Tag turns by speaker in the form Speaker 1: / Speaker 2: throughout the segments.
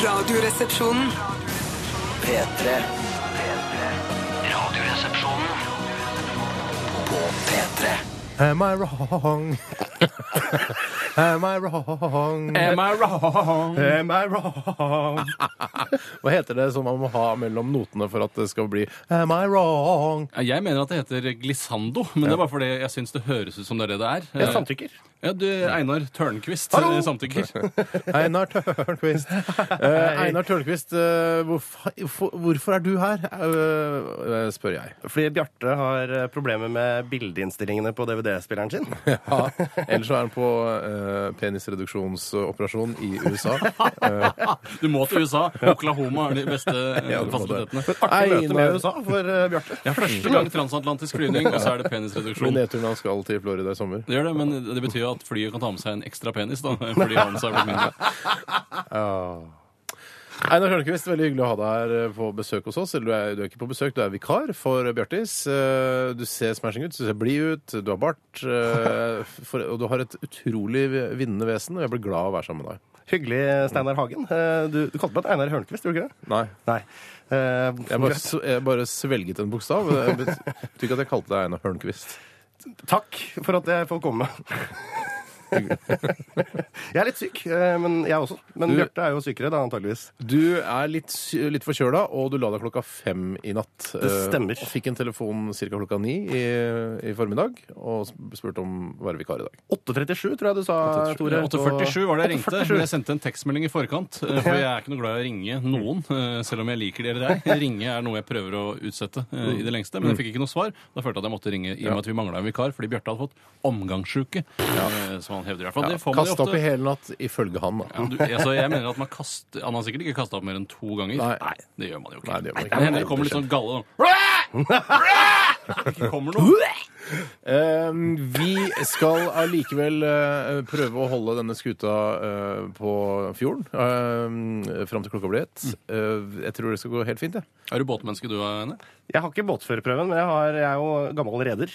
Speaker 1: Radioresepsjonen.
Speaker 2: P3 Radioresepsjonen På P3
Speaker 3: Am I wrong? Am I wrong?
Speaker 4: Am I wrong?
Speaker 3: Am I wrong? Hva heter det som man må ha mellom notene for at det skal bli Am I wrong?
Speaker 4: Jeg mener at det heter glissando, men det er bare fordi jeg syns det høres ut som det er det det er.
Speaker 5: Jeg samtykker.
Speaker 4: Ja, du, Einar Tørnquist
Speaker 5: Hallo!
Speaker 4: eh, samtykker.
Speaker 3: Einar Tørnquist. Eh, Einar Tørnquist, eh, hvorfor, hvorfor- hvorfor er du her? Eh, eh, spør jeg.
Speaker 5: Fordi Bjarte har eh, problemer med bildeinnstillingene på DVD-spilleren sin.
Speaker 3: Ja, ellers så er han på eh, penisreduksjonsoperasjon i USA.
Speaker 4: Du må til USA. Oklahoma er de beste eh,
Speaker 3: Ja, du må det.
Speaker 4: fasilitetene.
Speaker 5: Artig møte med
Speaker 3: Einar-
Speaker 5: USA for eh, Bjarte.
Speaker 4: Ja, første gang transatlantisk flyvning, og så er det penisreduksjon.
Speaker 3: Nedturen han skal til Florida i sommer.
Speaker 4: Det gjør det, men det betyr jo at flyet kan ta med seg en ekstra penis, da. Fordi han er blitt mindre.
Speaker 3: Einar Tørnquist, veldig hyggelig å ha deg her eh, på besøk hos oss. Eller du er, du er ikke på besøk, du er vikar for Bjartis. Eh, Du ser smashing ut, du ser blid ut, du har bart. eh, f- For, og du har et utrolig vinnende vesen, og jeg blir glad av å være sammen med deg.
Speaker 5: Hyggelig, Steinar Hagen. Eh, Du, du kalte meg et Einar Hørnquist, gjorde du ikke det?
Speaker 3: Nei.
Speaker 5: Nei. Eh,
Speaker 3: Jeg bare, s- jeg bare svelget en bokstav. Det bet- betyr ikke at jeg kalte deg Einar Hørnquist.
Speaker 5: Takk for at jeg får komme. jeg er litt syk, eh, men jeg også. Men
Speaker 3: Du-
Speaker 5: Bjarte er jo sykere, da, antageligvis.
Speaker 3: Du er litt, sy- litt forkjøla, og du la deg klokka fem i natt. Eh,
Speaker 5: stemmer.
Speaker 3: Og fikk en telefon ca. klokka ni i, i formiddag og sp- spurte om å være vikar i dag.
Speaker 5: 8.37, tror jeg du sa, Tore.
Speaker 4: 8.47 var det jeg ringte,
Speaker 5: 8.47.
Speaker 4: men jeg sendte en tekstmelding i forkant. eh, For jeg er ikke noe glad i å ringe noen, eh, selv om jeg liker dere der. Ringe er noe jeg prøver å utsette eh, i det lengste,
Speaker 3: Mm.
Speaker 4: men jeg fikk ikke noe svar. Da følte jeg at jeg måtte ringe i og med at vi mangla en vikar, fordi Bjarte hadde fått omgangssjuke, eh, som han hevder i hvert fall. Det får man jo
Speaker 3: Kasta opp i
Speaker 4: ofte.
Speaker 3: hele natt, ifølge han. da.
Speaker 4: Ja, du, altså, jeg mener at man kaster, Han har sikkert ikke kasta opp mer enn to ganger.
Speaker 3: Nei.
Speaker 4: det gjør man jo ikke.
Speaker 3: Nei, det gjør man ikke.
Speaker 4: Men hender det kommer litt sånn galle sånn Ikke kommer noe.
Speaker 3: Eh, vi skal allikevel eh, prøve å holde denne skuta eh, på fjorden uh, fram til klokka blir ett. Eh, jeg tror det skal gå helt fint, jeg.
Speaker 4: Er du båtmenneske du, Einar?
Speaker 5: Jeg har ikke båtførerprøven, men jeg, har, jeg er jo gammel reder.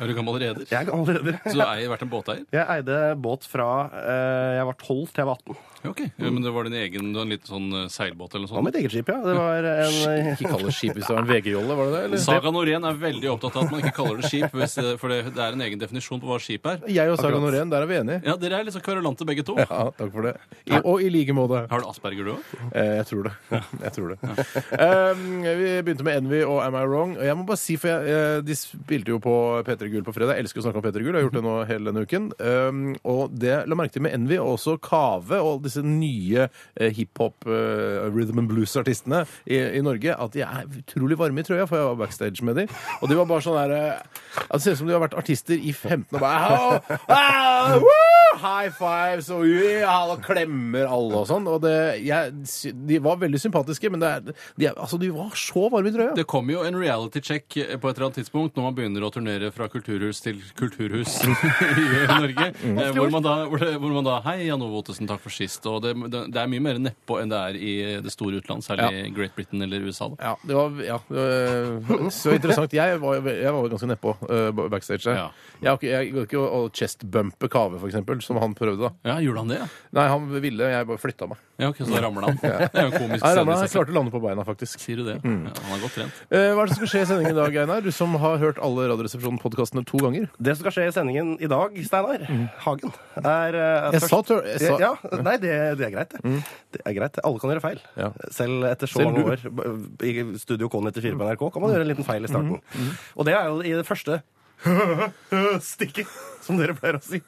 Speaker 4: Er du gammel reder?
Speaker 5: Jeg er gammel reder.
Speaker 4: Så du har vært en båteier?
Speaker 5: Jeg eide båt fra eh, jeg var 12 til jeg var 18.
Speaker 4: Ja, Ok, ja, Men det var din egen, du har en liten sånn eh, seilbåt eller
Speaker 5: Det var
Speaker 4: noe sånt?
Speaker 5: mitt eget skip, ja. Det var en
Speaker 3: Ikke kall det skip hvis det var en VG-jolle, var det det? Eller?
Speaker 4: Saga Norén er veldig opptatt av at man ikke kaller det skip, hvis, eh, for det, det er en egen definisjon på hva skip er.
Speaker 3: Jeg og Saga Norén, der er vi enige.
Speaker 4: Ja, Dere er litt så kverulante begge to.
Speaker 3: Ja, takk for det. I, og i like måte.
Speaker 4: Har du asperger, du òg?
Speaker 3: Eh, jeg tror det. Jeg tror det. Um, vi begynte med Envy og Am I Wrong. Og jeg må bare si, for jeg, eh, De spilte jo på P3 Gull på fredag. Jeg elsker å snakke om P3 Gull. Jeg har gjort det nå hele denne uken. Um, og det la merke til med Envy, og også Kave og disse nye eh, hiphop, eh, rhythm and blues-artistene i, i Norge, at de er utrolig varme i trøya, for jeg var backstage med dem. Og de var bare sånn der eh, at Det ser ut som de har vært artister i 15 og bare «Au! Au! Woo! High fives og ja, og klemmer alle og sånn. Og det, jeg, sy- de var veldig sympatiske, men det er, de, er- altså, de var så varme i trøya.
Speaker 4: Det kommer jo en reality check eh, på et eller annet tidspunkt når man begynner å turnere fra kulturhus til kulturhus i Norge. eh, Hvor man da, hvor det, hvor man da Hei, Jan Ove Ottesen, takk for sist. Og det, det, det er mye mer nedpå enn det er i eh, det store utland, særlig i Great Britain eller USA. Da.
Speaker 3: Ja, det var ja, øh, så interessant. Jeg var, jo ve- jeg var jo ganske nedpå øh, backstage. der.
Speaker 4: Ja.
Speaker 3: Jeg, har ikke- jeg går ikke og chestbumpe Kave, for eksempel, som han prøvde. da.
Speaker 4: Ja, gjorde han det? ja?
Speaker 3: Nei, han ville, jeg bare flytta meg.
Speaker 4: Ja, ok, Så da ramler han. Det er jo en komisk
Speaker 3: Jeg,
Speaker 4: scene.
Speaker 3: ramla,
Speaker 4: i
Speaker 3: jeg
Speaker 4: seg selv.
Speaker 3: klarte å lande på beina, faktisk.
Speaker 4: Sier du det?
Speaker 3: Mm.
Speaker 4: Ja, han er godt trent.
Speaker 3: Eh, hva er det som skal skje i sendingen i dag, Einar? Du som har hørt alle Radioresepsjonen-podkastene to ganger.
Speaker 5: Det som skal skje i sendingen i dag, Steinar Hagen, er eh,
Speaker 3: Mm. Jeg
Speaker 5: først-
Speaker 3: sa tør... Jeg sa... Mm.
Speaker 5: Ja, nei, det, det er greit, det. Det er greit. Alle kan gjøre feil.
Speaker 3: Ja.
Speaker 5: Selv etter så
Speaker 3: Selv Mm.
Speaker 5: mange år b- i Studio K94 på NRK kan man gjøre en liten feil i starten. Og det er jo i det første stikket, som dere pleier å si.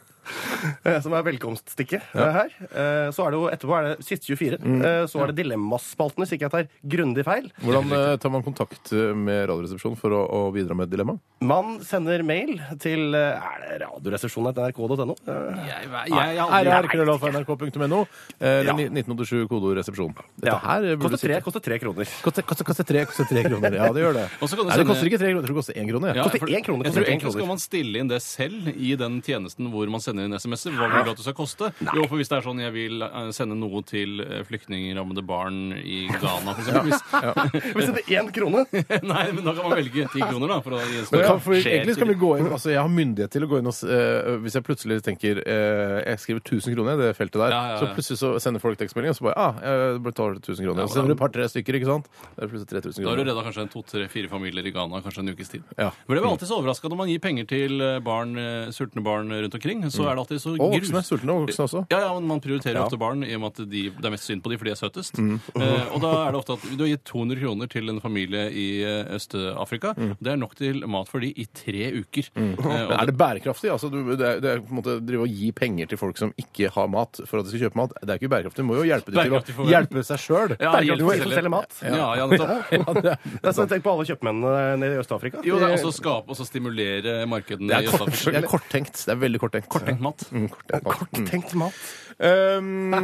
Speaker 5: eh, Som er velkomststikket eh, her. Eh, Så er det jo etterpå er det siste 24.
Speaker 3: Mm.
Speaker 5: eh, Så er det Dilemmaspalten, hvis ikke jeg tar grundig feil.
Speaker 3: Hvordan eh, tar man kontakt eh, med Radioresepsjonen for å, å bidra med et dilemma?
Speaker 5: Man sender mail til eh, Er det radioresepsjonen.nrk.no? Eh,
Speaker 4: Jeg, jeg, jeg, jeg, aldri-
Speaker 3: rr.nrk.no eller
Speaker 5: Ja.
Speaker 3: 1987 kodoresepsjon. Dette
Speaker 5: Ja.
Speaker 3: her burde du
Speaker 5: Koster tre,
Speaker 3: sitte-
Speaker 5: koster tre kroner.
Speaker 3: Koster, koster, koster tre, koster tre kroner. Ja, det gjør det.
Speaker 4: Og så kan du
Speaker 3: Nei, det
Speaker 4: sende-
Speaker 3: koster ikke tre kroner, jeg tror det koster én krone.
Speaker 4: Ja,
Speaker 3: Ja.
Speaker 5: Koster
Speaker 4: for-
Speaker 5: én krone,
Speaker 4: Jeg
Speaker 5: koster
Speaker 4: tror
Speaker 5: én
Speaker 4: egentlig skal
Speaker 5: kroner.
Speaker 4: man stille inn det selv i den tjenesten hvor man sender inn SMS-er. Hva vil du at det skal koste? Jo, for hvis det er sånn jeg vil eh, sende noe til eh, flyktningrammede barn i Ghana, for eksempel. Hvis,
Speaker 5: Hvis det er én krone
Speaker 4: Nei, men da kan man velge ti kroner, da. For å gi en
Speaker 3: Men
Speaker 4: større-
Speaker 3: kan, for,
Speaker 4: Skjer
Speaker 3: egentlig skal vi
Speaker 4: til-
Speaker 3: gå inn, altså Jeg har myndighet til å gå inn og s- eh, Hvis jeg plutselig tenker eh, Jeg skriver 1000 kroner i det feltet der,
Speaker 4: Ja, ja, ja.
Speaker 3: så plutselig så sender folk tekstmelding, og så bare ah, jeg betaler 1000 kroner.
Speaker 4: Ja,
Speaker 3: så sender du et par-tre stykker, ikke sant? Det er plutselig 3000
Speaker 4: Da har
Speaker 3: kroner.
Speaker 4: du redda kanskje en to-tre-fire familier i Ghana kanskje en ukes tid.
Speaker 3: Ja. Mm.
Speaker 4: For det er alltid så overraska når man gir penger til eh, barn, eh, sultne barn rundt omkring.
Speaker 3: Mm.
Speaker 4: Så er det alltid så
Speaker 3: Og voksne.
Speaker 4: grus-
Speaker 3: Sultne og voksne også.
Speaker 4: Ja, ja, men Man prioriterer ofte barn i og med at de, det er mest synd på de, for de er søtest.
Speaker 3: Mm.
Speaker 4: Eh, og da er det ofte at Du har gitt 200 kroner til en familie i eh, Øst-Afrika. Det er nok til mat for de i tre uker. Eh, og
Speaker 3: Men er Mm. det bærekraftig? Altså, du, det, er, det er på en måte å drive og gi penger til folk som ikke har mat, for at de skal kjøpe mat. Det er ikke bærekraftig. Du må jo hjelpe dem til å
Speaker 4: Bærekraftig for hvem?
Speaker 3: hjelpe seg sjøl.
Speaker 4: Ja,
Speaker 5: Det er
Speaker 4: hjelp
Speaker 5: ikke
Speaker 4: til
Speaker 5: å selge mat.
Speaker 4: Ja, ja, nettopp.
Speaker 5: Det er sånn, Tenk på alle kjøpmennene nede i Øst-Afrika.
Speaker 4: Jo, det er også å skape og så stimulere markedene i
Speaker 3: Det
Speaker 4: Øst-Afrika.
Speaker 3: er korttenkt. Det er veldig korttenkt.
Speaker 4: Korttenkt mat.
Speaker 3: Mm, korttenkt mat.
Speaker 5: Korttenkt mat.
Speaker 4: Mm.
Speaker 3: Um,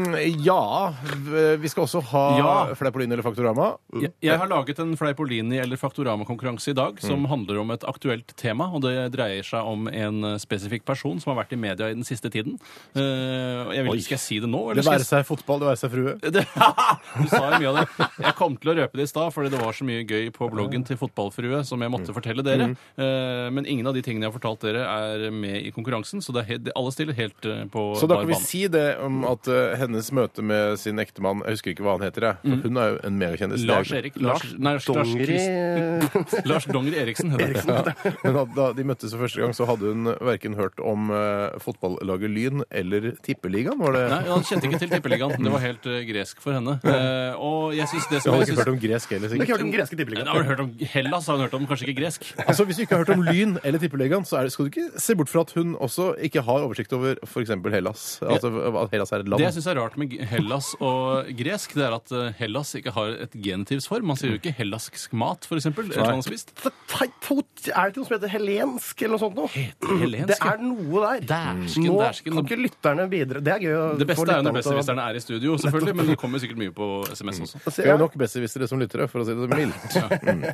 Speaker 3: ja Vi skal også ha
Speaker 4: Ja.
Speaker 3: Fleipolini eller Faktorama.
Speaker 4: Jeg, jeg har laget en Fleipolini- eller Faktorama-konkurranse i dag som
Speaker 3: Mm.
Speaker 4: handler om et aktuelt tema. og Det dreier seg om en eh, spesifikk person som har vært i media i den siste tiden. Eh, og jeg vil, skal jeg si det nå?
Speaker 3: Det
Speaker 4: Eller skal
Speaker 3: være
Speaker 4: jeg
Speaker 3: seg fotball, det være seg frue.
Speaker 4: det, du sa jo mye av det. Jeg kom til å røpe det i stad, fordi det var så mye gøy på bloggen til Fotballfrue som jeg
Speaker 3: Mm.
Speaker 4: måtte fortelle dere. Eh, Men ingen av de tingene jeg har fortalt dere, er med i konkurransen, så det er helt, alle stiller helt eh, på
Speaker 3: Så da
Speaker 4: bar
Speaker 3: kan vi
Speaker 4: banen.
Speaker 3: si det om at eh, hennes møte med sin ektemann Jeg husker ikke hva han heter, jeg. For hun er jo en megakjendis.
Speaker 4: Mm. Lars Erik Lars, nei, Lars, Lars,
Speaker 5: Dongeri
Speaker 4: Christ- Lars Dongeri Eriksen. heter det.
Speaker 3: Ja, men da, da de møttes for første gang, så hadde hun verken hørt om eh, fotballaget Lyn eller Tippeligaen, var det?
Speaker 4: Nei, Han kjente ikke til Tippeligaen. Det var helt eh, gresk for henne. Eh, og jeg synes
Speaker 3: Hun
Speaker 4: det som
Speaker 3: hadde
Speaker 4: jeg
Speaker 3: ikke
Speaker 4: synes,
Speaker 3: hørt om gresk heller,
Speaker 5: Ikke
Speaker 3: sikkert.
Speaker 5: hørt om greske
Speaker 4: Nei,
Speaker 5: tippeligaen.
Speaker 4: Har du hørt om Hellas? Har hun hørt om kanskje ikke gresk?
Speaker 3: Altså, Hvis du ikke har hørt om Lyn eller Tippeligaen, så er det, skal du ikke se bort fra at hun også ikke har oversikt over f.eks. Hellas. Altså at Hellas er et land.
Speaker 4: Det jeg syns er rart med Hellas og gresk, det er at eh, Hellas ikke har et genitivsform. Man sier jo ikke hellask mat, for eksempel. Eller hva man har spist.
Speaker 5: Er det ikke noe som heter helensk eller noe sånt noe?
Speaker 4: Helensk,
Speaker 5: Det er noe der.
Speaker 4: Dæsken,
Speaker 5: Nå
Speaker 4: dæsken.
Speaker 5: kan ikke lytterne bidra. Det er gøy å
Speaker 4: Det
Speaker 5: få
Speaker 4: beste er jo
Speaker 5: lytterne
Speaker 4: når
Speaker 5: til å-
Speaker 4: besserwisserne er i studio, selvfølgelig, men det kommer sikkert mye på SMS også.
Speaker 3: Vi
Speaker 5: Altså, jeg
Speaker 3: har nok besserwissere som lyttere, for å si det mildt.
Speaker 4: Ja.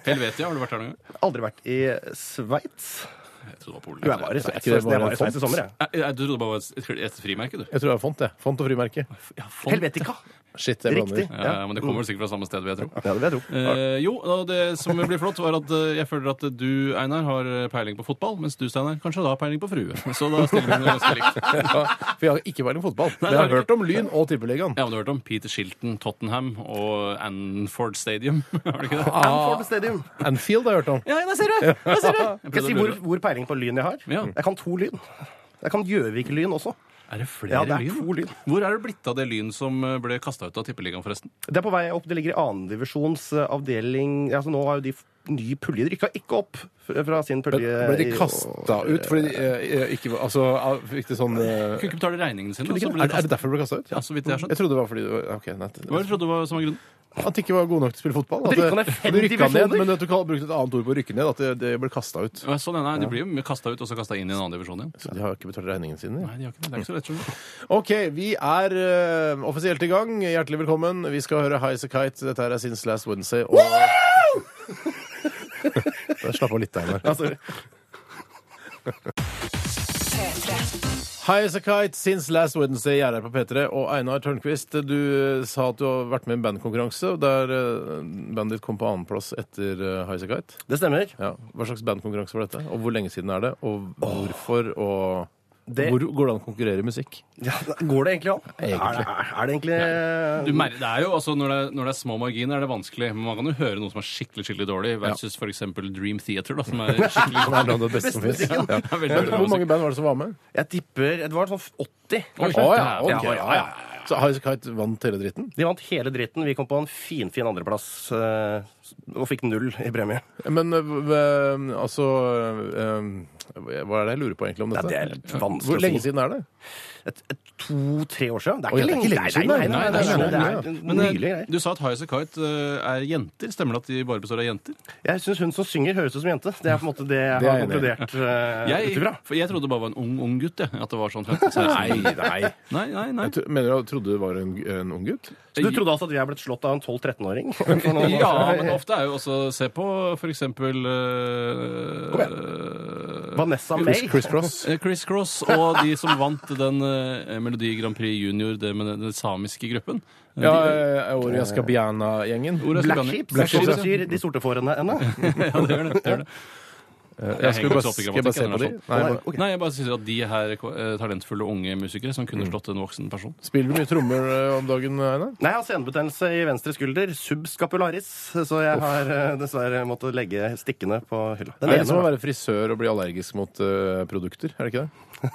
Speaker 4: Helvetia, har du vært der noen gang?
Speaker 5: har aldri vært i Sveits.
Speaker 4: Jeg trodde det var
Speaker 5: Jo,
Speaker 4: Polen.
Speaker 5: jeg var i Sveits
Speaker 3: ikke det
Speaker 5: forresten. Jeg
Speaker 3: bare
Speaker 5: var i Sveits i
Speaker 3: sånt.
Speaker 5: sommer, jeg.
Speaker 4: Nei, Jeg trodde det bare var et, et frimerke, du.
Speaker 3: Jeg tror det er font, jeg. Font og frimerke.
Speaker 4: Ja,
Speaker 5: Helvetika.
Speaker 3: Shit, jeg blander.
Speaker 5: Riktig.
Speaker 4: Ja, ja, men det kommer vel sikkert fra samme sted, vil jeg tro.
Speaker 5: Ja, det vil jeg tro.
Speaker 4: Eh, jo, og det som blir flott, var at eh, jeg føler at du, Einar, har eh, peiling på fotball, mens du, Steinar, kanskje da har peiling på frue. Så da stiller vi ganske likt.
Speaker 3: Ja, for jeg har ikke vært om fotball. Men jeg
Speaker 4: det har
Speaker 3: har
Speaker 4: du
Speaker 3: hørt om Lyn og Tippeligaen.
Speaker 4: Ja, men du har hørt om Peter Shilton, Tottenham og Anford Stadium? Har du ikke det?
Speaker 5: Anford Stadium.
Speaker 3: Anfield har jeg hørt om.
Speaker 4: Ja, der ser du! Der ser du!
Speaker 5: Skal jeg si hvor, hvor peiling på lyn jeg har?
Speaker 4: Ja.
Speaker 5: Jeg kan to lyn. Jeg kan Gjøvik-lyn også.
Speaker 4: Er det flere
Speaker 5: Ja, det er
Speaker 4: lyn?
Speaker 5: to lyn.
Speaker 4: Hvor er det blitt av det lyn som eh, ble kasta ut av tippeligaen, forresten?
Speaker 5: Det er på vei opp. Det ligger i annendivisjons avdeling altså, Nå har jo de f- ny pulje. De rykka ikke opp f- fra sin pulje.
Speaker 3: Ble de
Speaker 5: i-
Speaker 3: kasta ut fordi de eh, ikke var Altså, av- fikk de sånn eh,
Speaker 4: Kunne ikke betale regningene sine.
Speaker 3: er,
Speaker 4: og så
Speaker 3: Altså, det-
Speaker 4: ble det
Speaker 3: er det
Speaker 4: kastet.
Speaker 3: derfor de ble kasta ut?
Speaker 4: Ja, så vidt jeg har skjønt.
Speaker 3: Jeg trodde det var fordi det var, ok, nei,
Speaker 4: Hva
Speaker 3: det-
Speaker 4: trodde du var som var grunnen?
Speaker 3: At de ikke var gode nok til å spille fotball. altså. At
Speaker 5: De rykka ned
Speaker 3: det-
Speaker 5: fem
Speaker 3: du rykka ned,
Speaker 5: divisjoner.
Speaker 3: men at du kall- brukte et annet ord på å rykke ned. At det, det ble kasta ut.
Speaker 4: Ja, Sånn, nei, De blir jo kasta ut og så kasta inn i en annen divisjon igjen.
Speaker 3: Så de har ikke betalt regningen sin. ja.
Speaker 4: Nei, de har ikke det. Det er ikke så lett, skjønner du.
Speaker 3: OK, vi er eh, offisielt i gang. Hjertelig velkommen. Vi skal høre High As A Kite. Dette her er Since Last Wednesday. Og... Slapp av litt der. Einar.
Speaker 5: Altså,
Speaker 3: High As A Kite, Since Last Wednesday. Jeg er her på P3. Og Einar Tørnquist, du eh, sa at du har vært med i en bandkonkurranse og der eh, bandet ditt kom på annenplass etter eh, High As A Kite.
Speaker 5: det stemmer.
Speaker 3: Ja. Hva slags bandkonkurranse var dette? Og hvor lenge siden er det? Og hvorfor? Og
Speaker 5: Det-
Speaker 3: hvor går det an å konkurrere i musikk?
Speaker 5: Ja, går det egentlig an? Er,
Speaker 3: Egentlig.
Speaker 5: det- er det egentlig
Speaker 4: Du merker, det er jo, altså, når, det, er- når det er små marginer, er det vanskelig. Men man kan jo høre noe som er skikkelig skikkelig dårlig, versus for eksempel Dream Theater, da, som er skikkelig
Speaker 3: Det er noe av det beste som finnes.
Speaker 5: Bestemusikken.
Speaker 3: Ja.
Speaker 4: Det er veldig
Speaker 3: Men
Speaker 4: dårlig
Speaker 3: Hvor mange
Speaker 4: musikk.
Speaker 3: band var det som var med?
Speaker 5: Jeg tipper Det var sånn 80,
Speaker 4: Oi.
Speaker 5: kanskje.
Speaker 3: Å ja, ok.
Speaker 5: Ja, ja, ja.
Speaker 3: Så High As A Kite vant hele dritten?
Speaker 5: De vant hele dritten. Vi kom på en finfin fin andreplass eh, og fikk null i premie.
Speaker 3: Men øh, øh, altså øh, øh, Hva er det jeg lurer på egentlig om
Speaker 5: Ja,
Speaker 3: dette?
Speaker 5: det er litt
Speaker 3: Hvor lenge
Speaker 5: vanskelig å si.
Speaker 3: siden er det?
Speaker 5: To-tre år siden? Det
Speaker 3: Oi,
Speaker 5: er ikke lenge siden. Nei, nei, nei,
Speaker 4: nei,
Speaker 5: nei,
Speaker 4: nei,
Speaker 5: nei, det er
Speaker 4: Men eh,
Speaker 5: nylig greier.
Speaker 4: du sa at Highas Kite eh, er jenter. Stemmer det at de bare består av jenter?
Speaker 5: Jeg syns hun som synger, høres ut som jente. Det er på en måte det jeg
Speaker 3: Det er
Speaker 5: har
Speaker 3: jeg enig i.
Speaker 5: konkludert uh,
Speaker 4: Jeg,
Speaker 5: ut ifra.
Speaker 4: for jeg trodde det bare var en ung, ung gutt. Jeg, at det var sånn 15-16.
Speaker 3: Nei, nei.
Speaker 4: Nei, nei, nei.
Speaker 3: Jeg tro- mener du trodde du var en, en ung gutt?
Speaker 5: Så du trodde altså at vi er blitt slått av en 12-13-åring?
Speaker 4: Ja, men ofte er jo også Se på for eksempel eh,
Speaker 5: Kom igjen.
Speaker 4: eh,
Speaker 5: Vanessa
Speaker 3: Chris,
Speaker 5: May.
Speaker 3: Chris Cross.
Speaker 4: Eh, Chris Cross og de som vant den eh, Melodi Grand Prix Junior, det med den, den samiske gruppen. Eh,
Speaker 3: Ja,
Speaker 4: de-
Speaker 3: Ori Askabiana-gjengen.
Speaker 4: Ordet skal
Speaker 5: Black
Speaker 4: blande-
Speaker 5: Sheep.
Speaker 4: Black Sheep,
Speaker 5: som
Speaker 4: ja.
Speaker 5: betyr de sorte fårene ennå.
Speaker 4: ja, det gjør det. det, gjør det.
Speaker 3: Jeg skal
Speaker 4: henger ikke
Speaker 3: bare,
Speaker 4: så opp i
Speaker 3: skal jeg bare se
Speaker 4: grammatikken,
Speaker 3: på de. Nei,
Speaker 4: eller
Speaker 3: jeg må-
Speaker 5: Ok.
Speaker 4: Nei, jeg bare synes at de her eh, talentfulle unge musikere som
Speaker 3: Mm.
Speaker 4: kunne slått en voksen person.
Speaker 3: Spiller du mye trommer eh, om dagen, Einar?
Speaker 5: Nei, jeg har senebetennelse i venstre skulder, subscapularis, så jeg har eh, dessverre måttet legge stikkene på hylla. Den
Speaker 3: Er det som å
Speaker 5: ene, da.
Speaker 3: være frisør og bli allergisk mot eh, produkter? Er det ikke det?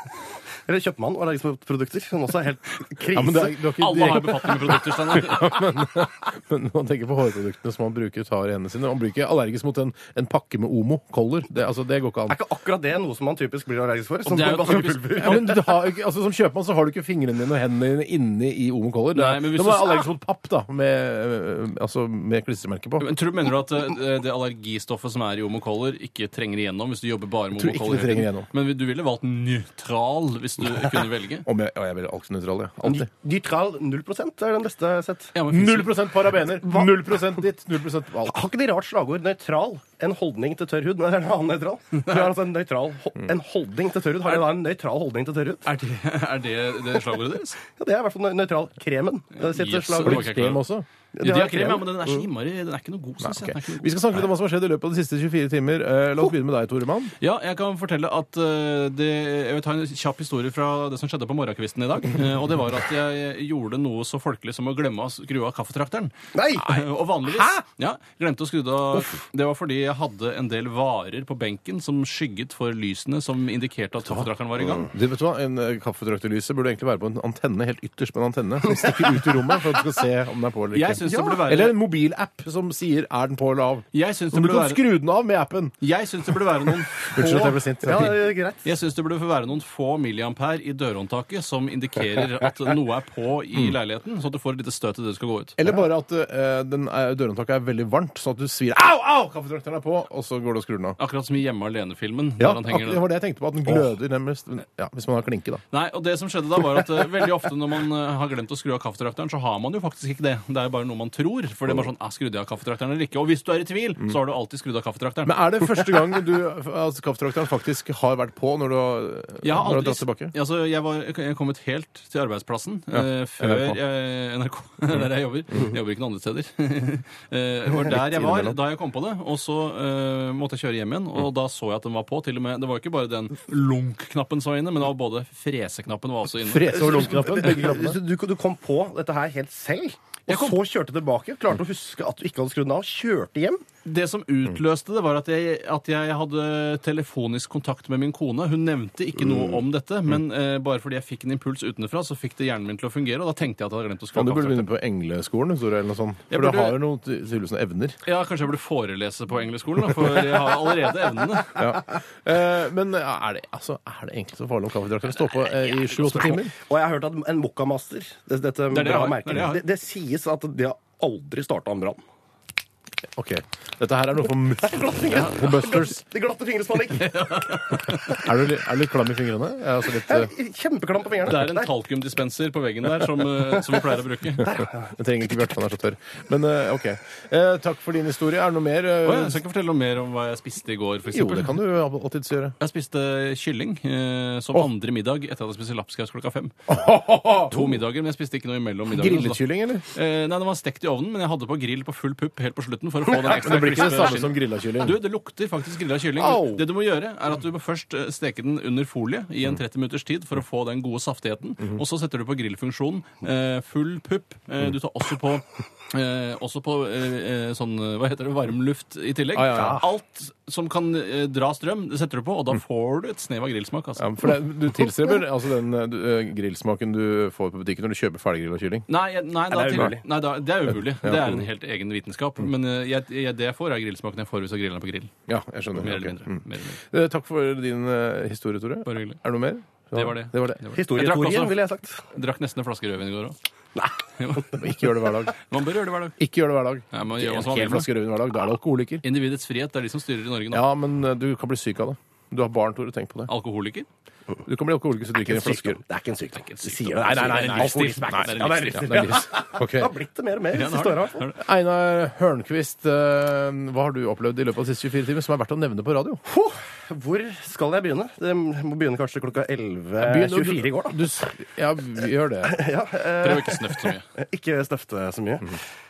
Speaker 5: Eller kjøpmann og allergisk-produkter, som også er helt krise.
Speaker 3: Ja, men, det er, du har ikke
Speaker 4: Alle har
Speaker 3: direkte,
Speaker 4: befatning med produkter, Steinar.
Speaker 3: men man tenker på hårproduktene som man bruker ut av hendene sine. Man blir ikke allergisk mot en, en pakke med Omo, Color. Det, altså, det går ikke
Speaker 5: Er
Speaker 3: an.
Speaker 5: ikke akkurat det noe som man typisk blir allergisk for? Som
Speaker 4: det er jo
Speaker 5: bare
Speaker 4: typisk-
Speaker 5: pulver.
Speaker 3: Ja, men du har, jo ikke- altså, som kjøpmann så har du ikke fingrene dine og hendene dine inni i Omo Color. Det er-
Speaker 4: Nei, men hvis
Speaker 3: Da må du være
Speaker 4: du-
Speaker 3: allergisk mot papp, da, med, eh, altså, med klistremerke på.
Speaker 4: Men tror, mener du at eh, det allergistoffet som er i Omo Color, ikke trenger igjennom hvis du jobber bare med
Speaker 3: tror
Speaker 4: Omo
Speaker 3: ikke
Speaker 4: Color?
Speaker 3: det
Speaker 4: hele
Speaker 3: trenger
Speaker 4: tiden?
Speaker 3: igjennom.
Speaker 4: Men du ville valgt nøytral hvis du kunne velge?
Speaker 3: Om jeg, ja, jeg er veldig alknøytral, jeg. Alltid.
Speaker 5: Dytral 0 er den beste jeg har sett.
Speaker 4: Ja, men finnes det-
Speaker 3: 0 parabener, 0 ditt, 0 alt.
Speaker 5: Har ikke de rart slagord 'nøytral'? En holdning til tørr hud? Nei, det er en annen nøytral. Du har altså en, nøytral ho en holdning til tørr hud. Har de da en nøytral holdning til tørr hud?
Speaker 4: Er det, er det, det slagordet deres?
Speaker 5: Ja, det er i hvert fall nø- nøytral. Kremen. Det sitter
Speaker 4: Yes,
Speaker 5: slagord.
Speaker 4: det var ikke jeg klar
Speaker 3: Krem
Speaker 4: over.
Speaker 3: også.
Speaker 4: De har krem, ja, men den er så innmari Den er ikke noe god, syns
Speaker 3: Ok.
Speaker 4: jeg. Den er ikke noe god.
Speaker 3: Vi skal snakke litt om hva som har skjedd i løpet av de siste 24 timer. Eh, La oss begynne med deg, Toremann.
Speaker 4: Ja, jeg kan fortelle at eh, det, Jeg vil ta en kjapp historie fra det som skjedde på morgenkvisten i dag. Eh, og det var at jeg gjorde noe så folkelig som å glemme å skru av kaffetrakteren.
Speaker 5: Nei!
Speaker 4: Eh, Og vanligvis Ja, glemte å skru av Det var fordi jeg hadde en del varer på benken som skygget for lysene som indikerte at kaffetrakteren var i gang.
Speaker 3: Du vet du hva, En eh, kaffetraktelyse burde egentlig være på en antenne, helt ytterst på en antenne. Som stikker ut i rommet for at du skal se om den er på eller
Speaker 4: Jeg
Speaker 3: ikke.
Speaker 4: syns det burde være-
Speaker 3: Eller en mobilapp som sier 'er den på eller av'?
Speaker 4: Jeg syns det
Speaker 3: Som du kan
Speaker 4: burde være,
Speaker 3: skru den av med appen!
Speaker 4: jeg syns det burde være noen
Speaker 3: Unnskyld at
Speaker 4: få
Speaker 3: jeg ble sint.
Speaker 5: Ja, det er greit.
Speaker 4: Jeg syns det burde være noen få milliampere i dørhåndtaket som indikerer at noe er på i
Speaker 3: Mm.
Speaker 4: leiligheten, så at du får et lite støt idet du skal gå ut.
Speaker 3: Eller bare at eh, den er- dørhåndtaket er veldig varmt, sånn at du svir 'au, au', kaffetrakteren er på, og så går du og skrur den av.
Speaker 4: Akkurat som i Hjemme alene-filmen.
Speaker 3: Ja,
Speaker 4: der han henger
Speaker 3: ak- det var det jeg tenkte på. At den gløder nærmest. Ja, hvis man har klinke, da.
Speaker 4: Nei, og det som skjedde da var at eh, Veldig ofte når man eh, har glemt å skru av kaffetrakteren, så har man jo faktisk ikke det. Det er bare noe man tror. For det er bare sånn, ah, skrudde jeg av kaffetrakteren eller ikke? Og hvis du er i tvil, så har du alltid skrudd av kaffetrakteren.
Speaker 3: Men er det første gang du, altså, kaffetrakteren faktisk har vært på når du har, når du
Speaker 4: jeg, har
Speaker 3: har
Speaker 4: aldri,
Speaker 3: dratt tilbake?
Speaker 4: altså, jeg, var, jeg kom ut helt til arbeidsplassen eh, før
Speaker 3: NRK.
Speaker 4: jeg- NRK, der jeg jobber. Jeg jobber ikke noen andre steder. Eh, det var der jeg var da jeg kom på det, og så eh, måtte jeg kjøre hjem igjen.
Speaker 3: Mm.
Speaker 4: Og da så jeg at den var på. til og med, Det var jo ikke bare den lunk-knappen som var inne, men det var både freseknappen var også inne.
Speaker 3: Frese over lomknappen? Begge knappene?
Speaker 5: Du, du kom på dette her helt selv, og
Speaker 4: Jeg kom-
Speaker 5: så kjørte tilbake. Klarte å huske at du ikke hadde skrudd den av. Kjørte hjem.
Speaker 4: Det som utløste det, var at jeg, at jeg hadde telefonisk kontakt med min kone. Hun nevnte ikke noe
Speaker 3: Mm.
Speaker 4: om dette, men eh, bare fordi jeg fikk en impuls utenfra, så fikk det hjernen min til å fungere, og da tenkte jeg at jeg hadde glemt å skru
Speaker 3: Faen,
Speaker 4: av
Speaker 3: du burde
Speaker 4: kaffetrakteren.
Speaker 3: begynne på engleskolen, Tore, eller noe sånt.
Speaker 4: Jeg
Speaker 3: For du
Speaker 4: burde-
Speaker 3: har jo noen ty- tydeligvis noen evner.
Speaker 4: Ja, kanskje jeg burde forelese på engleskolen, da, for jeg har allerede evnene.
Speaker 3: Eh, men er det, altså, er det egentlig så farlig om kaffetrakteren står på eh, i sju-åtte timer?
Speaker 5: Og jeg har hørt at en Mokkamaster det, Dette
Speaker 4: det jeg
Speaker 5: bra
Speaker 4: har.
Speaker 5: merket.
Speaker 4: Det er det jeg har.
Speaker 5: det, det sies at det har aldri starta en brann.
Speaker 3: Ok. Dette her er noe for muff- for busters.
Speaker 5: Det glatte fingrespanikk.
Speaker 3: Er du, litt- er du litt klam i fingrene? Jeg er altså litt, eh,
Speaker 5: Kjempeklam på fingrene.
Speaker 4: Det er en
Speaker 5: Nei,
Speaker 4: talkumdispenser på veggen der som, eh, som vi pleier å bruke.
Speaker 3: jeg trenger ikke Bjarte, han er så tørr. Men eh, OK. Eh, takk for din historie. Er det noe mer? eh,
Speaker 4: Å, jeg skal ikke fortelle noe mer om hva jeg spiste i går, for
Speaker 3: jo,
Speaker 4: eksempel.
Speaker 3: det kan du alltids gjøre.
Speaker 4: Jeg spiste kylling eh, som andre middag etter at jeg spiste lapskaus klokka fem. To middager, men jeg spiste ikke noe imellom middagene.
Speaker 3: Grillet
Speaker 4: så da-
Speaker 3: kylling, eller?
Speaker 4: Eh, nei, den var stekt i ovnen, men jeg hadde på grill på full pupp helt på slutten. for å få den
Speaker 3: Men
Speaker 4: ekstra
Speaker 3: det blir ikke det
Speaker 4: crispe
Speaker 3: samme som grilla kylling.
Speaker 4: Du, det lukter faktisk grilla kylling.
Speaker 3: Au!
Speaker 4: Det du må gjøre, er at du må først eh, steke den under folie i
Speaker 3: Mm.
Speaker 4: en 30 minutters tid for å få den gode saftigheten.
Speaker 3: Mhm.
Speaker 4: Og så setter du på grillfunksjonen. eh, Full pupp.
Speaker 3: Mm.
Speaker 4: Eh, Du tar også på Eh, også på eh, eh, sånn eh, hva heter det, varmluft i tillegg.
Speaker 3: Ah, ja, ja. Mm.
Speaker 4: Alt som kan eh, dra strøm, det setter du på, og da får du et snev av grillsmak. Altså.
Speaker 3: Ja, men for det, du tilstreber altså den eh, du, eh, grillsmaken du får på butikken når du kjøper ferdiggrilla kylling.
Speaker 4: Nei, jeg- nei, da,
Speaker 5: det er
Speaker 4: til-
Speaker 5: umulig.
Speaker 4: nei da, det er umulig. Det er en helt egen vitenskap. Men eh, jeg, jeg, det jeg får, er grillsmaken jeg får hvis jeg griller den på grill.
Speaker 3: Ja, jeg skjønner. Ok.
Speaker 4: Mer eller mindre.
Speaker 3: Mm.
Speaker 4: Mer eller mindre.
Speaker 3: Eh, Takk for din eh, historie, Tore.
Speaker 4: Bare hyggelig.
Speaker 3: Er det noe mer? Ja,
Speaker 4: Det var det.
Speaker 3: det, var det.
Speaker 4: Det var det. Jeg drakk,
Speaker 5: Historietorien,
Speaker 4: også,
Speaker 5: ville jeg sagt.
Speaker 4: drakk nesten en flaske rødvin i går òg.
Speaker 3: Men Ikke gjør det hver dag.
Speaker 4: Man bør gjøre det hver dag.
Speaker 3: Ikke gjør det hver dag.
Speaker 4: Nei, man gjør hva
Speaker 3: En
Speaker 4: som man
Speaker 3: hel
Speaker 4: vil.
Speaker 3: flaske rødvin hver dag. Da er du alkoholiker.
Speaker 4: Individets frihet det er de som styrer i Norge nå.
Speaker 3: Ja, men eh, du kan bli syk av det. Du har barn, Tore. Tenk på det.
Speaker 4: Alkoholiker?
Speaker 3: Du kan bli alkoholiker hvis du drikker en flaske øl.
Speaker 5: Det er ikke en sykdom. Du sier det.
Speaker 3: Nei, nei, nei, nei.
Speaker 5: Alkoholisme er ikke
Speaker 4: Nei,
Speaker 5: en
Speaker 4: det er
Speaker 5: sykdom.
Speaker 3: Ja, det
Speaker 4: en
Speaker 5: Ja, det er livsstil.
Speaker 3: er livs. Ok.
Speaker 5: Det har blitt det mer og mer de
Speaker 4: Ja, det
Speaker 5: siste
Speaker 4: har
Speaker 5: åra.
Speaker 4: det. Det har det.
Speaker 3: Einar Hørnquist, eh, hva har du opplevd i løpet av de siste 24 timer som er verdt å nevne på radio?
Speaker 5: Puh, Hvor skal jeg begynne? Det må begynne kanskje klokka
Speaker 3: Begynn å-
Speaker 5: 11.24 Eh, i går, da.
Speaker 3: Du, s- ja, vi gjør det.
Speaker 4: Prøv ikke å snøfte så mye.
Speaker 5: Ikke snøfte så mye.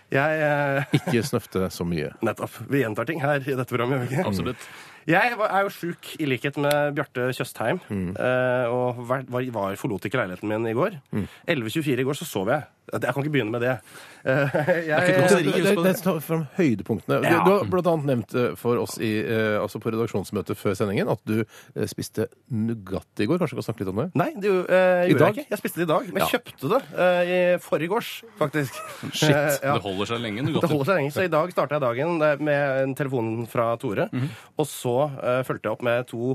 Speaker 5: Jeg eh,
Speaker 3: Ikke snøfte så mye.
Speaker 5: Nettopp. Vi gjentar ting her i dette programmet. gjør vi ikke?
Speaker 4: Absolutt.
Speaker 5: Jeg var- er jo sjuk, i likhet med Bjarte Tjøstheim. eh, Og var, var- var, forlot ikke leiligheten min i går. 11.24 i går så sov jeg. Jeg kan ikke begynne med det. Eh,
Speaker 4: ikke noe å si.
Speaker 5: Jeg,
Speaker 3: Det, det, det tar fram høydepunktene. Du,
Speaker 5: Ja.
Speaker 3: du har bl.a. nevnt eh, for oss i, eh, altså på redaksjonsmøtet før sendingen at du eh, spiste Nugatti i går. Kanskje vi kan snakke litt om det?
Speaker 5: nei, det jo- eh,
Speaker 3: I
Speaker 5: gjorde
Speaker 3: dag?
Speaker 5: jeg ikke. Jeg spiste det i dag, men
Speaker 3: Ja.
Speaker 5: kjøpte det eh, i forgårs, faktisk.
Speaker 3: Shit.
Speaker 5: Eh, ja.
Speaker 4: Det holder seg lenge. Du
Speaker 5: Det
Speaker 4: godt.
Speaker 5: holder seg lenge, så I dag starta jeg dagen eh, med en telefon fra Tore. Og så uh, fulgte jeg opp med to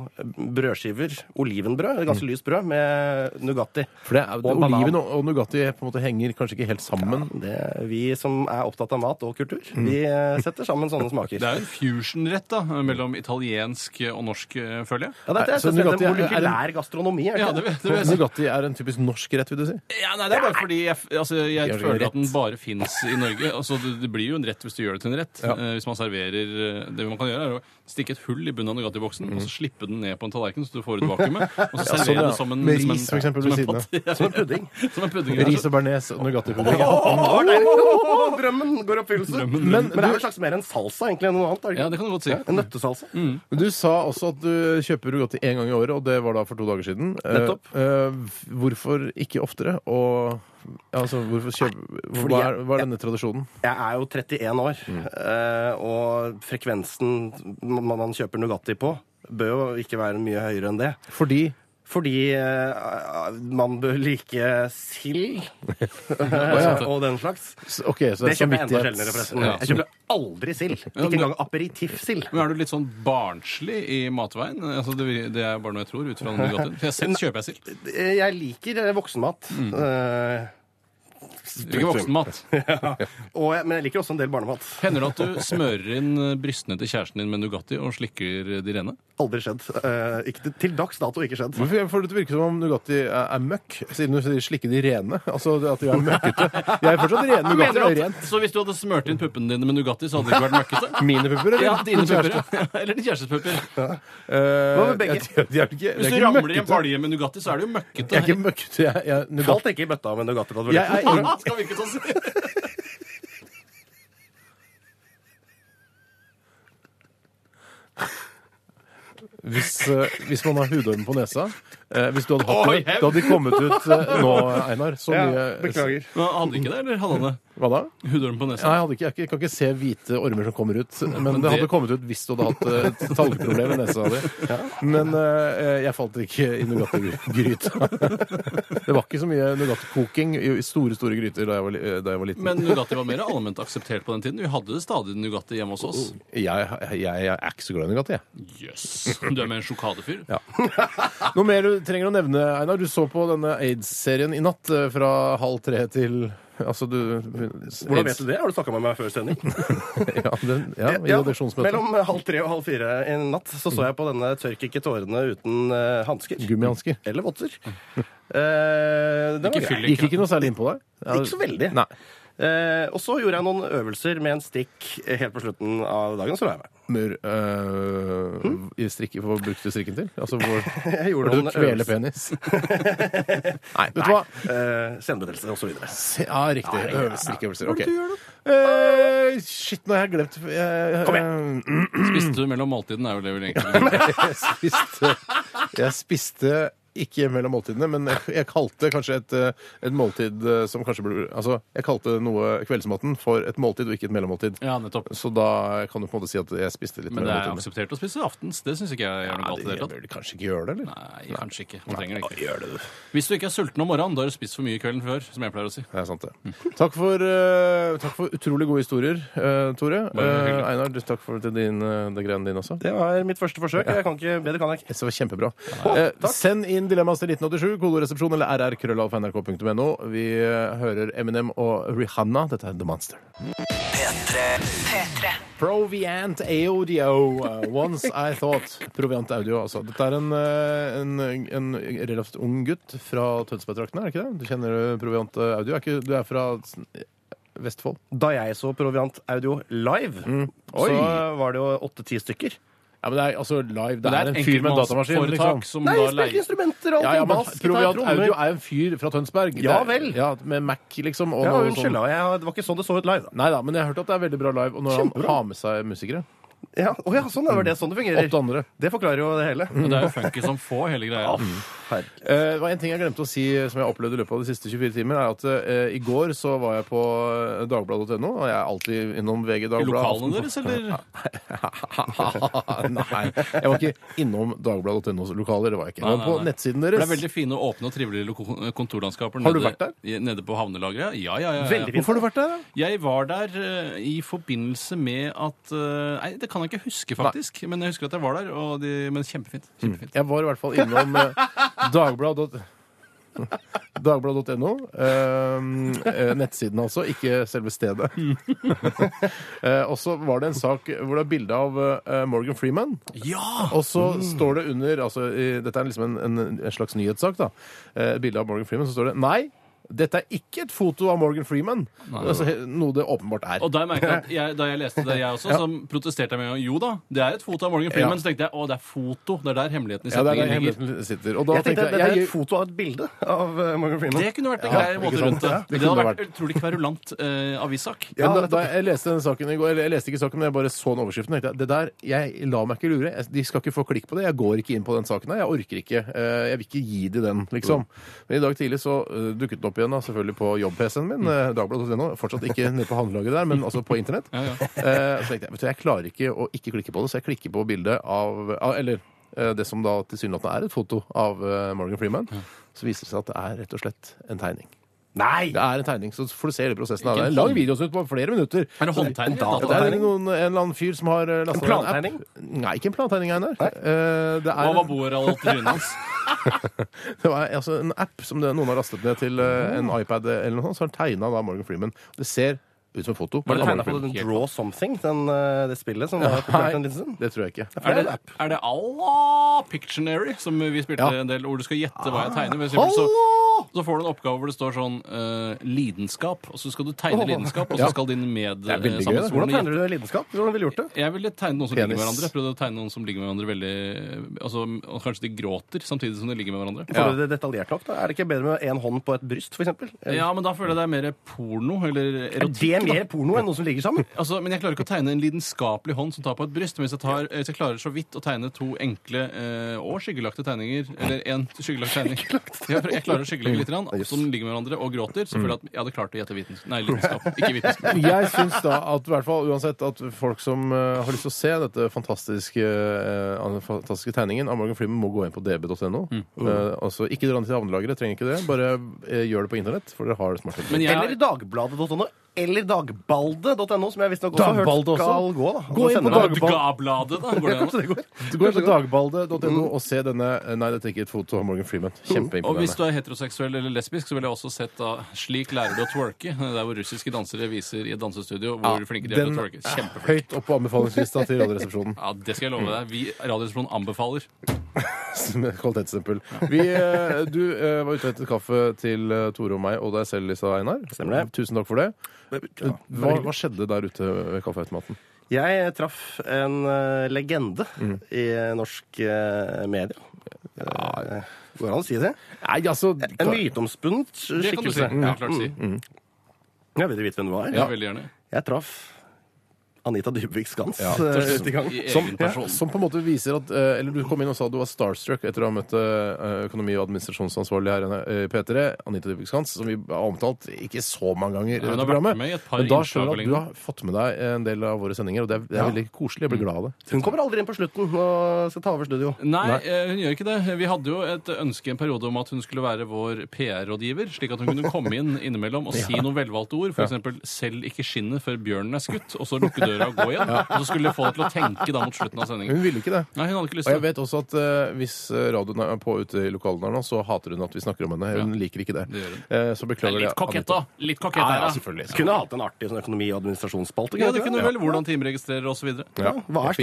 Speaker 5: brødskiver olivenbrød, ganske lyst brød, med Nugatti.
Speaker 3: For det er,
Speaker 5: Og banan.
Speaker 3: Oliven og, og Nugatti er på en måte henger kanskje ikke helt sammen.
Speaker 5: Det, vi som er opptatt av mat og kultur, vi eh, setter sammen sånne smaker.
Speaker 4: Det er jo en fusion-rett da, mellom italiensk og norsk, eh, føler jeg.
Speaker 5: Ja, dette
Speaker 3: Nei,
Speaker 5: er,
Speaker 3: så
Speaker 5: det er,
Speaker 3: Nugatti er-
Speaker 5: en
Speaker 3: er en-
Speaker 5: molekylær gastronomi. Er
Speaker 4: Ja,
Speaker 5: ikke
Speaker 4: det,
Speaker 5: det?
Speaker 4: det vil jeg si.
Speaker 3: Nugatti er en typisk norsk rett, vil du si.
Speaker 4: Ja, nei, det er bare fordi jeg, altså, jeg
Speaker 3: Det er
Speaker 4: føler
Speaker 3: rett.
Speaker 4: at den bare fins i Norge. Altså, det, det blir jo en rett hvis du gjør det til en rett. Eh, hvis man serverer eh, Det man kan gjøre, er å stikke et hull i bunnen av Nugatti-boksen og så slippe den ned på en tallerken, så du får ut vakuumet. Og så servere
Speaker 3: sånn, Mm. ja.
Speaker 4: det som en
Speaker 3: Med
Speaker 4: som en-
Speaker 3: ris, for eksempel,
Speaker 4: som
Speaker 3: ved
Speaker 4: en
Speaker 3: siden av.
Speaker 4: pat-
Speaker 5: Som en pudding.
Speaker 4: Ja, som en pudding.
Speaker 3: Ris og bearnés og Nugatti-pudding.
Speaker 5: Å, nei, å, å, å, Drømmen går i oppfyllelse. Men, det er jo en slags mer en salsa egentlig enn noe annet. er det
Speaker 4: Ja,
Speaker 5: ikke?
Speaker 4: det kan du godt si.
Speaker 5: En nøttesalsa.
Speaker 3: Men Du sa også at du kjøper Nugatti én gang i året, og det var da for to dager siden. Eh,
Speaker 5: Nettopp.
Speaker 3: eh, hvorfor ikke oftere? Og ja, altså, hvorfor kjøpe hva er, hva er denne tradisjonen?
Speaker 5: Jeg er jo 31 år, eh, og frekvensen man, man kjøper Nugatti på, bør jo ikke være mye høyere enn det.
Speaker 3: Fordi
Speaker 5: Fordi eh, man bør like sild eh, og den slags.
Speaker 3: s- OK, så
Speaker 5: Det
Speaker 3: det er
Speaker 5: kjøper jeg enda
Speaker 3: samvittighets...
Speaker 5: sjeldnere, forresten.
Speaker 4: Ja.
Speaker 5: Jeg kjøper aldri sild. Ikke
Speaker 4: men-
Speaker 5: engang aperitiffsild.
Speaker 4: Men er du litt sånn barnslig i matveien? Altså, det, det er bare noe jeg tror ut fra Nugatti. For jeg selv kjøper jeg sild.
Speaker 5: Jeg liker eh, voksenmat.
Speaker 3: Mm.
Speaker 5: eh,
Speaker 4: Ikke voksenmat.
Speaker 5: og jeg, men jeg liker også en del barnemat.
Speaker 4: Hender det at du smører inn eh, brystene til kjæresten din med Nugatti og slikker de rene?
Speaker 5: Aldri skjedd. Eh, ikke, til- til dags dato ikke skjedd.
Speaker 3: Hvorfor får det til å virke som om Nugatti er, er møkk, siden du sier 'slikke de rene'? Altså at de er møkkete. Jeg er fortsatt ren. Nugatti er ren.
Speaker 4: så hvis du hadde smørt inn puppene dine med Nugatti, så hadde det ikke vært møkkete?
Speaker 3: Mine pupper, eller?
Speaker 4: Ja, dine
Speaker 3: Din kjæreste?
Speaker 4: pupper. ja. Eller din kjærestes pupper.
Speaker 3: Eh,
Speaker 5: Hva med begge?
Speaker 3: ja, de er ikke, det
Speaker 4: Hvis
Speaker 3: er
Speaker 4: du
Speaker 3: ikke
Speaker 4: ramler i en
Speaker 3: møkkete.
Speaker 4: palje med Nugatti, så er det jo
Speaker 3: Jeg er
Speaker 4: møkkete.
Speaker 3: ikke møkkete. Jeg, jeg, Nugatti-
Speaker 5: Falt ikke i bøtta med Nugatti på
Speaker 3: jeg
Speaker 5: toalettet.
Speaker 3: er ingen
Speaker 4: Det skal virke sånn.
Speaker 3: hvis, eh, hvis man har hudorm på nesa eh, Hvis du hadde hatt
Speaker 4: Oi,
Speaker 3: det, da hadde de kommet ut eh, nå, Einar. Så
Speaker 5: Ja,
Speaker 3: mye
Speaker 5: beklager.
Speaker 4: Men han hadde ikke det, eller hadde han det?
Speaker 3: Hva da?
Speaker 4: Hudorm på
Speaker 3: Nei,
Speaker 4: nesa.
Speaker 3: jeg, hadde ikke, jeg, kan ikke se hvite ormer som kommer ut. Men det
Speaker 4: det-
Speaker 3: hadde kommet ut hvis du hadde hatt eh, et talgproblem i nesa di. Men eh, jeg falt ikke i Nugatti-gryta. Det var ikke så mye Nugatti-koking i i store, store gryter da jeg var, li- eh, da jeg var liten.
Speaker 4: Men Nugatti var mer allment akseptert på den tiden. Vi hadde stadig Nugatti hjemme hos
Speaker 3: Oh.
Speaker 4: oss.
Speaker 3: jeg, jeg, jeg er ikke så glad i Nugatti, jeg.
Speaker 4: Jøss. Du er med en sjokadefyr.
Speaker 3: Ja. Noe mer du trenger å nevne, Einar? Du så på denne aids-serien i natt eh, fra halv tre til Altså, du
Speaker 5: Hvordan vet du det? Har du snakka med meg før sending?
Speaker 3: Ja, den, ja, i
Speaker 5: Ja,
Speaker 3: redaksjonsmøtet.
Speaker 5: mellom halv tre og halv fire en natt så så jeg på denne Tørk ikke tårene uten uh, hansker.
Speaker 3: Gummihansker.
Speaker 5: Eller votter. Eh, det var
Speaker 4: Ikke
Speaker 5: greit.
Speaker 4: fyll
Speaker 3: Gikk Mm. ikke noe særlig inn på deg? Ja,
Speaker 5: Ikke så veldig.
Speaker 3: Nei.
Speaker 5: Eh, og så gjorde jeg noen øvelser med en strikk helt på slutten av dagen. så la jeg meg.
Speaker 3: Mur, øh, i strikke, Hva brukte du strikken til? Altså, hvor
Speaker 5: Jeg gjorde
Speaker 3: Burde du
Speaker 5: noen
Speaker 3: kvele
Speaker 5: øvelser.
Speaker 3: penis? Nei, vet du
Speaker 5: Nei,
Speaker 3: hva?
Speaker 5: eh, Senebetennelse og så videre.
Speaker 3: Se- Ja, riktig. Øve- Strikkeøvelser. Ok.
Speaker 4: Hva er det
Speaker 3: Eh, shit, nå har jeg glemt jeg- eh,
Speaker 5: Kom
Speaker 4: Spiste du mellom måltidene, er vel det vi egentlig
Speaker 3: jeg spiste, jeg spiste ikke mellom måltidene, men jeg, jeg kalte kanskje et, eh, et måltid eh, som kanskje ble Altså, jeg kalte noe kveldsmaten for et måltid og ikke et mellommåltid.
Speaker 4: Ja, nettopp.
Speaker 3: Så da kan du på en måte si at jeg spiste litt
Speaker 4: Men det er
Speaker 3: mellom måltidene.
Speaker 4: akseptert å spise aftens. Det syns ikke jeg er
Speaker 3: Ja,
Speaker 4: noe galt i det
Speaker 3: det-
Speaker 4: hele
Speaker 3: jeg
Speaker 4: tatt.
Speaker 3: burde kanskje ikke gjøre det, eller?
Speaker 4: Nei, kanskje ikke. Man trenger det ikke.
Speaker 3: Gjør det, du.
Speaker 4: Hvis du ikke er sulten om morgenen, da har du spist for mye kvelden før, som jeg pleier å si.
Speaker 3: Det er sant, det. Takk for, eh, takk for utrolig gode historier, eh, Tore.
Speaker 4: Bare hyggelig.
Speaker 3: Eh, Einar, du- takk for til din, eh, det greiene dine også.
Speaker 5: Det var mitt første forsøk. Jeg kan ikke, bedre kan jeg ikke.
Speaker 3: Det var kjempebra. Eh, send inn inn dilemmas til 1987, kodoresepsjon eller rrkrøllalfa.nrk.no. Vi eh, hører Eminem og Rihanna. Dette er The Monster.
Speaker 2: P3.
Speaker 1: P3.
Speaker 3: Proviant Audio. uh, Once I Thought. Proviant Audio, altså. Dette er en, eh, en, en relativt ung gutt fra Tønsberg-traktene, er det ikke det? Du kjenner eh, Proviant Audio? Er ikke, du er fra eh, Vestfold?
Speaker 5: Da jeg så Proviant Audio live,
Speaker 3: Oi.
Speaker 5: så var det jo åtte-ti stykker.
Speaker 3: Ja, men det er altså live. Det,
Speaker 4: Det
Speaker 3: er, en fyr med en datamaskin.
Speaker 4: enkeltmannsforetak
Speaker 3: Liksom.
Speaker 4: som
Speaker 5: Nei,
Speaker 4: da
Speaker 5: jeg spilte
Speaker 4: leier
Speaker 5: instrumenter og
Speaker 3: Ja,
Speaker 5: alt.
Speaker 3: ja, men
Speaker 5: bass, gitar,
Speaker 3: Proviant
Speaker 5: trommer.
Speaker 3: Audio er en fyr fra Tønsberg. Det er-
Speaker 5: Ja vel.
Speaker 3: Ja, med Mac, liksom. Og
Speaker 5: Ja,
Speaker 3: noe sånn-
Speaker 5: unnskyld, da. Jeg, det var ikke sånn det så ut live. da.
Speaker 3: Nei da, men jeg har hørt at det er veldig bra live. Og når han
Speaker 5: Kjempebra.
Speaker 3: har med seg musikere.
Speaker 5: Ja, å ja, sånn er det sånn det
Speaker 3: Åtte
Speaker 5: fungerer.
Speaker 3: andre.
Speaker 5: Det forklarer jo Mm. det hele.
Speaker 4: Men det er jo funky som få, hele greia.
Speaker 5: Herregud.
Speaker 3: Eh, Det var en ting jeg glemte å si som jeg opplevde i løpet av de siste 24 timer, er at eh, i går så var jeg på eh, dagbladet.no, og jeg er alltid innom VG
Speaker 4: I
Speaker 3: Dagbladet.
Speaker 4: lokalene deres, eller?
Speaker 3: Nei, jeg var ikke innom dagbladet.nos lokaler, det var jeg ikke.
Speaker 4: Nei,
Speaker 3: Jeg var på
Speaker 4: nei, nei.
Speaker 3: nettsiden
Speaker 4: For Det
Speaker 3: deres.
Speaker 4: er veldig fine, åpne og trivelige loko- kontorlandskaper
Speaker 3: Har du
Speaker 4: nede-
Speaker 3: vært der?
Speaker 4: i- nede på havnelageret. Ja, ja, ja. ja.
Speaker 5: Veldig fint.
Speaker 3: Hvorfor har du vært der, da?
Speaker 4: Jeg var der eh, i forbindelse med at eh, Nei, det kan jeg ikke huske, faktisk. Men jeg husker at jeg var der. Og de, men kjempefint.
Speaker 3: Mm.
Speaker 4: kjempefint.
Speaker 3: Jeg var i hvert fall innom eh, dagbladet.no. Dagbladet.no. eh, eh, nettsiden, altså, ikke selve stedet. Eh, og så var det en sak hvor det er bilde av eh, Morgan Freeman.
Speaker 4: Ja!
Speaker 3: Og så står det under altså, i- Dette er liksom en, en, en slags nyhetssak, da. Eh, bilde av Morgan Freeman. Så står det Nei, dette er ikke et foto av Morgan Freeman. Altså, he- noe det åpenbart er.
Speaker 4: Og der merket jeg at jeg, Da jeg leste det, jeg også, så protesterte jeg med en gang. Jo da, det er et foto av Morgan Freeman.
Speaker 3: Ja.
Speaker 4: Så tenkte jeg å, det er foto. Det er der hemmeligheten i
Speaker 3: ja, det er
Speaker 4: setningen
Speaker 3: der
Speaker 4: ligger.
Speaker 3: hemmeligheten sitter. Og da
Speaker 5: Jeg tenkte
Speaker 3: tenkte
Speaker 5: at det er
Speaker 3: jeg,
Speaker 5: et foto av et bilde av eh, Morgan Freeman.
Speaker 4: Det kunne vært en
Speaker 3: Ja,
Speaker 4: grei
Speaker 3: ikke
Speaker 4: måte
Speaker 3: sant?
Speaker 4: rundt det.
Speaker 3: Ja, det
Speaker 4: Det,
Speaker 3: kunne
Speaker 4: hadde
Speaker 3: det
Speaker 4: vært utrolig kverulant eh, avissak.
Speaker 5: Ja,
Speaker 3: men da,
Speaker 5: nettopp.
Speaker 3: da jeg leste den saken i går, eller jeg leste ikke saken, men jeg bare så den overskriften, tenkte jeg det der, jeg lar meg ikke lure. Jeg- De skal ikke få klikk på det. Jeg går ikke inn på den saken her. Jeg orker ikke. Eh, Jeg vil ikke gi de den, liksom. Men i dag tidlig så eh, dukket den opp igjen, da, selvfølgelig på jobb-PC-en min, eh, dagbladet.no. Fortsatt ikke nede på handlelaget der, men altså på internett.
Speaker 4: Ja, ja.
Speaker 3: Eh, Så tenkte jeg, vet du, jeg klarer ikke å ikke klikke på det, så jeg klikker på bildet av av- Eller eh, det som da tilsynelatende er et foto av eh, Morgan Freeman. Så viser det seg at det er rett og slett en tegning.
Speaker 5: Nei!
Speaker 3: Det er en tegning, så får du se hele prosessen.
Speaker 4: Ikke
Speaker 3: Det er en
Speaker 4: en
Speaker 3: lang
Speaker 4: hånd-
Speaker 3: videosnutt på flere minutter.
Speaker 4: Er det håndtegning?
Speaker 5: Ja,
Speaker 3: Det er
Speaker 5: Plantegning?
Speaker 3: noen, en eller annen fyr som har eh, lastet
Speaker 5: En
Speaker 3: ned app.
Speaker 5: plantegning?
Speaker 3: Nei, ikke en plantegning, Einar. Eh, Det
Speaker 4: Hva
Speaker 3: er
Speaker 4: var borealet til trynet hans?
Speaker 3: det var altså en app som det, noen har lastet ned til eh, en iPad eller noe sånt, så har han tegna da Morgan Freeman. Det ser ut som foto.
Speaker 5: Var det
Speaker 3: av
Speaker 5: tegna på
Speaker 3: Morgan Freeman.
Speaker 5: den Draw Something, den, eh, det spillet som var populært en liten stund?
Speaker 3: Det tror jeg ikke.
Speaker 5: er
Speaker 4: Er
Speaker 5: en
Speaker 4: det, er det Allah Pictionary, som vi spilte
Speaker 3: Ja.
Speaker 4: en del, hvor du skal gjette hva jeg tegner? For eksempel så, så får du en oppgave hvor det står sånn eh, lidenskap, og så skal du tegne
Speaker 5: Åh.
Speaker 4: lidenskap, og
Speaker 3: Ja.
Speaker 4: så skal din med
Speaker 3: er veldig
Speaker 4: eh,
Speaker 3: gøy,
Speaker 4: sammensvorne
Speaker 3: det.
Speaker 5: Hvordan
Speaker 4: gjette.
Speaker 5: tegner du lidenskap? Hvordan ville du gjort det?
Speaker 4: Jeg ville tegne noen som ligger
Speaker 3: Penis.
Speaker 4: med hverandre. Jeg prøvde å tegne noen som ligger med hverandre veldig altså, og Kanskje de gråter samtidig som de ligger med hverandre.
Speaker 5: Får du det detaljert nok? da? Er det ikke bedre med én hånd på et bryst, for eksempel?
Speaker 4: Ja, men da føler jeg det er mer porno eller
Speaker 5: Er
Speaker 4: erotikk.
Speaker 5: det
Speaker 4: da.
Speaker 5: mer porno enn noen som ligger sammen?
Speaker 4: Altså, men jeg klarer ikke å tegne en lidenskapelig hånd som tar på et bryst. Men hvis jeg, tar, hvis jeg klarer så vidt å tegne to enkle eh, og skyggelagte tegninger Eller én skyggelagt tegning. Jeg, jeg klarer å skyggelegge litt, grann, som ligger med hverandre og gråter. Så føler jeg at jeg hadde klart å gjette vitens... Nei, lidenskap. Ikke vitenskap.
Speaker 3: Jeg syns da at i hvert fall uansett at folk som eh, har lyst til å se dette fantastiske, eh, den fantastiske tegningen av Morgan Freeman, må gå inn på db.no.
Speaker 4: Mm.
Speaker 3: Eh, altså, ikke dra ned til havnelageret, trenger ikke det. Bare eh, gjør det på internett, for dere har smarttelefon.
Speaker 4: Men
Speaker 5: Eller
Speaker 4: jeg,
Speaker 5: dagbladet.no? Eller dagbalde.no, som jeg visstnok også har hørt
Speaker 3: Dagbalde også?
Speaker 5: skal gå. da.
Speaker 3: Gå inn på
Speaker 5: Senere.
Speaker 3: Dagbladet.
Speaker 4: Dagbladet, da? Går det an?
Speaker 5: Så det går.
Speaker 3: Gå inn på dagbalde.no og se denne eh, Nei, dette er ikke et foto av Morgan Freeman.
Speaker 4: Mm. Og hvis
Speaker 3: Kjempeimponerende.
Speaker 4: du er heteroseksuell eller lesbisk, så ville jeg også sett da Slik lærer du å twerke. Der hvor russiske dansere viser i et dansestudio hvor flinke de er til å twerke. Kjempeflinke.
Speaker 3: Høyt opp på anbefalingslista til Radioresepsjonen.
Speaker 4: Ja, det skal jeg love deg. Vi i Radioresepsjonen anbefaler.
Speaker 3: Som et Kvalitetsstempel. Vi, eh, Du eh, var ute etter kaffe til eh, Tore og meg og deg selv, Lisa Einar.
Speaker 5: Stemmer det.
Speaker 3: Tusen takk for det. Eh,
Speaker 5: Ja.
Speaker 3: Hva, hva skjedde der ute ved kaffeautomaten?
Speaker 5: Jeg traff en eh, legende
Speaker 4: Mm.
Speaker 5: i norsk eh, media. Eh, Går det an å si det?
Speaker 3: Nei, altså
Speaker 5: En myteomspunnet
Speaker 4: Det kan du si.
Speaker 5: skikkelse. Mm.
Speaker 4: Ja, klart si.
Speaker 5: Jeg vil vite hvem det var.
Speaker 4: Ja, veldig gjerne.
Speaker 5: Jeg traff Anita Dybvik Skans
Speaker 3: Ja,
Speaker 5: eh, ute i gang.
Speaker 4: I
Speaker 3: Som,
Speaker 4: egen person.
Speaker 3: som på en måte viser at eh, Eller du kom inn og sa at du var starstruck etter å ha møtt eh, økonomi- og administrasjonsansvarlig her i eh, P3, Anita Dybvik Skans, som vi har omtalt ikke så mange ganger i
Speaker 4: hun
Speaker 3: dette
Speaker 4: har vært
Speaker 3: programmet.
Speaker 4: med i et par
Speaker 3: Men da
Speaker 4: innslag
Speaker 3: skjønner du
Speaker 4: og
Speaker 3: at du har fått med deg en del av våre sendinger, og det er, det er veldig koselig. Jeg blir glad av det.
Speaker 5: Hun kommer aldri inn på slutten og skal ta over studio.
Speaker 4: Nei, eh, hun gjør ikke det. Vi hadde jo et ønske en periode om at hun skulle være vår PR-rådgiver, slik at hun kunne komme inn innimellom og si noen velvalgte ord. F.eks.: 'Selg ikke skinnet før bjørnen er skutt', og så lukke døra og gå igjen. Og så skulle de få deg til å tenke da mot slutten av sendingen.
Speaker 3: Hun ville ikke det.
Speaker 4: Nei, hun hadde ikke lyst
Speaker 3: Og jeg
Speaker 4: til det.
Speaker 3: vet også at eh, hvis radioen er på ute i lokalene her nå, så hater hun at vi snakker om henne. Hun liker ikke det.
Speaker 4: Det gjør hun.
Speaker 3: Eh, Så
Speaker 4: Det er
Speaker 3: beklager
Speaker 4: Litt kokett, da. Litt kokett,
Speaker 3: Ja,
Speaker 4: her,
Speaker 3: ja,
Speaker 4: da.
Speaker 3: selvfølgelig.
Speaker 5: Kunne hatt en artig sånn økonomi- og administrasjonsspalte.
Speaker 4: Ja, det kunne vel hvordan timeregistrerer og så videre.
Speaker 5: Ja. Hva er
Speaker 3: For jeg-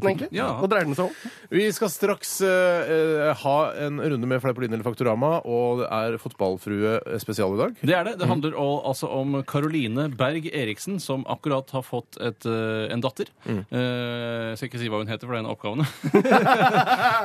Speaker 3: jeg vet
Speaker 5: egentlig?
Speaker 4: Ja.
Speaker 5: Hva dreier den seg om?
Speaker 3: Vi skal straks eh, eh, ha en runde med Fleipolin eller Faktorama, og det er fotballfrue eh, spesial i dag.
Speaker 4: Det er det.
Speaker 5: Mm.
Speaker 4: Det handler all- altså om Caroline Berg Eriksen, som akkurat har fått et, eh, en datter.
Speaker 5: Mm.
Speaker 4: Eh, jeg skal ikke si hva hun heter, for det er en av oppgavene.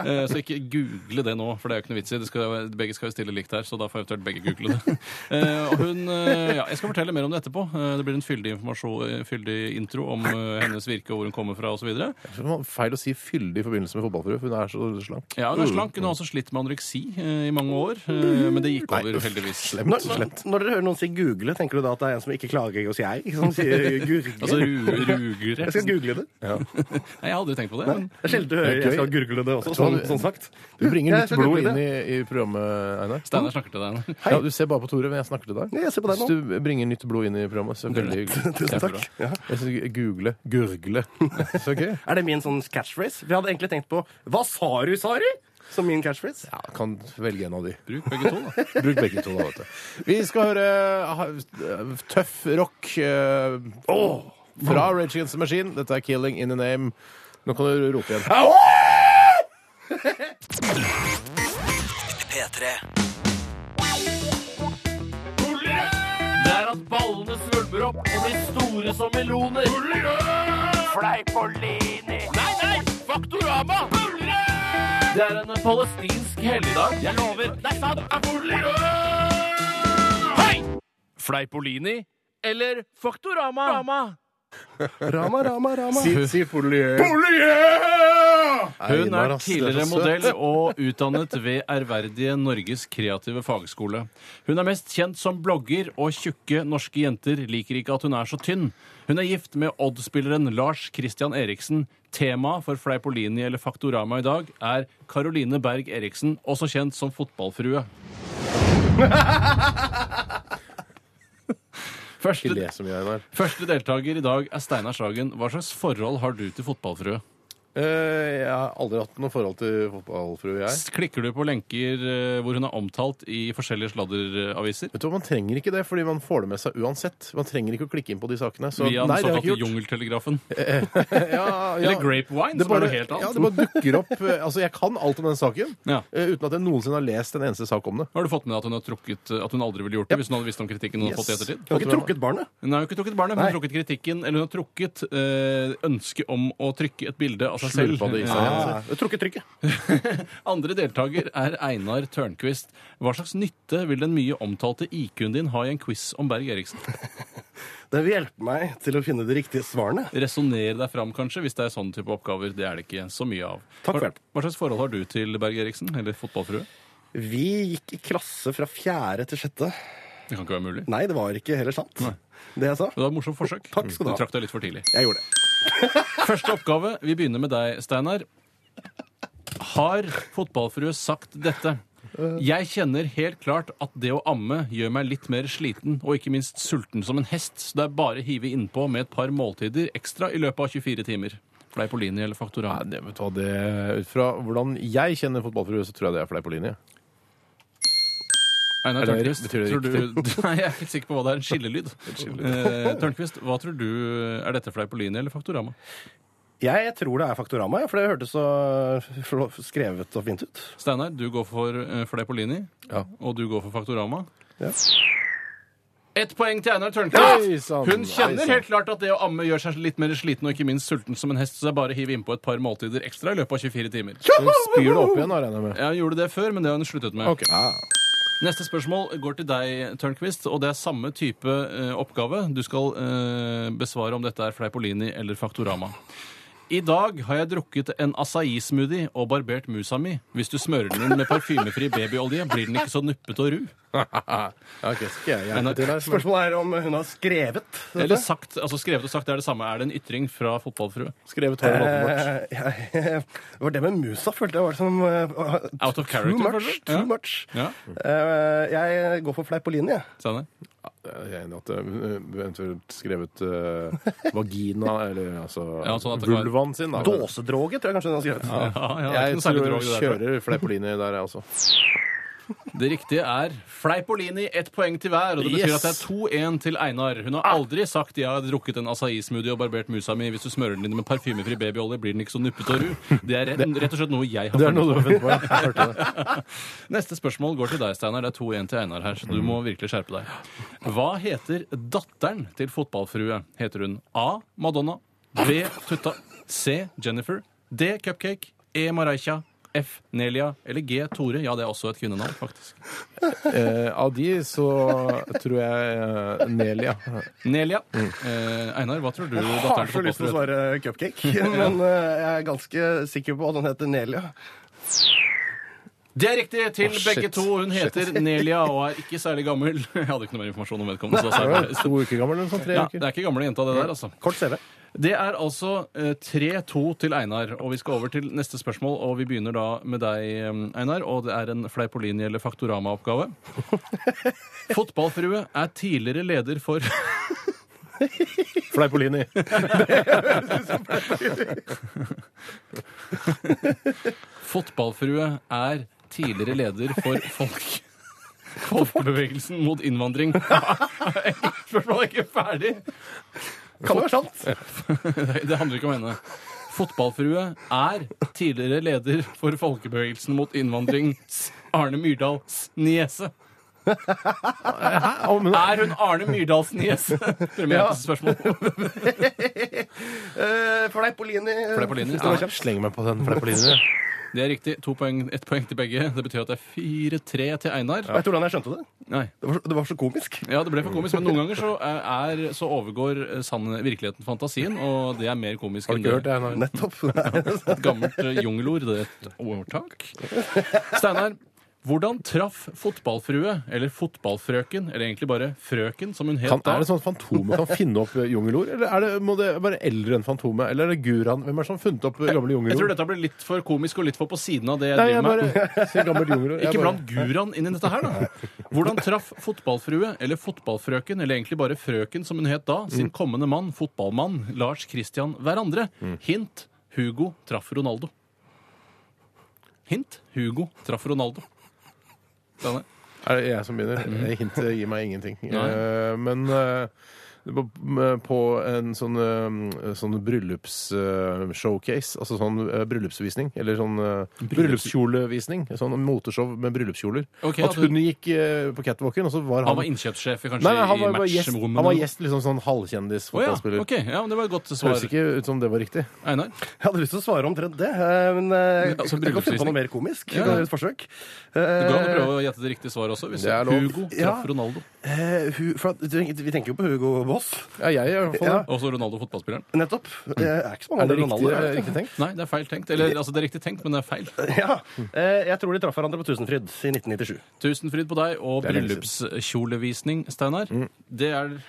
Speaker 4: Eh, så ikke google det nå, for det er jo ikke noe vits i. Det skal, begge skal jo stille likt her, så da får eventuelt begge google det. Eh, og hun, eh, ja, jeg skal fortelle mer om det etterpå. Eh, det blir en fyldig, informasjon, eh, fyldig intro om eh, hennes virke og hvor hun kommer fra osv.
Speaker 3: Det var feil å si fyldig i forbindelse med fotballfrue, for hun er så slank.
Speaker 4: Ja,
Speaker 5: Mm.
Speaker 4: hun er slank. Hun har også slitt med anoreksi eh, i mange år, eh, men det gikk over, heldigvis.
Speaker 5: Når, når dere hører noen si 'google', tenker du da at det er en som ikke klager hos jeg? Ikke som sier 'gurgle'?
Speaker 4: Altså ru- rugere.
Speaker 5: jeg skal google det.
Speaker 4: Nei, jeg har aldri tenkt på det. Men
Speaker 5: Det er sjelden du
Speaker 3: Det
Speaker 5: hører
Speaker 3: er
Speaker 5: 'jeg
Speaker 3: gøy.
Speaker 5: skal gurgle det' også, sånn, sånn sagt.
Speaker 3: Du bringer
Speaker 5: Ja,
Speaker 3: nytt
Speaker 5: jeg skal
Speaker 3: blod
Speaker 5: google
Speaker 3: inn
Speaker 5: det.
Speaker 3: i, i programmet, Einar.
Speaker 4: Steinar snakker til deg.
Speaker 3: Ja, du ser bare på Tore, men jeg snakker til deg.
Speaker 5: Ja, jeg ser på deg nå.
Speaker 3: Hvis du bringer nytt blod inn i programmet, så er det veldig hyggelig.
Speaker 5: Tusen takk. Ja.
Speaker 3: Jeg synes, google. Gurgle. Så gøy.
Speaker 5: Er det min sånn catchphrase? Vi hadde egentlig tenkt på 'Hva sa du, Sari?' som min catchphrase.
Speaker 3: Ja, kan velge en av de.
Speaker 4: Bruk begge to, da.
Speaker 3: Bruk begge to, da, vet du. Vi skal høre eh, ha- tøff rock eh, fra Rage Against the Machine. Dette er 'Killing In The Name'. Nå kan du rope igjen.
Speaker 2: P3.
Speaker 4: Det er at ballene svulmer opp og blir store som meloner. Fleipolini. Nei, nei! Faktorama! Det er en palestinsk helligdag. Jeg lover. Det er sant. Hei! Fleipolini eller Faktorama?
Speaker 5: Rama, rama, rama.
Speaker 3: Si, si Polier.
Speaker 4: Hun
Speaker 3: Einar,
Speaker 4: er
Speaker 3: ass, det
Speaker 4: tidligere
Speaker 3: er så søt.
Speaker 4: modell og utdannet ved ærverdige Norges kreative fagskole. Hun er mest kjent som blogger, og tjukke norske jenter liker ikke at hun er så tynn. Hun er gift med Odd-spilleren Lars Christian Eriksen. Temaet for Fleipolini eller Faktorama i dag er Caroline Berg Eriksen, også kjent som fotballfrue.
Speaker 3: Ikke
Speaker 4: Første,
Speaker 3: le så mye, Einar.
Speaker 4: første deltaker i dag er Steinar Sagen. Hva slags forhold har du til fotballfrue?
Speaker 3: Eh, jeg har aldri hatt noe forhold til fotballfrue, jeg.
Speaker 4: Klikker du på lenker eh, hvor hun er omtalt i forskjellige sladderaviser?
Speaker 3: Vet du, hva, Man trenger ikke det, fordi man får det med seg uansett. Man trenger ikke å klikke inn på de sakene. Så,
Speaker 4: Via den
Speaker 3: Nei, det har jeg
Speaker 4: såkalte
Speaker 3: ikke gjort.
Speaker 4: jungeltelegrafen?
Speaker 3: Ja, ja.
Speaker 4: Eller Grapevine,
Speaker 3: Det
Speaker 4: som
Speaker 3: bare,
Speaker 4: er noe helt
Speaker 3: ja,
Speaker 4: annet?
Speaker 3: det bare dukker opp. eh, Altså, Jeg kan alt om den saken
Speaker 4: Ja.
Speaker 3: eh, uten at jeg noensinne har lest en eneste sak om det.
Speaker 4: Har du fått med deg at hun har trukket eh, At hun aldri ville gjort det hvis hun hadde visst om kritikken hun har fått i ettertid?
Speaker 5: Du har ikke trukket barnet?
Speaker 4: Hun har jo ikke trukket barnet, hun har trukket kritikken Eller hun har trukket eh, ønsket om å trykke et bilde av seg selv.
Speaker 3: Slurpa det i seg.
Speaker 4: Ja.
Speaker 5: Ah, du har trukket trykket.
Speaker 4: Andre deltaker er Einar Tørnquist. Hva slags nytte vil den mye omtalte IQ-en din ha i en quiz om Berg Eriksen?
Speaker 5: Det vil hjelpe meg til å finne de riktige svarene.
Speaker 4: Resonnere deg fram, kanskje, hvis det er sånne type oppgaver. Det er det ikke så mye av.
Speaker 5: Takk for
Speaker 4: Hva-
Speaker 5: hjelp.
Speaker 4: Hva slags forhold har du til Berg Eriksen, eller fotballfrue?
Speaker 5: Vi gikk i klasse fra fjerde til sjette.
Speaker 4: Det kan ikke være mulig.
Speaker 5: Nei, det var ikke heller sant. Det jeg sa.
Speaker 4: Det var et morsomt forsøk.
Speaker 5: Takk skal du ha.
Speaker 4: Du trakk deg litt for tidlig.
Speaker 5: Jeg gjorde det.
Speaker 4: Første oppgave. Vi begynner med deg, Steinar. Har fotballfrue sagt dette? Jeg kjenner helt klart at det å amme gjør meg litt mer sliten og ikke minst sulten som en hest, så det er bare å hive innpå med et par måltider ekstra i løpet av 24 timer. Fleipolini eller
Speaker 3: Nei,
Speaker 4: Faktoran?
Speaker 3: det, vet du hva, det, ut fra hvordan jeg kjenner fotballfrue, så tror jeg det er fleipolini. er
Speaker 4: Einar
Speaker 3: det
Speaker 4: Tørnquist,
Speaker 3: riktig? Betyr
Speaker 4: tror
Speaker 3: det
Speaker 4: du Nei, jeg er ikke sikker på hva det er. En skillelyd. Eh, Tørnquist, hva tror du Er dette Fleipolini eller Faktorama?
Speaker 5: Jeg tror det er Faktorama, ja, for det hørtes så flå- skrevet og fint ut.
Speaker 4: Steinar, du går for eh, Fleipolini,
Speaker 3: Ja.
Speaker 4: og du går for Faktorama.
Speaker 5: Ja.
Speaker 4: Ett poeng til Einar
Speaker 3: Oi,
Speaker 4: Tørnquist!
Speaker 3: sann.
Speaker 4: Hun
Speaker 3: Oi,
Speaker 4: kjenner
Speaker 3: sann.
Speaker 4: helt klart at det å amme gjør seg litt mer sliten og ikke minst sulten som en hest, så det er bare å hive innpå et par måltider ekstra i løpet av 24 timer.
Speaker 3: Hun spyr det opp igjen, da, regner jeg med.
Speaker 4: Ja, hun gjorde det før, men det har hun sluttet med.
Speaker 3: Ok.
Speaker 4: Neste spørsmål går til deg, Tørnquist, og det er samme type eh, oppgave. Du skal eh, besvare om dette er Fleipolini eller Faktorama. I dag har jeg drukket en acai-smoothie og barbert musa mi. Hvis du smører den inn med parfymefri babyolje, blir den ikke så nuppete og ru.
Speaker 3: Ja, ok, skal jeg hjelpe
Speaker 4: Einar,
Speaker 3: til her? men-
Speaker 5: Spørsmålet er om hun har skrevet dette.
Speaker 4: Eller sagt, altså skrevet og sagt det er det samme. Er det en ytring fra fotballfrue?
Speaker 3: Skrevet håret vårt.
Speaker 5: Eh, jeg- Det var det med musa, følte jeg var som eh,
Speaker 4: Out of
Speaker 5: Too
Speaker 4: character,
Speaker 5: much.
Speaker 4: kanskje?
Speaker 5: Too
Speaker 4: Ja.
Speaker 5: much.
Speaker 4: Ja,
Speaker 5: Eh, Jeg går for Fleipolini, jeg.
Speaker 4: Steinar.
Speaker 3: Eh, Jeg er enig i at det er eventuelt skrevet eh, vagina, eller altså
Speaker 4: Ja, sånn at det kan-
Speaker 3: vulvaen sin, da.
Speaker 5: Dåsedroge, tror jeg kanskje den har skrevet.
Speaker 4: Ja, ja, det er ikke
Speaker 3: Jeg
Speaker 4: noe
Speaker 3: tror
Speaker 4: særlig drag
Speaker 3: jeg
Speaker 4: i det der, tror jeg.
Speaker 3: kjører Fleipolini der, jeg også.
Speaker 4: Det riktige er Fleipolini, ett poeng til hver. Og det betyr
Speaker 3: Yes.
Speaker 4: at det er 2-1 til Einar. Hun har
Speaker 3: Ah.
Speaker 4: aldri sagt 'jeg har drukket en acai-smoothie og barbert musa mi'. Hvis du smører den inn med parfymefri babyolje, blir den ikke så nuppete og ru. Det er rett, rett og slett noe jeg har
Speaker 3: Det er
Speaker 4: funnet
Speaker 3: noe du har funnet på. ja. Jeg hørte det.
Speaker 4: Neste spørsmål går til deg, Steinar. Det er 2-1 til Einar her, så
Speaker 3: Mm.
Speaker 4: du må virkelig skjerpe deg. Hva heter datteren til fotballfrue? Heter hun A. Madonna, B. Tutta, C. Jennifer, D. Cupcake, E. Maraisha, F. Nelia eller G. Tore? Ja, det er også et kvinnenavn, faktisk.
Speaker 3: Eh, av de så tror jeg eh, Nelia.
Speaker 4: Nelia. Eh, Einar, hva tror du
Speaker 5: Jeg
Speaker 4: datteren
Speaker 5: har så
Speaker 4: til
Speaker 5: lyst til å
Speaker 4: fotballfrue
Speaker 5: svare cupcake, men eh, jeg er ganske sikker på at han heter Nelia.
Speaker 4: Det er riktig til
Speaker 3: shit.
Speaker 4: begge to. Hun heter Nelia og er ikke særlig gammel. Jeg hadde ikke noe mer informasjon om vedkommende.
Speaker 3: Hun
Speaker 4: Så da
Speaker 3: er
Speaker 4: sa
Speaker 3: vel
Speaker 4: jeg
Speaker 3: To
Speaker 4: bare-
Speaker 3: uker gammel eller noe sånt? Tre
Speaker 4: ja, det
Speaker 3: uker?
Speaker 4: er ikke gamle jenta, det der, altså.
Speaker 5: Kort CV.
Speaker 4: Det er altså eh, 3-2 til Einar, og vi skal over til neste spørsmål. Og vi begynner da med deg, eh, Einar, og det er en Fleipolini- eller Faktorama-oppgave. Fotballfrue er tidligere leder for
Speaker 3: Fleipolini.
Speaker 4: Fotballfrue er tidligere leder for folk. Folkebevegelsen mot innvandring. Spørsmålet er ikke ferdig!
Speaker 5: Kan det være sant? Eh,
Speaker 4: Nei, Det handler ikke om henne. Fotballfrue er tidligere leder for folkebevegelsen mot innvandring, s- Arne Myrdals niese.
Speaker 3: Å, men
Speaker 4: Er hun Arne Myrdals niese? Premierspørsmål.
Speaker 5: Eh, Fleipolini.
Speaker 4: Fleipolini.
Speaker 5: Synes det var kjapt.
Speaker 3: Sleng meg på den Fleipolini.
Speaker 4: Det er riktig. To poeng, Ett poeng til begge. Det betyr at det er 4-3 til Einar.
Speaker 5: Vet du hvordan jeg skjønte det?
Speaker 4: Nei.
Speaker 5: Det var, så- det var så komisk.
Speaker 4: Ja, det ble for komisk, men noen ganger så, eh, er, så overgår eh, sann virkeligheten fantasien, og det er mer komisk
Speaker 3: Har du
Speaker 4: enn
Speaker 3: ikke
Speaker 4: det.
Speaker 3: hørt det? Einar?
Speaker 5: Nettopp. Nei,
Speaker 4: Et gammelt eh, jungelord. Det er et ordtak. Steinar, hvordan traff fotballfrue, eller fotballfrøken, eller egentlig bare frøken, som hun het
Speaker 3: Kan,
Speaker 4: da?
Speaker 3: er det sånn at Fantomet kan finne opp eh, jungelord? Eller er det, må det være eldre enn Fantomet? Eller er det Guran? Hvem er det som har funnet opp eh, gamle
Speaker 4: Jeg tror
Speaker 3: jungelord?
Speaker 4: dette blir litt for komisk og litt for på siden av det jeg
Speaker 3: Nei, jeg
Speaker 4: driver med.
Speaker 3: bare sier gammelt jungelord. Jeg
Speaker 4: Ikke
Speaker 3: bare-
Speaker 4: bland guraen inn i dette her, da. Hvordan traff fotballfrue, eller fotballfrøken, eller egentlig bare frøken som hun het da, sin kommende mann, fotballmann Lars Christian, hverandre? Hint Hugo traff Ronaldo. Hint Hugo traff Ronaldo. Denne.
Speaker 3: Er det jeg som begynner? Hintet gir meg ingenting.
Speaker 4: Mm. Nei.
Speaker 3: Eh, men eh, det var på en sånn, eh, sånn bryllupsshowcase, altså sånn eh, bryllupsvisning, eller sånn eh,
Speaker 4: Bryllups-
Speaker 3: bryllupskjolevisning, sånn moteshow med bryllupskjoler,
Speaker 4: Ok,
Speaker 3: at
Speaker 4: at du-
Speaker 3: hun gikk eh, på catwalken, og så var han
Speaker 4: Han var innkjøpssjef i- kanskje
Speaker 3: Nei, nei, han var,
Speaker 4: i
Speaker 3: bare gjest,
Speaker 4: matchrommet.
Speaker 3: han var gjest, liksom sånn halvkjendis
Speaker 4: Å ja,
Speaker 3: fotballspiller.
Speaker 4: ok. Ja, men det var et godt
Speaker 3: Høres
Speaker 4: svar,
Speaker 3: ikke ut som det var riktig.
Speaker 4: Einar.
Speaker 5: Jeg hadde lyst til å svare omtrent det, eh, men eh,
Speaker 4: altså,
Speaker 5: jeg kan finne på noe mer komisk.
Speaker 4: Ja.
Speaker 5: Jeg kan gjøre et forsøk.
Speaker 4: Du kan
Speaker 5: Eh,
Speaker 4: prøve å gjette det riktige svaret også. Hvis
Speaker 3: Det er lov.
Speaker 4: Hugo
Speaker 5: Ja.
Speaker 4: traff Ronaldo.
Speaker 5: eh, hu- for at- Vi tenker jo på Hugo Boss.
Speaker 3: Ja, jeg i hvert fall.
Speaker 5: Ja.
Speaker 4: Også Ronaldo fotballspilleren.
Speaker 5: Nettopp. Det er ikke så mange
Speaker 3: Er det
Speaker 5: andre
Speaker 3: riktig,
Speaker 5: Ronaldo.
Speaker 3: riktig tenkt?
Speaker 4: Nei, det er feil tenkt. Eller altså, det er riktig tenkt, men det er feil.
Speaker 5: Ja. Eh, Jeg tror de traff hverandre på Tusenfryd i 1997.
Speaker 4: Tusenfryd på deg og
Speaker 3: Det er lenge Mm.
Speaker 4: bryllupskjolevisning, Steinar. Det er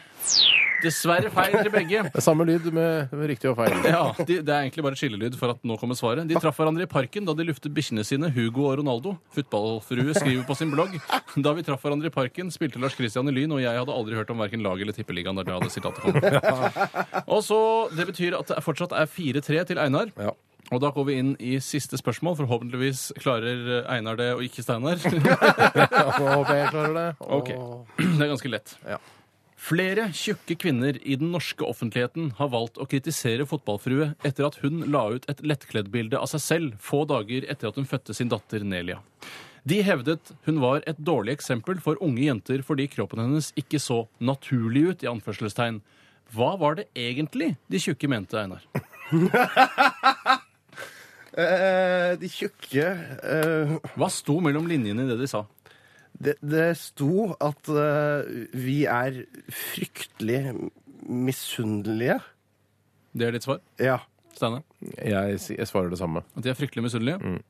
Speaker 4: dessverre feil til begge.
Speaker 3: Det er Samme lyd med, med riktig og feil.
Speaker 4: Ja, de, Det er egentlig bare skillelyd for at nå kommer svaret. De traff hverandre i parken da de luftet bikkjene sine, Hugo og Ronaldo. Fotballfrue skriver på sin blogg Da vi traff hverandre i parken, spilte Lars Christian i Lyn, og jeg hadde aldri hørt om verken lag eller tippeligaen der det hadde sitatet kom. Og så, Det betyr at det fortsatt er 4-3 til Einar.
Speaker 3: Ja.
Speaker 4: Og da går vi inn i siste spørsmål. Forhåpentligvis klarer Einar det, og ikke Steinar.
Speaker 3: Ja, nå håper jeg jeg klarer det.
Speaker 4: Ok, Det er ganske lett.
Speaker 3: Ja.
Speaker 4: Flere tjukke kvinner i den norske offentligheten har valgt å kritisere fotballfrue etter at hun la ut et lettkleddbilde av seg selv få dager etter at hun fødte sin datter Nelia. De hevdet hun var et dårlig eksempel for unge jenter fordi kroppen hennes ikke så naturlig ut. i anførselstegn. Hva var det egentlig de tjukke mente, Einar?
Speaker 5: Eh, De tjukke eh,
Speaker 4: Hva sto mellom linjene i det de sa?
Speaker 5: det, det sto at eh, vi er fryktelig misunnelige.
Speaker 4: Det er ditt svar,
Speaker 5: Ja.
Speaker 4: Steinar?
Speaker 3: Jeg, si- jeg svarer det samme.
Speaker 4: At de er fryktelig misunnelige?
Speaker 3: Mm.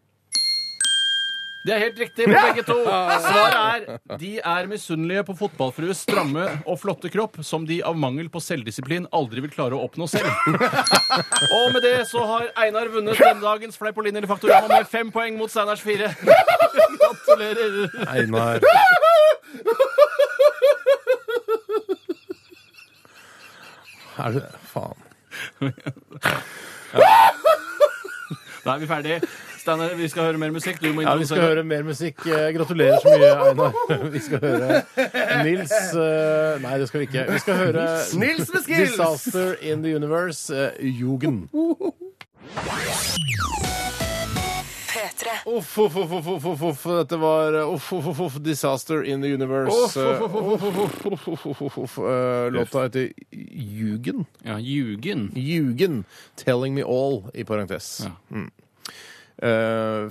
Speaker 4: Det er helt riktig på begge to. Svaret er de er misunnelige på fotballfrues stramme og flotte kropp, som de av mangel på selvdisiplin aldri vil klare å oppnå selv. Og med det så har Einar vunnet denne dagens Fleipolini eller Faktorama med fem poeng mot Steinars fire. Gratulerer.
Speaker 3: Einar Er det Faen.
Speaker 4: Da er vi ferdige. Steinar, vi skal høre mer musikk. Du må
Speaker 3: Ja, vi skal høre mer musikk. Eh, Gratulerer så mye, Einar. Vi skal høre Nils eh, Nei, det skal vi ikke. Vi skal høre
Speaker 5: Nils med skills!
Speaker 3: Disaster in the Universe, eh, Jugend.
Speaker 1: P3.
Speaker 3: Uff, uff, uff, uff, uff, uff, uff. Dette var eh, uff, uff, uff, uff, Disaster in the Universe. eh.
Speaker 4: Uff, uff, uff,
Speaker 3: uff, uff, uff, uff, uff, uff. Eh, Låta heter Jugend.
Speaker 4: Ja, Ljugen.
Speaker 3: Jugend. Telling me all, i parentes.
Speaker 4: Ja.
Speaker 3: Mm. Eh,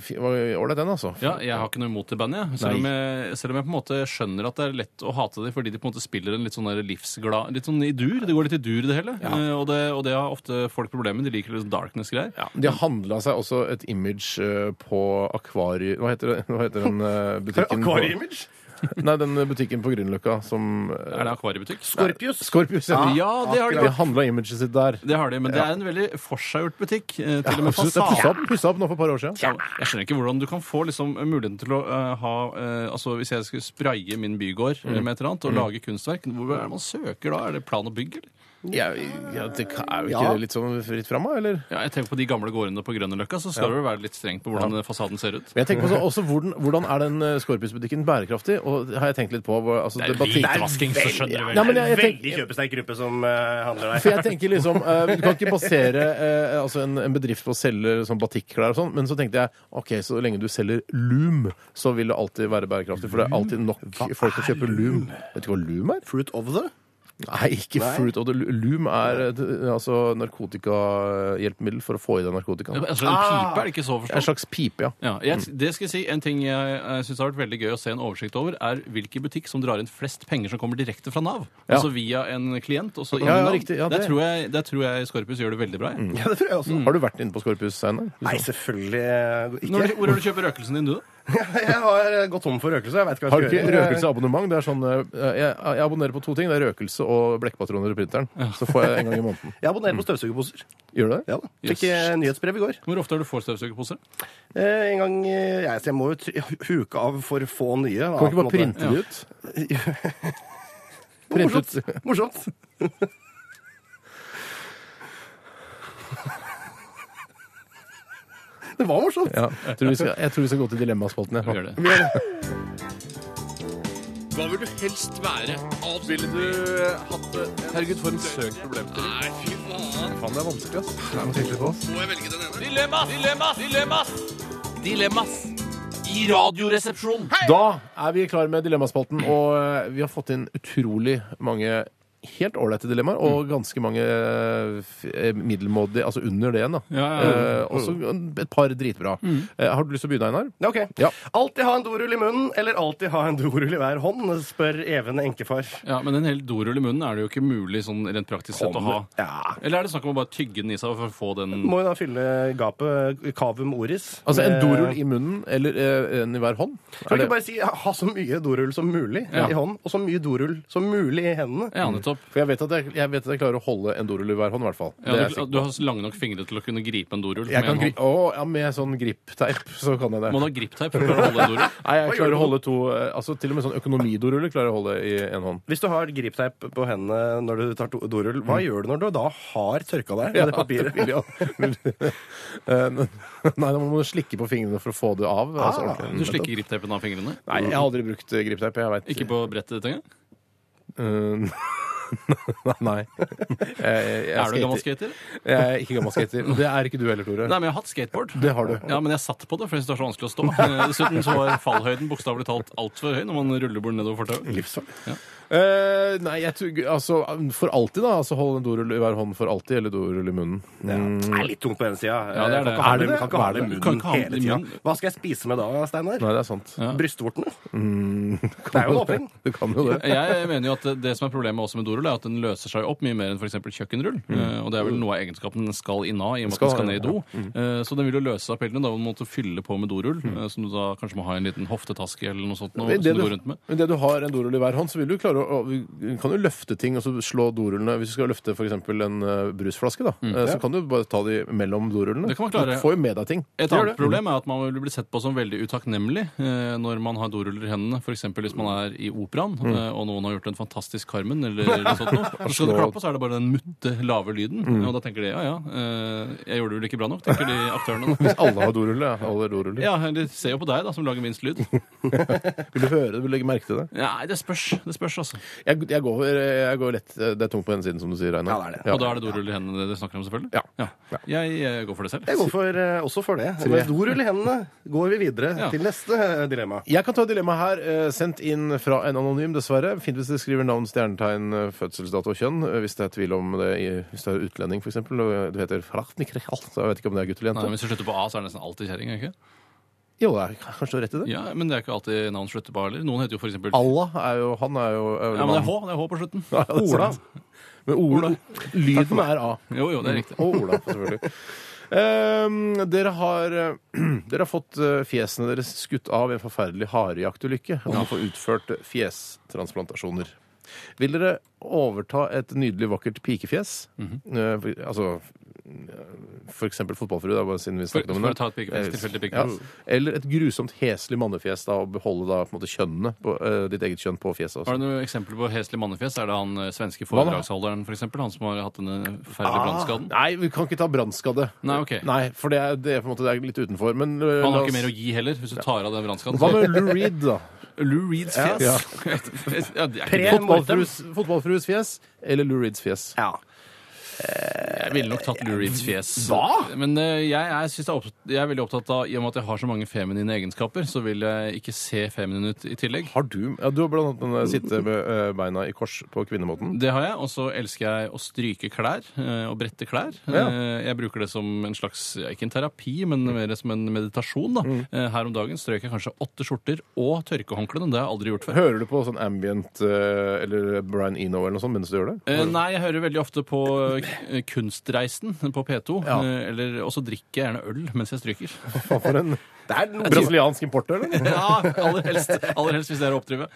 Speaker 3: fi- var Ålreit, den, altså.
Speaker 4: Ja, jeg har ikke noe imot det bandet, jeg. Selv, om jeg. selv om jeg på en måte skjønner at det er lett å hate dem fordi de på en måte spiller en litt sånn der livsglad Litt sånn i dur. Det går litt i dur, det hele. Eh, Og, det, og det har ofte folk problemer med. De liker litt sånn darkness-greier.
Speaker 3: Ja, De har handla seg også et image eh, på akvarie... Hva heter, det? Hva heter den eh, butikken? på-
Speaker 5: Akvarieimage?
Speaker 3: Nei, den butikken på Grünerløkka som
Speaker 4: Er det akvariebutikk?
Speaker 5: Skorpius?
Speaker 3: Skorpius. heter den.
Speaker 4: Ja, det har de
Speaker 3: De
Speaker 4: gjort.
Speaker 3: handla imaget sitt der.
Speaker 4: Det har de, men det er en veldig forseggjort butikk. eh, Til og med
Speaker 3: Absolutt. Det pussa
Speaker 4: fasaden.
Speaker 3: opp, pusset opp nå for et par år siden.
Speaker 4: Ja, Jeg skjønner ikke hvordan du kan få liksom, muligheten til å eh, ha eh, Altså Hvis jeg skulle spraye min bygård eh, med et eller annet og lage kunstverk, hvor er det man søker da? Er det plan og bygg, eller?
Speaker 3: Ja, ja, det ka- er jo ikke det litt sånn fritt fram, da? Eller?
Speaker 4: Ja, jeg tenker på de gamle gårdene på Grønnerløkka, så skal det vel være litt strengt på hvordan fasaden ser ut.
Speaker 3: Men jeg tenker på så, også hvordan, hvordan er den eh, Skorpius-butikken bærekraftig? Og det har jeg tenkt litt på hvor- altså,
Speaker 4: Det er
Speaker 3: batik-
Speaker 4: hvitvasking, så skjønner du vel.
Speaker 3: Nei, men
Speaker 5: Det
Speaker 3: jeg,
Speaker 5: er en
Speaker 3: jeg
Speaker 5: veldig
Speaker 3: tenker,
Speaker 5: kjøpesterk gruppe som eh, handler der.
Speaker 3: For jeg tenker liksom, eh, Du kan ikke basere eh, altså en, en bedrift på å selge sånn batikklær og sånn, men så tenkte jeg ok, så lenge du selger loom, så vil det alltid være bærekraftig. For det er alltid nok folk som kjøper loom. Vet du hva loom er?
Speaker 5: Fruit of the?
Speaker 3: Nei, ikke fruit of the lo- Loom er eh, altså narkotikahjelpemiddel for å få i deg narkotikaen.
Speaker 4: Altså, en pipe er det ikke så å
Speaker 3: Det er En
Speaker 4: forstå.
Speaker 3: slags pipe, ja.
Speaker 4: Ja, jeg, det skal jeg si, En ting jeg, jeg syns har vært veldig gøy å se en oversikt over, er hvilken butikk som drar inn flest penger som kommer direkte fra Nav.
Speaker 3: Ja.
Speaker 4: Altså via en klient. og så inn i
Speaker 3: Ja, ja,
Speaker 4: Nav.
Speaker 3: riktig, ja,
Speaker 4: der,
Speaker 3: det- Mm.
Speaker 4: tror jeg, der tror jeg Skorpius gjør det veldig bra. jeg.
Speaker 5: Ja, det tror jeg også.
Speaker 3: Har du vært inne på Skorpus, Einar?
Speaker 5: Nei, selvfølgelig eh,
Speaker 4: Når,
Speaker 5: ikke.
Speaker 4: hvor har du kjøpt røkelsen din, du? da?
Speaker 5: Jeg har eh, gått tom for røkelse. Jeg vet ikke hva
Speaker 3: Har du
Speaker 5: jeg
Speaker 3: ikke
Speaker 5: skal gjøre.
Speaker 3: røkelseabonnement? Det er sånn, eh, jeg, jeg abonnerer på to ting. Det er røkelse og blekkpatroner i printeren. Så får jeg en gang i måneden.
Speaker 5: Jeg abonnerer på støvsugerposer.
Speaker 3: Gjør du det?
Speaker 5: Ja da. Fikk eh, nyhetsbrev i går.
Speaker 4: Hvor ofte har du får støvsugerpose?
Speaker 5: Eh, en gang eh, jeg, så jeg må jo t- huke av for få nye. da,
Speaker 3: Kan du ikke
Speaker 5: på
Speaker 3: bare
Speaker 5: en måte.
Speaker 3: printe det ut? Print
Speaker 5: Morsomt.
Speaker 3: ut.
Speaker 5: Morsomt. Det var morsomt.
Speaker 3: Ja, jeg, tror vi skal, jeg tror vi skal gå til dilemmaspalten. jeg.
Speaker 4: Gjør det.
Speaker 6: Hva vil du helst være? Ville du hatt det? Herregud, for en søk problemstilling. Nei, fy faen. Faen, det er vanskelig, ass. Det er noe tydelig på oss. Må jeg velge den ene? Dilemmas! Dilemmas! Dilemmas! Dilemmas! I radioresepsjonen.
Speaker 3: Da er vi klare med dilemmaspalten, og eh, vi har fått inn utrolig mange helt ålreite dilemmaer,
Speaker 4: Mm.
Speaker 3: og ganske mange eh, f- eh, middelmådige, altså under det igjen, da.
Speaker 4: Ja, ja, ja. Mm.
Speaker 3: Eh, også et par dritbra. Eh, har du lyst til å begynne, Einar?
Speaker 5: Ja, ok.
Speaker 3: Ja.
Speaker 5: Alltid ha en dorull i munnen, eller alltid ha en dorull i hver hånd, spør Even enkefar.
Speaker 4: Ja, Men en hel dorull i munnen er det jo ikke mulig sånn rent praktisk sett å ha.
Speaker 5: Ja.
Speaker 4: Eller er det snakk om å bare tygge den i seg for å få den
Speaker 5: Må jo da fylle gapet cavum oris.
Speaker 4: Eh.
Speaker 3: Altså en
Speaker 5: med-
Speaker 3: dorull i munnen, eller eh, en i hver hånd? Er
Speaker 5: Kan vi
Speaker 3: det-
Speaker 5: ikke bare si ha- ha så mye dorull som mulig
Speaker 4: Ja.
Speaker 5: i hånden, og så mye dorull som mulig i hendene?
Speaker 4: Ja, nettopp.
Speaker 3: For jeg vet, at jeg, jeg vet at jeg klarer å holde en dorull i hver hånd, i hvert fall. Det er
Speaker 4: Ja,
Speaker 3: jeg
Speaker 4: du,
Speaker 3: sikker på.
Speaker 4: du har lange nok fingre til å kunne gripe en dorull.
Speaker 3: Jeg
Speaker 4: med
Speaker 3: kan
Speaker 4: en
Speaker 3: gri
Speaker 4: hånd.
Speaker 3: å, ja, med sånn gripteip, så kan jeg det.
Speaker 4: Må du ha gripteip for å klare å holde en dorull?
Speaker 3: Nei, jeg klarer å holde to eh, Altså Til og med sånn økonomidoruller klarer jeg å holde i én hånd.
Speaker 5: Hvis du har gripteip på hendene når du tar to- dorull, hva gjør du når du da har tørka deg med det papiret?
Speaker 3: Ja. Eh, Nei, da må du slikke på fingrene for å få det av. altså,
Speaker 5: Ah,
Speaker 3: ordentlig.
Speaker 4: Du slikker gripteipen av fingrene?
Speaker 3: Nei, jeg har aldri brukt eh, gripteip. Jeg vet
Speaker 4: Ikke på brettet ditt engang?
Speaker 3: Eh, Nei. Jeg, jeg, jeg
Speaker 4: Er du gammel
Speaker 3: skater.
Speaker 4: skater?
Speaker 3: Jeg er ikke gammel skater. Det er ikke du heller, Tore.
Speaker 4: Nei, men jeg har hatt skateboard.
Speaker 3: Det har du.
Speaker 4: Ja, Men jeg satt på det, for jeg synes det er så vanskelig å stå. Eh, Dessuten så var fallhøyden bokstavelig talt altfor høy når man ruller bort nedover fortauet.
Speaker 3: Eh, nei, jeg tror Altså, for alltid, da. Altså, Holde en dorull i hver hånd for alltid, eller dorull i munnen.
Speaker 5: Det er litt tungt på den sida.
Speaker 4: Ja, det er det.
Speaker 5: Kan
Speaker 3: Er det det?
Speaker 5: ikke ha det i
Speaker 4: Du kan
Speaker 5: munnen
Speaker 4: ikke ha det i
Speaker 5: hele tida.
Speaker 4: munnen.
Speaker 5: Hva skal jeg spise med da, Steinar?
Speaker 3: Nei, det er sant.
Speaker 4: Ja.
Speaker 5: Brystvortene? Det er jo en åpning.
Speaker 3: Du kan jo det.
Speaker 4: Jeg mener jo at det- Det som er problemet også med dorull, er at den løser seg opp mye mer enn f.eks. kjøkkenrull. Eh, Og det er vel noe av egenskapen den skal inna, i og med at den
Speaker 3: Mm. Skal,
Speaker 4: skal ned i
Speaker 3: ja.
Speaker 4: do. Eh, Så den vil jo løse seg opp hele tiden. Da må man måtte fylle på med dorull, eh, som du da kanskje må ha i en liten hoftetaske eller noe sånt. Noe,
Speaker 3: Men
Speaker 4: som
Speaker 3: det
Speaker 4: du
Speaker 3: du-
Speaker 4: går rundt med.
Speaker 3: Men det du har en dorull i hver hånd, så vil du klare å, å- kan du løfte ting og så slå dorullene. Hvis du skal løfte f.eks. en eh, brusflaske, da, eh, så kan du bare ta de mellom dorullene.
Speaker 4: Mm. Det kan man klare.
Speaker 3: Du får jo med deg ting.
Speaker 4: Et
Speaker 3: Gjør det.
Speaker 4: annet problem er at man vil bli sett på som veldig utakknemlig eh,
Speaker 3: Mm.
Speaker 4: når man har doruller i hendene. F.eks. hvis man er i operaen, eh, og noen har gjort en fantastisk Carmen eller eller sånt noe. Så skal du klappe, så er det bare den mutte, lave lyden.
Speaker 3: Mm.
Speaker 4: Og da tenker de ja ja, eh, jeg gjorde det vel ikke bra nok, tenker de aktørene.
Speaker 3: Hvis alle har dorulle, ja. alle har dorulle.
Speaker 4: Ja, De ser jo på deg, da, som lager minst lyd.
Speaker 3: Vil du høre det? Vil du legge merke til det?
Speaker 4: Nei, det spørs. Det spørs, altså.
Speaker 3: Jeg, jeg, går, jeg går lett eh, Det er tungt på den siden, som du sier, Einar.
Speaker 5: Ja, det er det.
Speaker 4: Og da er det dorull i hendene dere snakker om, selvfølgelig?
Speaker 3: Ja.
Speaker 4: Jeg, eh, går for det selv.
Speaker 5: Jeg går for, eh, også for det. Og Med dorull i hendene går vi videre
Speaker 4: Ja.
Speaker 5: til neste eh, dilemma.
Speaker 3: Jeg kan ta dilemmaet her, eh, sendt inn fra en anonym, dessverre. Fint hvis dere skriver navn, stjernetegn, eh, fødselsdato og kjønn. eh, Hvis det er tvil om det i, Hvis det er utlending, f.eks. Og eh, du heter Frachnikreal, så jeg vet ikke om det er gutt eller
Speaker 4: Nei,
Speaker 3: jente.
Speaker 4: men Hvis du slutter på A, så er det nesten alltid kjerring? er det ikke?
Speaker 3: Jo, det er kanskje du har rett i det.
Speaker 4: Ja, men det er ikke alltid navn slutter på A heller. Noen heter jo for eksempel
Speaker 3: Allah er jo Han er jo er vel
Speaker 4: Ja, men det er H,
Speaker 3: mann.
Speaker 4: det er H på slutten.
Speaker 3: Ja, det er sant. Men Ola. Lyden er A.
Speaker 4: Jo, jo, det er riktig.
Speaker 3: Og Ola, selvfølgelig. Ehm, dere, har, eh, dere har fått eh, fjesene deres skutt av i en forferdelig harejaktulykke og må få utført fjestransplantasjoner. Vil dere overta et nydelig, vakkert pikefjes?
Speaker 4: Mhm.
Speaker 3: Eh, for- altså eh, for eksempel fotballfrue, da, bare siden vi snakket
Speaker 4: For-
Speaker 3: om
Speaker 4: for
Speaker 3: det.
Speaker 4: å ta et pikefjes,
Speaker 3: Eh,
Speaker 4: tilfeldig
Speaker 3: ja.
Speaker 4: pikefjes.
Speaker 3: Eller et grusomt heslig mannefjes, da, og beholde da på en måte kjønnene, på, eh, ditt eget kjønn på fjeset.
Speaker 4: Har
Speaker 3: Også.
Speaker 4: du noen eksempler på heslig mannefjes? Er det han eh, svenske
Speaker 3: Hva da? Ah.
Speaker 4: foredragsholderen, for eksempel? Han som har hatt denne forferdelige brannskaden?
Speaker 3: Nei, vi kan ikke ta brannskadde.
Speaker 4: Nei, ok.
Speaker 3: Nei, for det er, det er på en måte det er litt utenfor. Men eh,
Speaker 4: Han
Speaker 3: la
Speaker 4: har ikke
Speaker 3: oss-
Speaker 4: mer å gi heller, hvis du tar av den brannskaden.
Speaker 3: Hva med Lou Reed, da?
Speaker 4: Lou Reeds fjes?
Speaker 3: Ja.
Speaker 4: Ja, det er ikke det.
Speaker 5: Prem.
Speaker 3: Fotballfrues, fotballfrues fjes eller Lou Reeds fjes?
Speaker 5: Ja.
Speaker 4: Jeg ville nok tatt Lou Reeds fjes. Hva? Men eh, jeg, er- synes det er, opp- jeg er veldig opptatt av I og med at jeg har så mange feminine egenskaper, så vil jeg ikke se feminin ut i tillegg.
Speaker 3: Har du ja, Du har blant annet den der sitte med eh, beina i kors på kvinnemåten.
Speaker 4: Det har jeg. Og så elsker jeg å stryke klær eh, og brette klær.
Speaker 3: Ja.
Speaker 4: Eh, Jeg bruker det som en slags ja, ikke en terapi, men mer som en meditasjon. da.
Speaker 3: Mm.
Speaker 4: Eh, Her om dagen strøk jeg kanskje åtte skjorter og tørkehåndklærne. Det har jeg aldri gjort før.
Speaker 3: Hører du på sånn ambient eh, eller Brian Eno eller noe sånt mens du gjør det?
Speaker 4: Eh, nei, jeg hører veldig ofte på eh, Kunstreisen på P2.
Speaker 3: Ja.
Speaker 4: eh, Eller, og så drikker jeg gjerne øl mens jeg stryker.
Speaker 3: Faen, For en
Speaker 5: Det er noe
Speaker 3: brasiliansk import, eller?
Speaker 4: Ja, aller helst, aller helst hvis det er å oppdrive.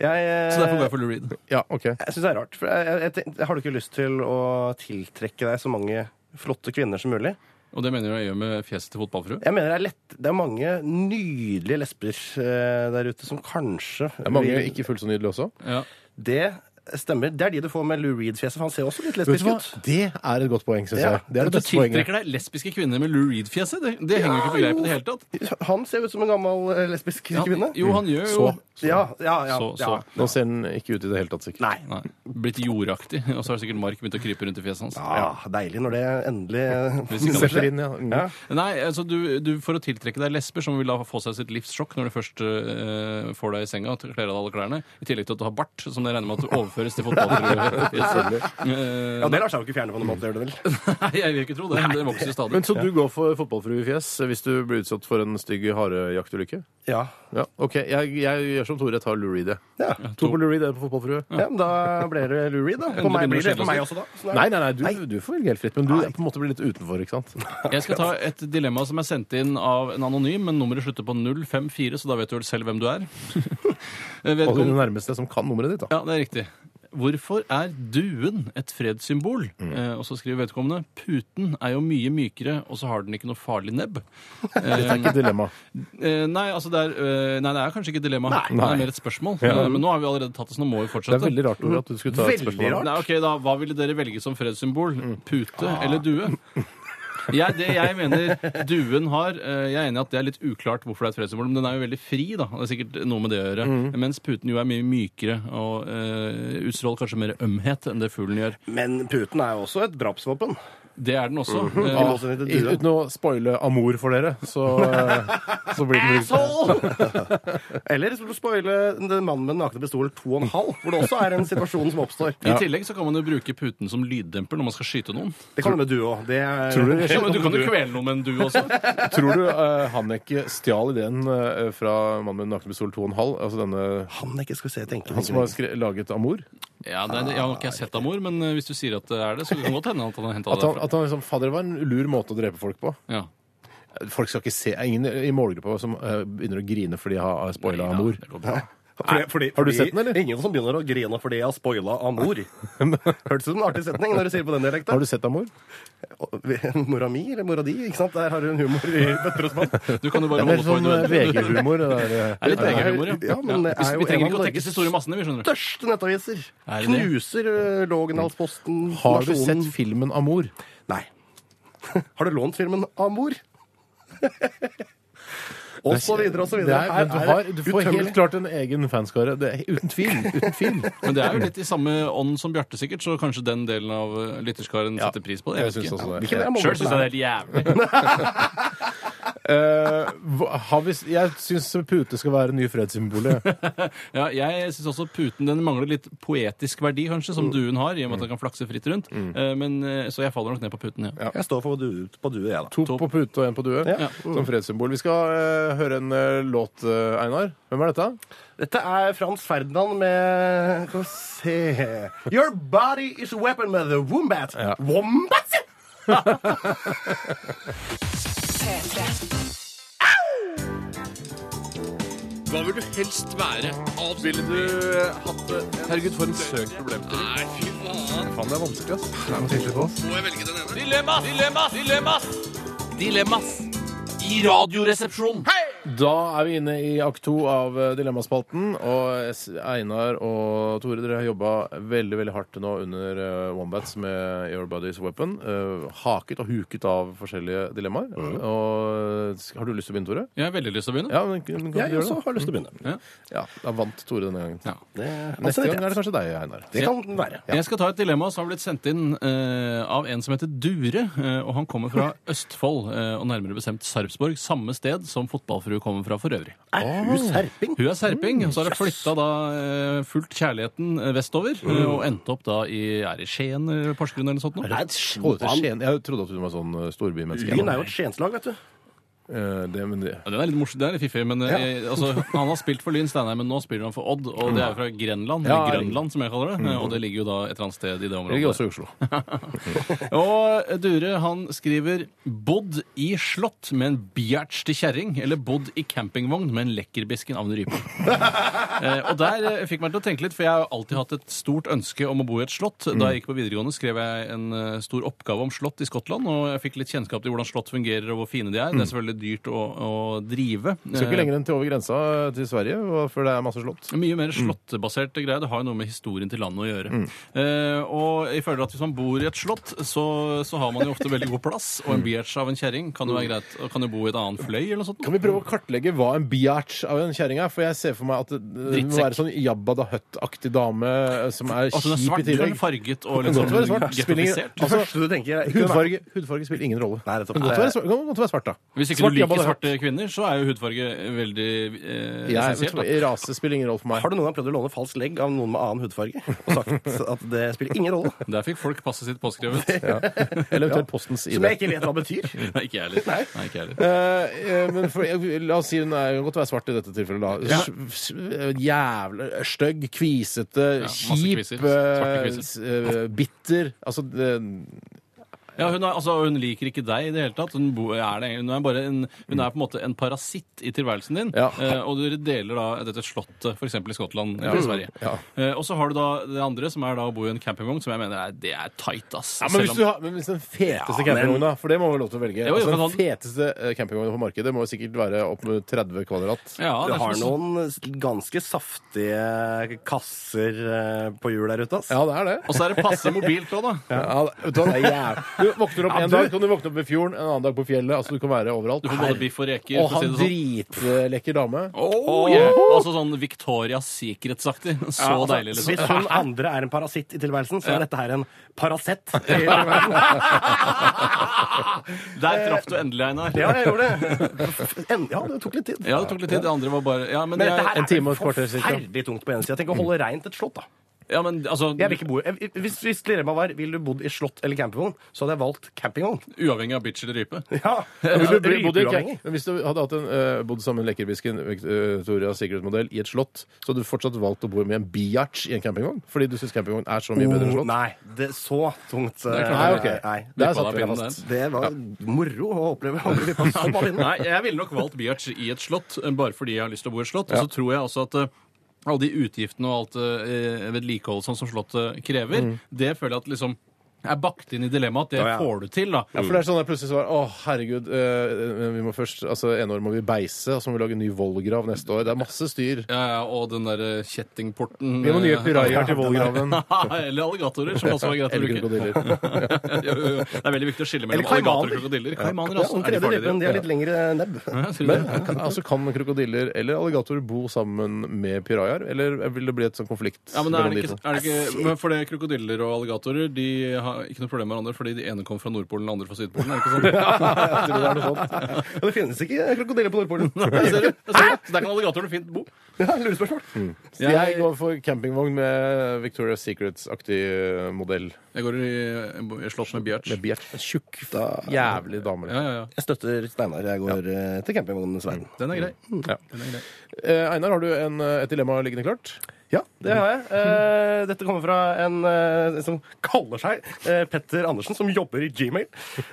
Speaker 5: jeg, eh,
Speaker 4: Så derfor går jeg for Lou Reed.
Speaker 3: Ja, OK.
Speaker 5: Jeg syns det er rart. For jeg, jeg, jeg, tenk- har du ikke lyst til å tiltrekke deg så mange flotte kvinner som mulig?
Speaker 4: Og det mener jeg gjør med fjeset til fotballfrue.
Speaker 5: Jeg mener Det er lett Det er mange nydelige lesber eh, der ute som kanskje
Speaker 3: Det er mange ikke fullt så nydelige også.
Speaker 4: Ja.
Speaker 5: Det stemmer. Det er de du får med Lou Reed-fjeset. for Han ser også litt
Speaker 3: Vet du
Speaker 5: lesbisk
Speaker 3: hva?
Speaker 5: ut.
Speaker 3: Det er et godt poeng, syns
Speaker 5: Ja.
Speaker 3: jeg. Det er
Speaker 4: At
Speaker 3: det
Speaker 4: du
Speaker 3: beste poenget.
Speaker 4: tiltrekker deg lesbiske kvinner med Lou Reed-fjeset, det, det henger jo ikke på greip i det hele tatt.
Speaker 5: Han ser ut som en gammel eh, lesbisk kvinne.
Speaker 4: Han, jo, han gjør jo
Speaker 3: Så,
Speaker 5: Ja, ja, ja.
Speaker 4: Så-
Speaker 5: ja.
Speaker 4: så.
Speaker 3: Nå ser den ikke ut i det hele tatt, sikkert.
Speaker 5: Nei.
Speaker 4: Nei, Blitt jordaktig. Og så har sikkert Mark begynt å krype rundt i fjeset hans.
Speaker 5: Ah, deilig når det endelig
Speaker 4: Hvis ikke
Speaker 3: Setter inn, ja. Mm.
Speaker 5: Ja.
Speaker 4: Nei, altså du, du For å tiltrekke deg lesber som vil da få seg sitt livs sjokk når du først eh, får deg i senga og kler av deg alle klærne, i tillegg til at du har bart, som jeg regner med at du overføres til fotballspillere.
Speaker 5: Ja, Det lar seg jo ikke fjerne på noen måte, gjør det vel?
Speaker 4: Eh, Nei, jeg vil ikke tro det. Det vokser jo stadig.
Speaker 3: Men Så du går for fotballfruefjes eh, hvis du blir utsatt for en stygg harejaktulykke?
Speaker 5: Ja.
Speaker 3: Ja, OK. Jeg, jeg gjør som Tore, jeg tar Lou Reed, jeg.
Speaker 5: ja.
Speaker 3: To på Lou Reed, en på fotballfrue.
Speaker 5: ja men da ble det Lou Reed, da. For
Speaker 4: Endelig
Speaker 5: meg
Speaker 4: begynner å
Speaker 5: blir det for
Speaker 4: skille
Speaker 5: meg
Speaker 4: oss
Speaker 5: også, da. Så da-
Speaker 3: Nei, nei, nei, du, du får velge helt fritt, men du er på en måte blir litt utenfor, ikke sant?
Speaker 4: Jeg skal ta et dilemma som er sendt inn av en anonym, men nummeret slutter på 054, så da vet du vel selv hvem du er.
Speaker 3: Og du er
Speaker 4: Vedkommende
Speaker 3: den nærmeste som kan nummeret ditt, da.
Speaker 4: Ja, det er riktig. Hvorfor er duen et fredssymbol?
Speaker 3: Mm.
Speaker 4: Eh, og så skriver vedkommende puten er jo mye mykere, og så har den ikke noe farlig nebb.
Speaker 3: Dette er ikke et dilemma.
Speaker 4: Eh, nei, altså det er, eh, nei, det er kanskje ikke et dilemma. Det
Speaker 3: Nei.
Speaker 4: er mer et spørsmål. Eh, men nå har vi allerede tatt det, så nå må vi
Speaker 3: Det
Speaker 4: fortsette.
Speaker 3: er veldig rart Tore, at du skulle ta et
Speaker 5: Veldig
Speaker 3: spørsmål.
Speaker 5: rart.
Speaker 4: Nei, ok, da, Hva ville dere velge som fredssymbol? Pute eller due? Jeg, det jeg mener duen har eh, Jeg er enig i at det er litt uklart hvorfor det er et fredssymbol, men den er jo veldig fri, da. Det er sikkert noe med det å gjøre.
Speaker 3: Mm.
Speaker 4: Mens puten jo er mye mykere og eh, utstråler kanskje mer ømhet enn det fuglen gjør.
Speaker 5: Men puten er jo også et drapsvåpen.
Speaker 4: Det er den også.
Speaker 3: Mm.
Speaker 4: Eh,
Speaker 5: I motsetning til dua.
Speaker 3: Uten å spoile Amor for dere, så, eh, så blir det
Speaker 5: Eller så vil du spoile den mannen med den nakne pistolen 2,5, hvor det også er en situasjon som oppstår.
Speaker 4: I tillegg så kan man jo bruke puten som lyddemper når man skal skyte noen.
Speaker 5: Det kan du med du òg. Det er
Speaker 3: Tror du,
Speaker 4: Ja, men Du kan jo kvele noen med en due også.
Speaker 3: tror du eh, Haneke stjal ideen eh, fra mannen med den nakne pistol 2,5? Altså denne
Speaker 5: han ikke skal se tenke
Speaker 3: han som har skre laget Amor?
Speaker 4: Ja, det, er- jeg har nok ikke sett Amor, men eh, hvis du sier at det er det, så kan det godt hende at han har henta
Speaker 3: At
Speaker 4: det
Speaker 3: han,
Speaker 4: derfra.
Speaker 3: at han liksom Fader, det var en lur måte å drepe folk på.
Speaker 4: Ja.
Speaker 3: Folk skal ikke se Ingen i målgruppa som eh, begynner å grine fordi jeg har spoila
Speaker 4: Nei da,
Speaker 3: Amor.
Speaker 4: det går bra.
Speaker 5: Fordi, fordi,
Speaker 3: Har du
Speaker 5: fordi-
Speaker 3: sett den, eller?
Speaker 5: Det er Ingen som begynner å grine fordi jeg har spoila Amor. Hørtes ut som en artig setning når du sier det på den dialekten.
Speaker 3: Har du sett Amor?
Speaker 5: Og- Mora mi eller mora di, ikke sant? Der har du en humor i bøtter og spann.
Speaker 4: Du kan jo
Speaker 3: Det
Speaker 4: bare
Speaker 3: er mer
Speaker 4: holde på i
Speaker 3: sånn
Speaker 4: noe.
Speaker 3: VG-humor. Det
Speaker 4: Det er litt
Speaker 3: der.
Speaker 4: VG-humor, ja.
Speaker 5: Ja, men det
Speaker 4: Vi,
Speaker 5: er jo
Speaker 4: vi trenger
Speaker 5: en
Speaker 4: ikke
Speaker 5: av
Speaker 4: å trekke
Speaker 5: Norges
Speaker 4: så store massene, vi skjønner. du.
Speaker 5: Største nettaviser!
Speaker 4: Er det det?
Speaker 5: Knuser eh, Lågendalsposten,
Speaker 3: Har du
Speaker 5: Nasjonen.
Speaker 3: sett filmen Amor?
Speaker 5: Nei. Har du lånt filmen Amor? og så videre og så
Speaker 3: Det
Speaker 5: videre.
Speaker 3: er,
Speaker 5: Her
Speaker 3: men du,
Speaker 5: er
Speaker 3: har,
Speaker 5: det
Speaker 3: du får helt
Speaker 5: utømmelig.
Speaker 3: klart en egen fanskare. Det er, uten tvil. Uten tvil.
Speaker 4: Men det er jo litt i samme ånd som Bjarte, sikkert, så kanskje den delen av eh, lytterskaren setter pris på det.
Speaker 3: Jeg synes også det.
Speaker 5: Ikke det, jeg må
Speaker 4: Sjøl syns jeg det
Speaker 5: bare-
Speaker 4: er helt jævlig.
Speaker 3: Eh, hva- har vi, s- jeg syns pute skal være nye fredssymbolet.
Speaker 4: Ja, jeg syns også puten den mangler litt poetisk verdi, kanskje, som duen har, i og med at den kan flakse fritt rundt. Eh, Men, eh, så jeg faller nok ned på puten, ja.
Speaker 5: Jeg står for du, på due, jeg, da.
Speaker 3: To på pute og én på due
Speaker 5: Ja.
Speaker 3: som fredssymbol. Vi skal eh, høre en eh, låt, eh, Einar. Hvem er dette?
Speaker 5: Dette er Frans Ferdinand med Skal vi se Your body is a weapon with a wombat. Wombat?
Speaker 1: P3.
Speaker 6: Hva vil du helst være? Ville du hatt det? Herregud, for en søk problemstilling. Nei, fy faen. Faen, det er vanskelig, ass. Det er vanskelig på oss. Må jeg velge den ene? Dilemmas! Dilemmas! Dilemmas! Dilemmas! I radioresepsjonen. Hei!
Speaker 3: Da er vi inne i akt to av eh, Dilemmaspalten. Og S- Einar og Tore, dere har jobba veldig veldig hardt nå under eh, Wombats med Your Body's Weapon. Eh, Haket og huket av forskjellige dilemmaer. Og s- Har du lyst til å begynne, Tore?
Speaker 4: Jeg har veldig lyst til å begynne.
Speaker 3: Ja, men, men kan du
Speaker 5: Jeg
Speaker 3: gjøre det?
Speaker 5: også har lyst til å begynne.
Speaker 3: Ja, Da vant Tore denne gangen.
Speaker 4: Ja.
Speaker 5: Altså, Det,
Speaker 3: Neste gang er det kanskje deg, Einar.
Speaker 5: det kan den være.
Speaker 4: Jeg skal ta et dilemma som har blitt sendt inn eh, av en som heter Dure. eh, og han kommer fra Østfold, eh, og nærmere bestemt Sarpsborg. Samme sted som fotballfrue kommer fra for øvrig.
Speaker 5: Er hun serping?
Speaker 4: Hun er serping,
Speaker 3: Mm.
Speaker 4: og så har hun flytta da eh, fullt kjærligheten eh, vestover. eh, Og endte opp da i er det Skien eller Porsgrunn eller noe sånt. Nå?
Speaker 5: Nei,
Speaker 3: Å, det Mm. er
Speaker 5: Skien
Speaker 3: Skien. Jeg trodde at du var sånn eh, storbymenneske.
Speaker 5: Lyn er jo et skienslag, vet du.
Speaker 3: Eh, det, men det.
Speaker 4: Ja, den er litt morsom, den er litt fiffig, men eh, altså, han har spilt for Lyn Steinheim, men nå spiller han for Odd, og det er jo fra Grenland, eller
Speaker 3: Ja, det er
Speaker 4: Grønland som jeg kaller det, eh, og det ligger jo da et eller annet sted i det
Speaker 3: Det
Speaker 4: området.
Speaker 3: ligger også i Oslo.
Speaker 4: Og Dure han skriver 'bodd i slott med en bjerts til kjerring', eller 'bodd i campingvogn med en lekkerbisken av en rype'. Eh, og der eh, fikk meg til å tenke litt, for jeg har jo alltid hatt et stort ønske om å bo i et slott. Da jeg gikk på videregående, skrev jeg en eh, stor oppgave om slott i Skottland, og jeg fikk litt kjennskap til hvordan slott fungerer, og hvor fine de er. Det er selvfølgelig dyrt å, å drive.
Speaker 3: Skal ikke lenger enn til over grensa eh, til Sverige, og- før det er masse slott.
Speaker 4: Mye mer slottbasert greier. Det har jo noe med historien til landet å gjøre.
Speaker 3: Mm.
Speaker 4: Eh, og jeg føler at hvis man bor i et slott, så, så har man jo ofte veldig god plass. Og
Speaker 3: Mm.
Speaker 4: en bierts av en kjerring kan jo være greit. Og kan jo bo i et annet fløy eller noe sånt.
Speaker 3: Kan vi prøve å kartlegge hva en biatch av en kjerring er? For jeg ser for meg at det, det må
Speaker 4: Drittsekk.
Speaker 3: være sånn Jabba da Hutt-aktig dame eh, som er
Speaker 4: Altså, den
Speaker 3: kjip
Speaker 4: er
Speaker 3: i
Speaker 4: svart, grønn,
Speaker 3: tillegg.
Speaker 4: farget og
Speaker 3: Den kan godt være
Speaker 4: liksom
Speaker 3: svart. Spiller ingen-
Speaker 4: gettofisert.
Speaker 5: Det
Speaker 3: Altså,
Speaker 5: første du tenker er ikke
Speaker 3: Hudfarge, hudfarge spiller ingen rolle.
Speaker 5: Nei, nettopp.
Speaker 3: Den kan godt være svart, den kan godt være svart da.
Speaker 4: Hvis ikke
Speaker 3: Svart
Speaker 4: du
Speaker 3: Jabba
Speaker 4: liker
Speaker 3: da Hutt.
Speaker 4: svarte kvinner, så er jo hudfarge veldig eh,
Speaker 3: Jeg, vet
Speaker 4: essensielt.
Speaker 3: du hva,
Speaker 4: da.
Speaker 3: rase spiller ingen rolle for meg.
Speaker 5: Har du noen gang prøvd å låne falsk legg av noen med annen hudfarge og sagt at det spiller ingen rolle?
Speaker 4: Der fikk folk passet sitt påskrevet.
Speaker 3: Eller eventuelt Postens
Speaker 5: Som
Speaker 3: ID.
Speaker 5: jeg ikke vet hva betyr.
Speaker 4: Nei, ikke jeg heller. Nei, ikke jeg heller.
Speaker 3: Eh, eh, men for, eh, la oss si hun er, kan godt være svart i dette tilfellet, da. S- s- eh, Jævla stygg, kvisete,
Speaker 4: masse
Speaker 3: kjip,
Speaker 4: kviser. Svarte
Speaker 3: eh,
Speaker 4: kviser.
Speaker 3: s- eh, bitter Altså det-
Speaker 4: Ja, hun, er, altså, hun liker ikke deg i det hele tatt. Hun, bo, er, det, hun, er, bare en, hun er på en måte en parasitt i tilværelsen din.
Speaker 3: Ja.
Speaker 4: Eh, og dere deler da dette slottet, f.eks. i Skottland eller i Sverige.
Speaker 3: Ja.
Speaker 4: Eh, og så har du da det andre, som er da å bo i en campingvogn, som jeg mener er, det er tight, ass.
Speaker 3: Ja, men,
Speaker 4: Selv
Speaker 3: hvis
Speaker 4: om-
Speaker 3: du har, men hvis den feteste
Speaker 5: Ja, men-
Speaker 3: campingvogna, for det må vi ha lov til å velge
Speaker 4: Jo, jo,
Speaker 3: altså,
Speaker 4: men
Speaker 3: Den
Speaker 4: han-
Speaker 3: feteste eh, campingvogna på markedet må sikkert være opp mot 30 kvadrat.
Speaker 4: ja,
Speaker 5: Du
Speaker 4: det er sånn
Speaker 5: har
Speaker 4: som-
Speaker 5: noen ganske saftige kasser eh, på hjul der ute, ass.
Speaker 3: Ja, det er det.
Speaker 4: Og så er det passe mobilt òg, da.
Speaker 3: Ja, det- vet du, hva, det er jæv... du våkner opp
Speaker 5: Ja,
Speaker 3: en
Speaker 5: du-
Speaker 3: dag, kan du våkne opp ved fjorden, en annen dag på fjellet. Altså, du kan være overalt.
Speaker 4: Du får både biff og reker.
Speaker 3: Og
Speaker 4: for å si
Speaker 3: han
Speaker 4: det sånn.
Speaker 3: dritlekker dame.
Speaker 4: Oh, yeah. Altså sånn Victoria's Secret-aktig. Så
Speaker 5: Ja, altså,
Speaker 4: deilig, liksom.
Speaker 5: Hvis hun andre er en parasitt i tilværelsen, så er dette her en Paracet. i tilværelsen.
Speaker 4: Der traff du endelig, Einar.
Speaker 5: ja, jeg gjorde det. En- Ja, det tok litt tid.
Speaker 4: Ja, det tok litt tid. Det andre var bare ja, men,
Speaker 5: Men
Speaker 4: jeg-
Speaker 5: dette her
Speaker 3: en time og
Speaker 5: er
Speaker 3: et kvarter, cirka.
Speaker 5: forferdelig tungt på ene sida. Tenk å holde reint et slott, da.
Speaker 4: ja, men altså,
Speaker 5: Jeg vil ikke bo i- Hvis, hvis dilemmaet var ville du bodd i slott eller campingvogn, så hadde jeg valgt campingvogn.
Speaker 4: Uavhengig av bitch eller rype.
Speaker 5: Ja,
Speaker 3: Ville du bli- bodd i-
Speaker 5: Rypeuavhengig.
Speaker 3: Men hvis du hadde hatt en, eh, bodd sammen med lekkerbisken eh, Victoria Secret-modell i et slott, så hadde du fortsatt valgt å bo med en biatch i en campingvogn? Fordi du syns campingvogn er så mye bedre enn
Speaker 5: Oh,
Speaker 3: slott?
Speaker 5: nei, det er så tungt. eh,
Speaker 3: Nei, ok.
Speaker 5: nei.
Speaker 3: Der
Speaker 4: Vippa
Speaker 3: satt
Speaker 4: deg
Speaker 3: vi
Speaker 4: pinnen der.
Speaker 3: fast.
Speaker 5: Det var moro å oppleve. å bli vippet så bra inn.
Speaker 4: Nei, jeg ville nok valgt Biertz i et slott, eh, bare fordi jeg har lyst til å bo i et slott. Og så tror jeg også at eh, alle de utgiftene og alt eh, vedlikeholdet sånn som Slottet krever, det føler jeg at liksom er bakt inn i dilemmaet. Det
Speaker 5: Ja, ja.
Speaker 4: får du til, da.
Speaker 3: Ja, for det er sånn der plutselig så var Å, herregud, eh, vi må først Altså, ene år må vi beise, og så må vi lage en ny vollgrav neste år. Det er masse styr.
Speaker 4: Ja, ja, og den derre kjettingporten
Speaker 3: Vi må nye
Speaker 4: eh,
Speaker 3: pirajaer til vollgraven.
Speaker 4: Eller alligatorer, som også var greit å
Speaker 3: Eller
Speaker 4: bruke.
Speaker 3: krokodiller.
Speaker 4: Jo, jo, jo. Det er veldig viktig å skille mellom
Speaker 5: Eller kaimaner.
Speaker 4: alligatorer og krokodiller. Kaimaner
Speaker 5: Ja,
Speaker 4: også.
Speaker 5: den tredje typen, de har litt lengre nebb.
Speaker 3: Men kan, altså, kan krokodiller eller alligatorer bo sammen med pirajaer, eller vil det bli et sånn konflikt
Speaker 4: Ja, men, er
Speaker 3: mellom
Speaker 4: det
Speaker 3: de
Speaker 4: ikke,
Speaker 3: to?
Speaker 4: er det ikke, men for det Krokodiller og alligatorer de har ikke noe problem med hverandre fordi de ene kommer fra Nordpolen og den andre fra Sydpolen. er det ikke sånn?
Speaker 5: Jeg tror det er noe sånt. Og det finnes ikke krokodiller på Nordpolen.
Speaker 4: Jeg ser det. Jeg ser det. Så der kan alligatorene fint bo.
Speaker 5: Ja, Lurespørsmål.
Speaker 3: Så Jeg går for campingvogn med Victoria's Secrets-aktig eh, modell.
Speaker 4: Jeg går i, i slott med Bjørts.
Speaker 3: Med bjert. Tjukk, jævlig dame.
Speaker 4: Ja, ja, ja.
Speaker 5: Jeg støtter Steinar. Jeg går eh, til campingvognens verden.
Speaker 4: Den er grei.
Speaker 3: Eh, Einar, har du en, eh, et dilemma liggende klart?
Speaker 5: Ja, det har jeg. Eh, dette kommer fra en eh, som kaller seg eh, Petter Andersen, som jobber i Gmail.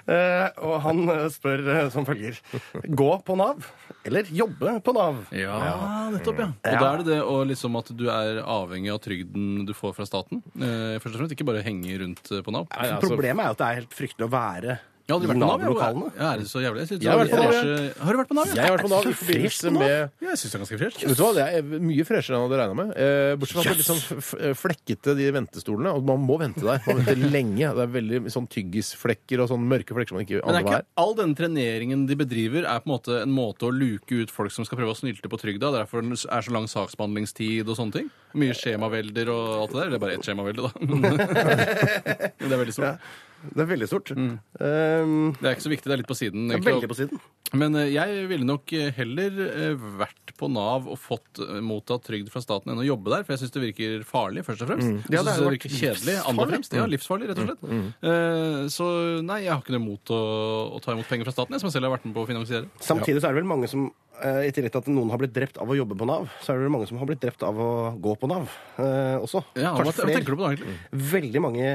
Speaker 5: Eh, og han eh, spør eh, som følger Gå på Nav, eller jobbe på Nav?
Speaker 4: Ja, nettopp, ja. Og da er det det og liksom at du er avhengig av trygden du får fra staten. Eh, først og fremst ikke bare henge rundt eh, på Nav.
Speaker 3: Nei, altså-
Speaker 5: Problemet er jo at det er helt fryktelig å være
Speaker 4: Jeg har aldri
Speaker 5: i
Speaker 4: vært på Nav.
Speaker 5: Nav-lokalene.
Speaker 4: Jeg, jeg er så jævlig. Jeg synes,
Speaker 3: Jeg har vært på Nav, jeg.
Speaker 4: Kanskje- Har du vært på Nav?
Speaker 3: Jeg har vært på Nav i forbindelse med
Speaker 4: Ja, jeg syns det er ganske fresht.
Speaker 3: Vet du hva, Det er mye freshere enn jeg hadde regna med. Eh, bortsett fra at det er litt sånn f- f- flekkete, de ventestolene. Og man må vente der. Man venter lenge. Det er veldig sånn tyggisflekker og sånn mørke flekker som man ikke
Speaker 4: Men
Speaker 3: aner
Speaker 4: er
Speaker 3: hva
Speaker 4: ikke
Speaker 3: er.
Speaker 4: all den treneringen de bedriver, er på en måte en måte å luke ut folk som skal prøve å snylte på trygda? Derfor det er så lang saksbehandlingstid og sånne ting? Mye skjemavelder og alt det der? Eller bare ett skjemavelde, da. Men det er veldig stort.
Speaker 5: Det er veldig stort.
Speaker 4: Mm.
Speaker 5: Eh,
Speaker 4: Det er ikke så viktig, det er litt på siden.
Speaker 5: det er
Speaker 4: egentlig.
Speaker 5: veldig på siden.
Speaker 4: Men eh, jeg ville nok eh, heller eh, vært på Nav og fått eh, mottatt trygd fra staten enn å jobbe der, for jeg syns det virker farlig, først og fremst.
Speaker 5: Mm. Ja,
Speaker 4: Jeg
Speaker 5: det
Speaker 4: synes
Speaker 5: har
Speaker 4: det
Speaker 5: vært
Speaker 4: virker kjedelig, andre og
Speaker 5: livsfarlig. Mm.
Speaker 4: fremst. Ja, livsfarlig, rett og slett. Eh, Så nei, jeg har ikke noe imot å, å ta imot penger fra staten, jeg som jeg selv har vært med på å finansiere.
Speaker 5: Samtidig så er det vel mange som eh, i tillegg til at noen har blitt drept av å jobbe på Nav, så er det vel mange som har blitt drept av å gå på Nav eh, også.
Speaker 4: Ja, hva, hva tenker du på da, egentlig?
Speaker 5: Veldig mange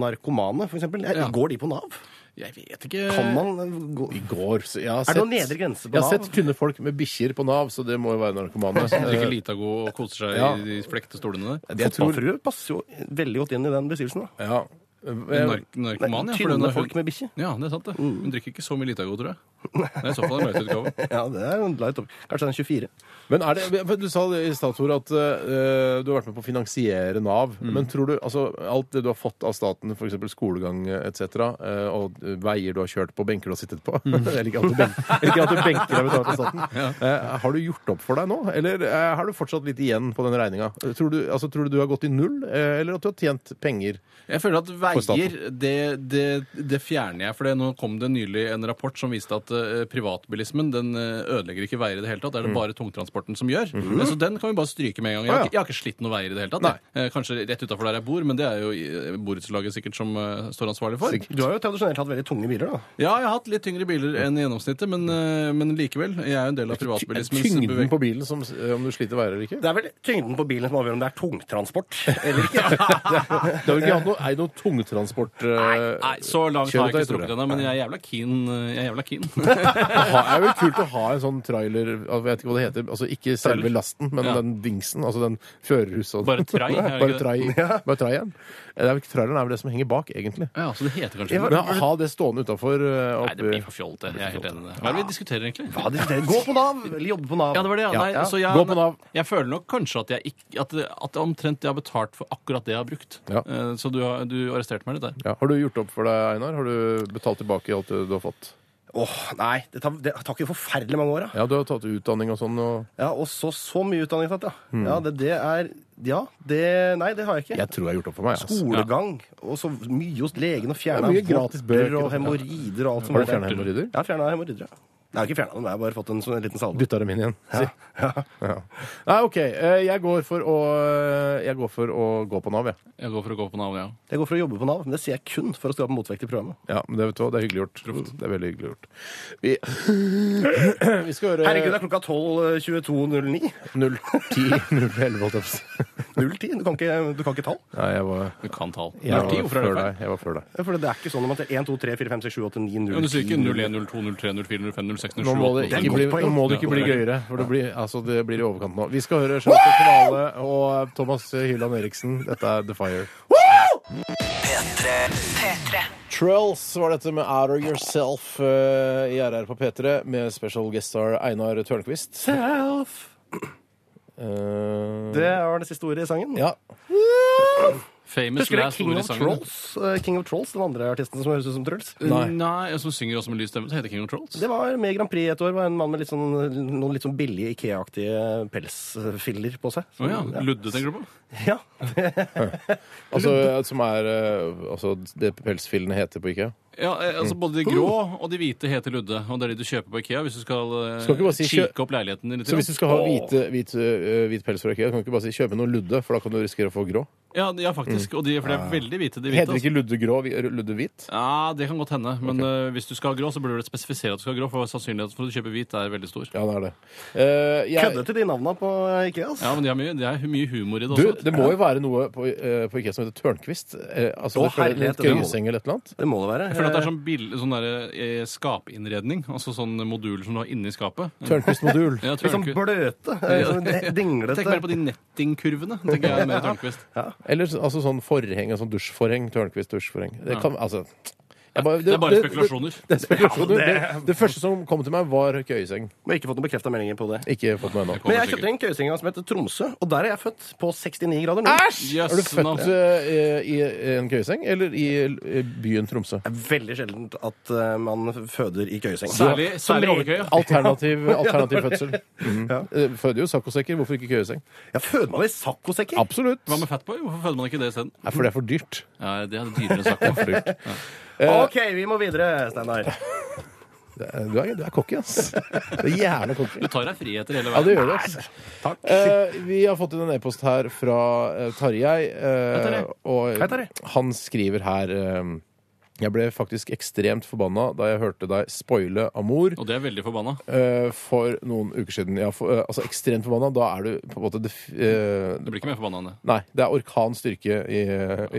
Speaker 5: narkomane, for eksempel. Eh,
Speaker 4: Ja.
Speaker 5: Går de på Nav?
Speaker 4: Jeg vet ikke.
Speaker 5: Kan man eh, gå
Speaker 3: I går så jeg har
Speaker 5: Er det noen nedre grense på
Speaker 3: Jeg har
Speaker 5: Nav?
Speaker 3: sett tynne folk med bikkjer på Nav, så det må jo være narkomane.
Speaker 4: Som drikker Litago og koser seg
Speaker 3: Ja.
Speaker 4: i de flekte stolene der.
Speaker 3: Eh, det jeg tror,
Speaker 5: Fotballfrue passer jo veldig godt inn i den beskrivelsen. da.
Speaker 3: ja. Eh,
Speaker 4: Nark narkoman, ja. for
Speaker 5: Tynne
Speaker 4: den er
Speaker 5: folk
Speaker 4: hun-
Speaker 5: med Mm. bikkje.
Speaker 4: Ja, det er sant, det. Hun drikker ikke så mye Litago, tror jeg. Det er i så fall en møteutgave.
Speaker 5: Ja, det er en light opp. Kanskje den er 24.
Speaker 3: Men er det, for Du sa det i stad, Tore, at eh, du har vært med på å finansiere Nav.
Speaker 5: Mm.
Speaker 3: Men tror du altså, alt det du har fått av staten, f.eks. skolegang etc., uh, og veier du har kjørt på, benker du har sittet på
Speaker 5: Mm.
Speaker 3: Jeg liker at du, ben jeg liker at du benker deg betalt av staten. Eh, har du gjort opp for deg nå, eller eh, har du fortsatt litt igjen på den regninga? Tror, du- altså, tror du du har gått i null, eh, eller at du har tjent penger?
Speaker 4: Jeg føler at veier,
Speaker 3: staten.
Speaker 4: det, det, det fjerner jeg. For det, nå kom det nylig en rapport som viste at eh, privatbilismen den eh, ødelegger ikke veier i det hele tatt. Det er
Speaker 5: Mm.
Speaker 4: det bare tungtransporten som gjør.
Speaker 5: Mhm.
Speaker 4: Eh, Så den kan vi bare stryke med en gang. Jeg
Speaker 3: Ah, ja.
Speaker 4: har, ikke- jeg har ikke slitt noen veier i det hele tatt. jeg. Eh, Kanskje rett utafor der jeg bor, men det er jo eh, borettslaget sikkert som eh, står ansvarlig for.
Speaker 5: Du har jo tradisjonelt hatt veldig tunge biler, da.
Speaker 4: Ja, jeg har hatt litt tyngre biler enn gjennomsnittet, men, eh, men likevel. Jeg er jo en del av privatbilismens
Speaker 3: Tyngden
Speaker 4: beveg-
Speaker 3: på bilen, som, eh, om du sliter veier eller ikke?
Speaker 5: Det er vel tyngden på bilen som avgjør om det er tungtransport eller ikke.
Speaker 3: Du har jo ikke hatt noe, ei noe tungtransport... eh,
Speaker 4: Nei, så langt har jeg
Speaker 3: kjøretøy,
Speaker 4: ikke strukket
Speaker 3: Tore.
Speaker 4: ennå, men jeg er jævla keen. eh, Jeg er jævla keen.
Speaker 3: Det er vel kult å ha en sånn trailer Jeg vet ikke hva det heter. Altså ikke selve lasten, men
Speaker 4: Ja.
Speaker 3: den dingsen. Altså den førerhuset. og-
Speaker 4: Bare trai, er det
Speaker 3: Bare
Speaker 4: ikke
Speaker 3: trai. Bare traieren. Det er vel ikke traileren er vel det som henger bak, egentlig.
Speaker 4: Ja, så det heter kanskje
Speaker 3: Men å ha det stående eh, utafor
Speaker 4: Nei, det blir for fjollete. Jeg er helt enig i det. Hva er det vi diskuterer, egentlig?
Speaker 5: Ja, det, det, gå på Nav, eller jobbe på Nav.
Speaker 4: Ja, det var det, ja.
Speaker 3: Ja,
Speaker 4: Nei,
Speaker 3: ja.
Speaker 4: Så jeg,
Speaker 3: Gå på Nav.
Speaker 4: jeg føler nok kanskje at jeg ikke at, det- at det omtrent jeg har betalt for akkurat det jeg har brukt.
Speaker 3: Ja.
Speaker 4: Eh, Så du, har, du arresterte meg litt der.
Speaker 3: ja. Har du gjort opp for deg, Einar? Har du betalt tilbake alt det du har fått?
Speaker 5: Åh, nei, det tar, det tar ikke forferdelig mange år, da.
Speaker 3: Ja, du har tatt utdanning og sånn. Og
Speaker 5: Ja, og så så mye utdanning, sant, ja. Ja, det, det er Ja, det Nei, det har jeg ikke.
Speaker 3: jeg tror jeg har gjort opp for meg. Altså.
Speaker 5: Skolegang, og så mye hos legen, og
Speaker 3: Det
Speaker 5: fjerna
Speaker 3: er mye gratis bøker og-
Speaker 5: og hemoroider og alt som
Speaker 3: Har
Speaker 5: er
Speaker 3: du fjerna hemoroider?
Speaker 5: Ja, fjerna hemoroider. ja. Jeg har ikke fjerna dem, jeg har bare fått en sånn liten salve.
Speaker 3: Bytta dem inn igjen. si. Ja. Nei, OK. eh, Jeg går for å, eh, jeg går, for å gå på Nav, jeg.
Speaker 4: Jeg går for å gå på navnet, ja.
Speaker 5: Jeg går for å jobbe på Nav, men det sier jeg kun for å skape motvekt i programmet.
Speaker 3: Ja, men det, vet du hva, det er hyggelig gjort. Det er veldig hyggelig gjort. Vi, vi skal høre Eh,
Speaker 4: eh,
Speaker 5: Herregud, det er klokka 12.22.09.
Speaker 3: 010 011, holdt jeg på å si.
Speaker 5: 0-10. Du, kan ikke- du kan ikke tall.
Speaker 3: Nei, jeg var,
Speaker 4: Du kan tall.
Speaker 3: jeg
Speaker 4: Null ti,
Speaker 3: var
Speaker 4: hvorfor
Speaker 3: før
Speaker 4: er det feil?
Speaker 3: deg. Jeg var før deg.
Speaker 5: For det er ikke sånn at det er 1, 2, 3, 4, 5, 6, 7, 8, 9, 0,
Speaker 4: Ja, men Du sier ikke 01, 02, 03, 04, 05, 06, 07,
Speaker 3: Nå må det
Speaker 4: 08
Speaker 3: ikke bli,
Speaker 5: godt poeng.
Speaker 3: nå må det ikke
Speaker 4: Ja,
Speaker 3: bli
Speaker 4: det er
Speaker 3: gøyere, for det blir, altså, det blir i overkant nå. Vi skal høre Charlotte Kvale og eh, Thomas Hylland Eriksen. Dette er The Fire.
Speaker 1: P3.
Speaker 3: Trells var dette med Out of Yourself eh, i RR på P3 med special guest star Einar Tørnquist. Eh,
Speaker 5: Det var det siste ordet i sangen.
Speaker 3: Ja.
Speaker 4: Famous
Speaker 5: Husker dere
Speaker 4: last
Speaker 5: King
Speaker 4: ord i
Speaker 5: of
Speaker 4: sangen.
Speaker 5: Trolls? Eh, King of Trolls, Den andre artisten som høres ut som Truls?
Speaker 3: Nei.
Speaker 4: Nei, jeg som synger også med lys stemme. Det heter King of Trolls.
Speaker 5: Det var med i Grand Prix et år. var En mann med litt sånn, noen litt sånn billige Ikea-aktige pelsfiller på seg.
Speaker 4: Å ja. Ludde, tenker du på?
Speaker 5: Ja.
Speaker 3: Altså, som er eh, altså, det pelsfillene heter på IKEA.
Speaker 4: Ja, eh, altså Både
Speaker 3: Mm.
Speaker 4: de grå og de hvite heter Ludde. Og det er de du kjøper på Ikea hvis du skal, eh,
Speaker 3: Skal ikke bare si kjø-
Speaker 4: kike opp leiligheten din. litt
Speaker 3: Så hvis du skal ha hvite, hvit, eh, hvit pels fra IKEA, kan du ikke bare si kjøpe noe Ludde, for da kan du risikere å få grå.
Speaker 4: Ja, ja
Speaker 3: Mm.
Speaker 4: faktisk. Og de, for de er veldig hvite. De hvite
Speaker 3: Heter
Speaker 4: altså.
Speaker 3: det ikke Ludde grå, vi- Ludde hvit?
Speaker 4: Ja, Det kan godt hende. Men eh, hvis du skal ha grå, så burde du spesifisere at du skal ha grå. For sannsynligheten for å kjøpe hvit er veldig stor.
Speaker 3: Ja, det er det. Eh, jeg,
Speaker 5: Kødde til de navna på Ikea. ass.
Speaker 4: Ja, men de har mye, det er mye humor i det
Speaker 3: du,
Speaker 4: også.
Speaker 3: det må jo være noe på, eh, på IKEA som heter Tørnquist. Eh, altså,
Speaker 5: Å,
Speaker 3: det føler-
Speaker 5: herlighet, det må-
Speaker 3: Gøyeseng eller et eller annet.
Speaker 5: Det må det være.
Speaker 4: Jeg føler at det er sånn, bild, sånn der, eh, skapinnredning. Altså sånne moduler som du har inni skapet.
Speaker 3: Tørnquist-modul.
Speaker 4: Ja,
Speaker 5: Litt sånn
Speaker 4: Tørnquist.
Speaker 5: bløte. eh, sånn
Speaker 4: Tenk mer på
Speaker 5: Dinglete.
Speaker 4: de nettingkurvene. tenker jeg mer Tørnquist.
Speaker 3: Eller så- altså sånn forheng, altså dusjforheng. Tørnquist dusjforheng. Det, kan, altså, jeg bare,
Speaker 4: Det er bare spekulasjoner.
Speaker 3: Det, det, er spekulasjoner. det, det første som kom til meg, var køyeseng.
Speaker 5: Men ikke fått noen bekrefta meldinger på det.
Speaker 3: Ikke fått med ennå.
Speaker 5: Men jeg kjøpte en køyeseng som heter Tromsø, og der er jeg født. På 69 grader nord.
Speaker 3: Æsj!
Speaker 4: Yes,
Speaker 3: er du født
Speaker 4: nå.
Speaker 3: eh, i en køyeseng, eller i eh, byen Tromsø?
Speaker 5: Det er veldig sjelden at eh, man føder i køyeseng.
Speaker 4: Særlig,
Speaker 5: Som
Speaker 4: særlig
Speaker 5: regel-
Speaker 4: overkøya.
Speaker 3: Alternativ, alternativ fødsel. Mhm. Eh, Føder jo saccosekker, hvorfor ikke køyeseng?
Speaker 5: Ja, føder man i saccosekker?
Speaker 3: Absolutt.
Speaker 4: Hva med Fatboy? Hvorfor føder man ikke det isteden?
Speaker 3: Nei, for det er for dyrt.
Speaker 4: Ja, det er dyrere sak.
Speaker 3: For dyrt.
Speaker 5: Eh, OK, vi må videre, Steinar.
Speaker 3: Det er- Du, er, du er cocky, ass. Du er jævla cocky.
Speaker 4: Du tar deg friheter hele
Speaker 3: Ja, det
Speaker 4: veien.
Speaker 3: gjør det. ass. Eh, vi har fått inn en e-post her fra eh, Tarjei. eh,
Speaker 4: Tarjei.
Speaker 3: Og
Speaker 5: Hei, Tarjei.
Speaker 3: han skriver her eh, Jeg ble faktisk ekstremt forbanna da jeg hørte deg spoile Amor.
Speaker 4: Og det er veldig forbanna.
Speaker 3: eh, For noen uker siden. Ja, for, eh, altså ekstremt forbanna. Da er du på en måte def eh,
Speaker 4: Du blir ikke mer forbanna enn det.
Speaker 3: Nei, det er orkan styrke i,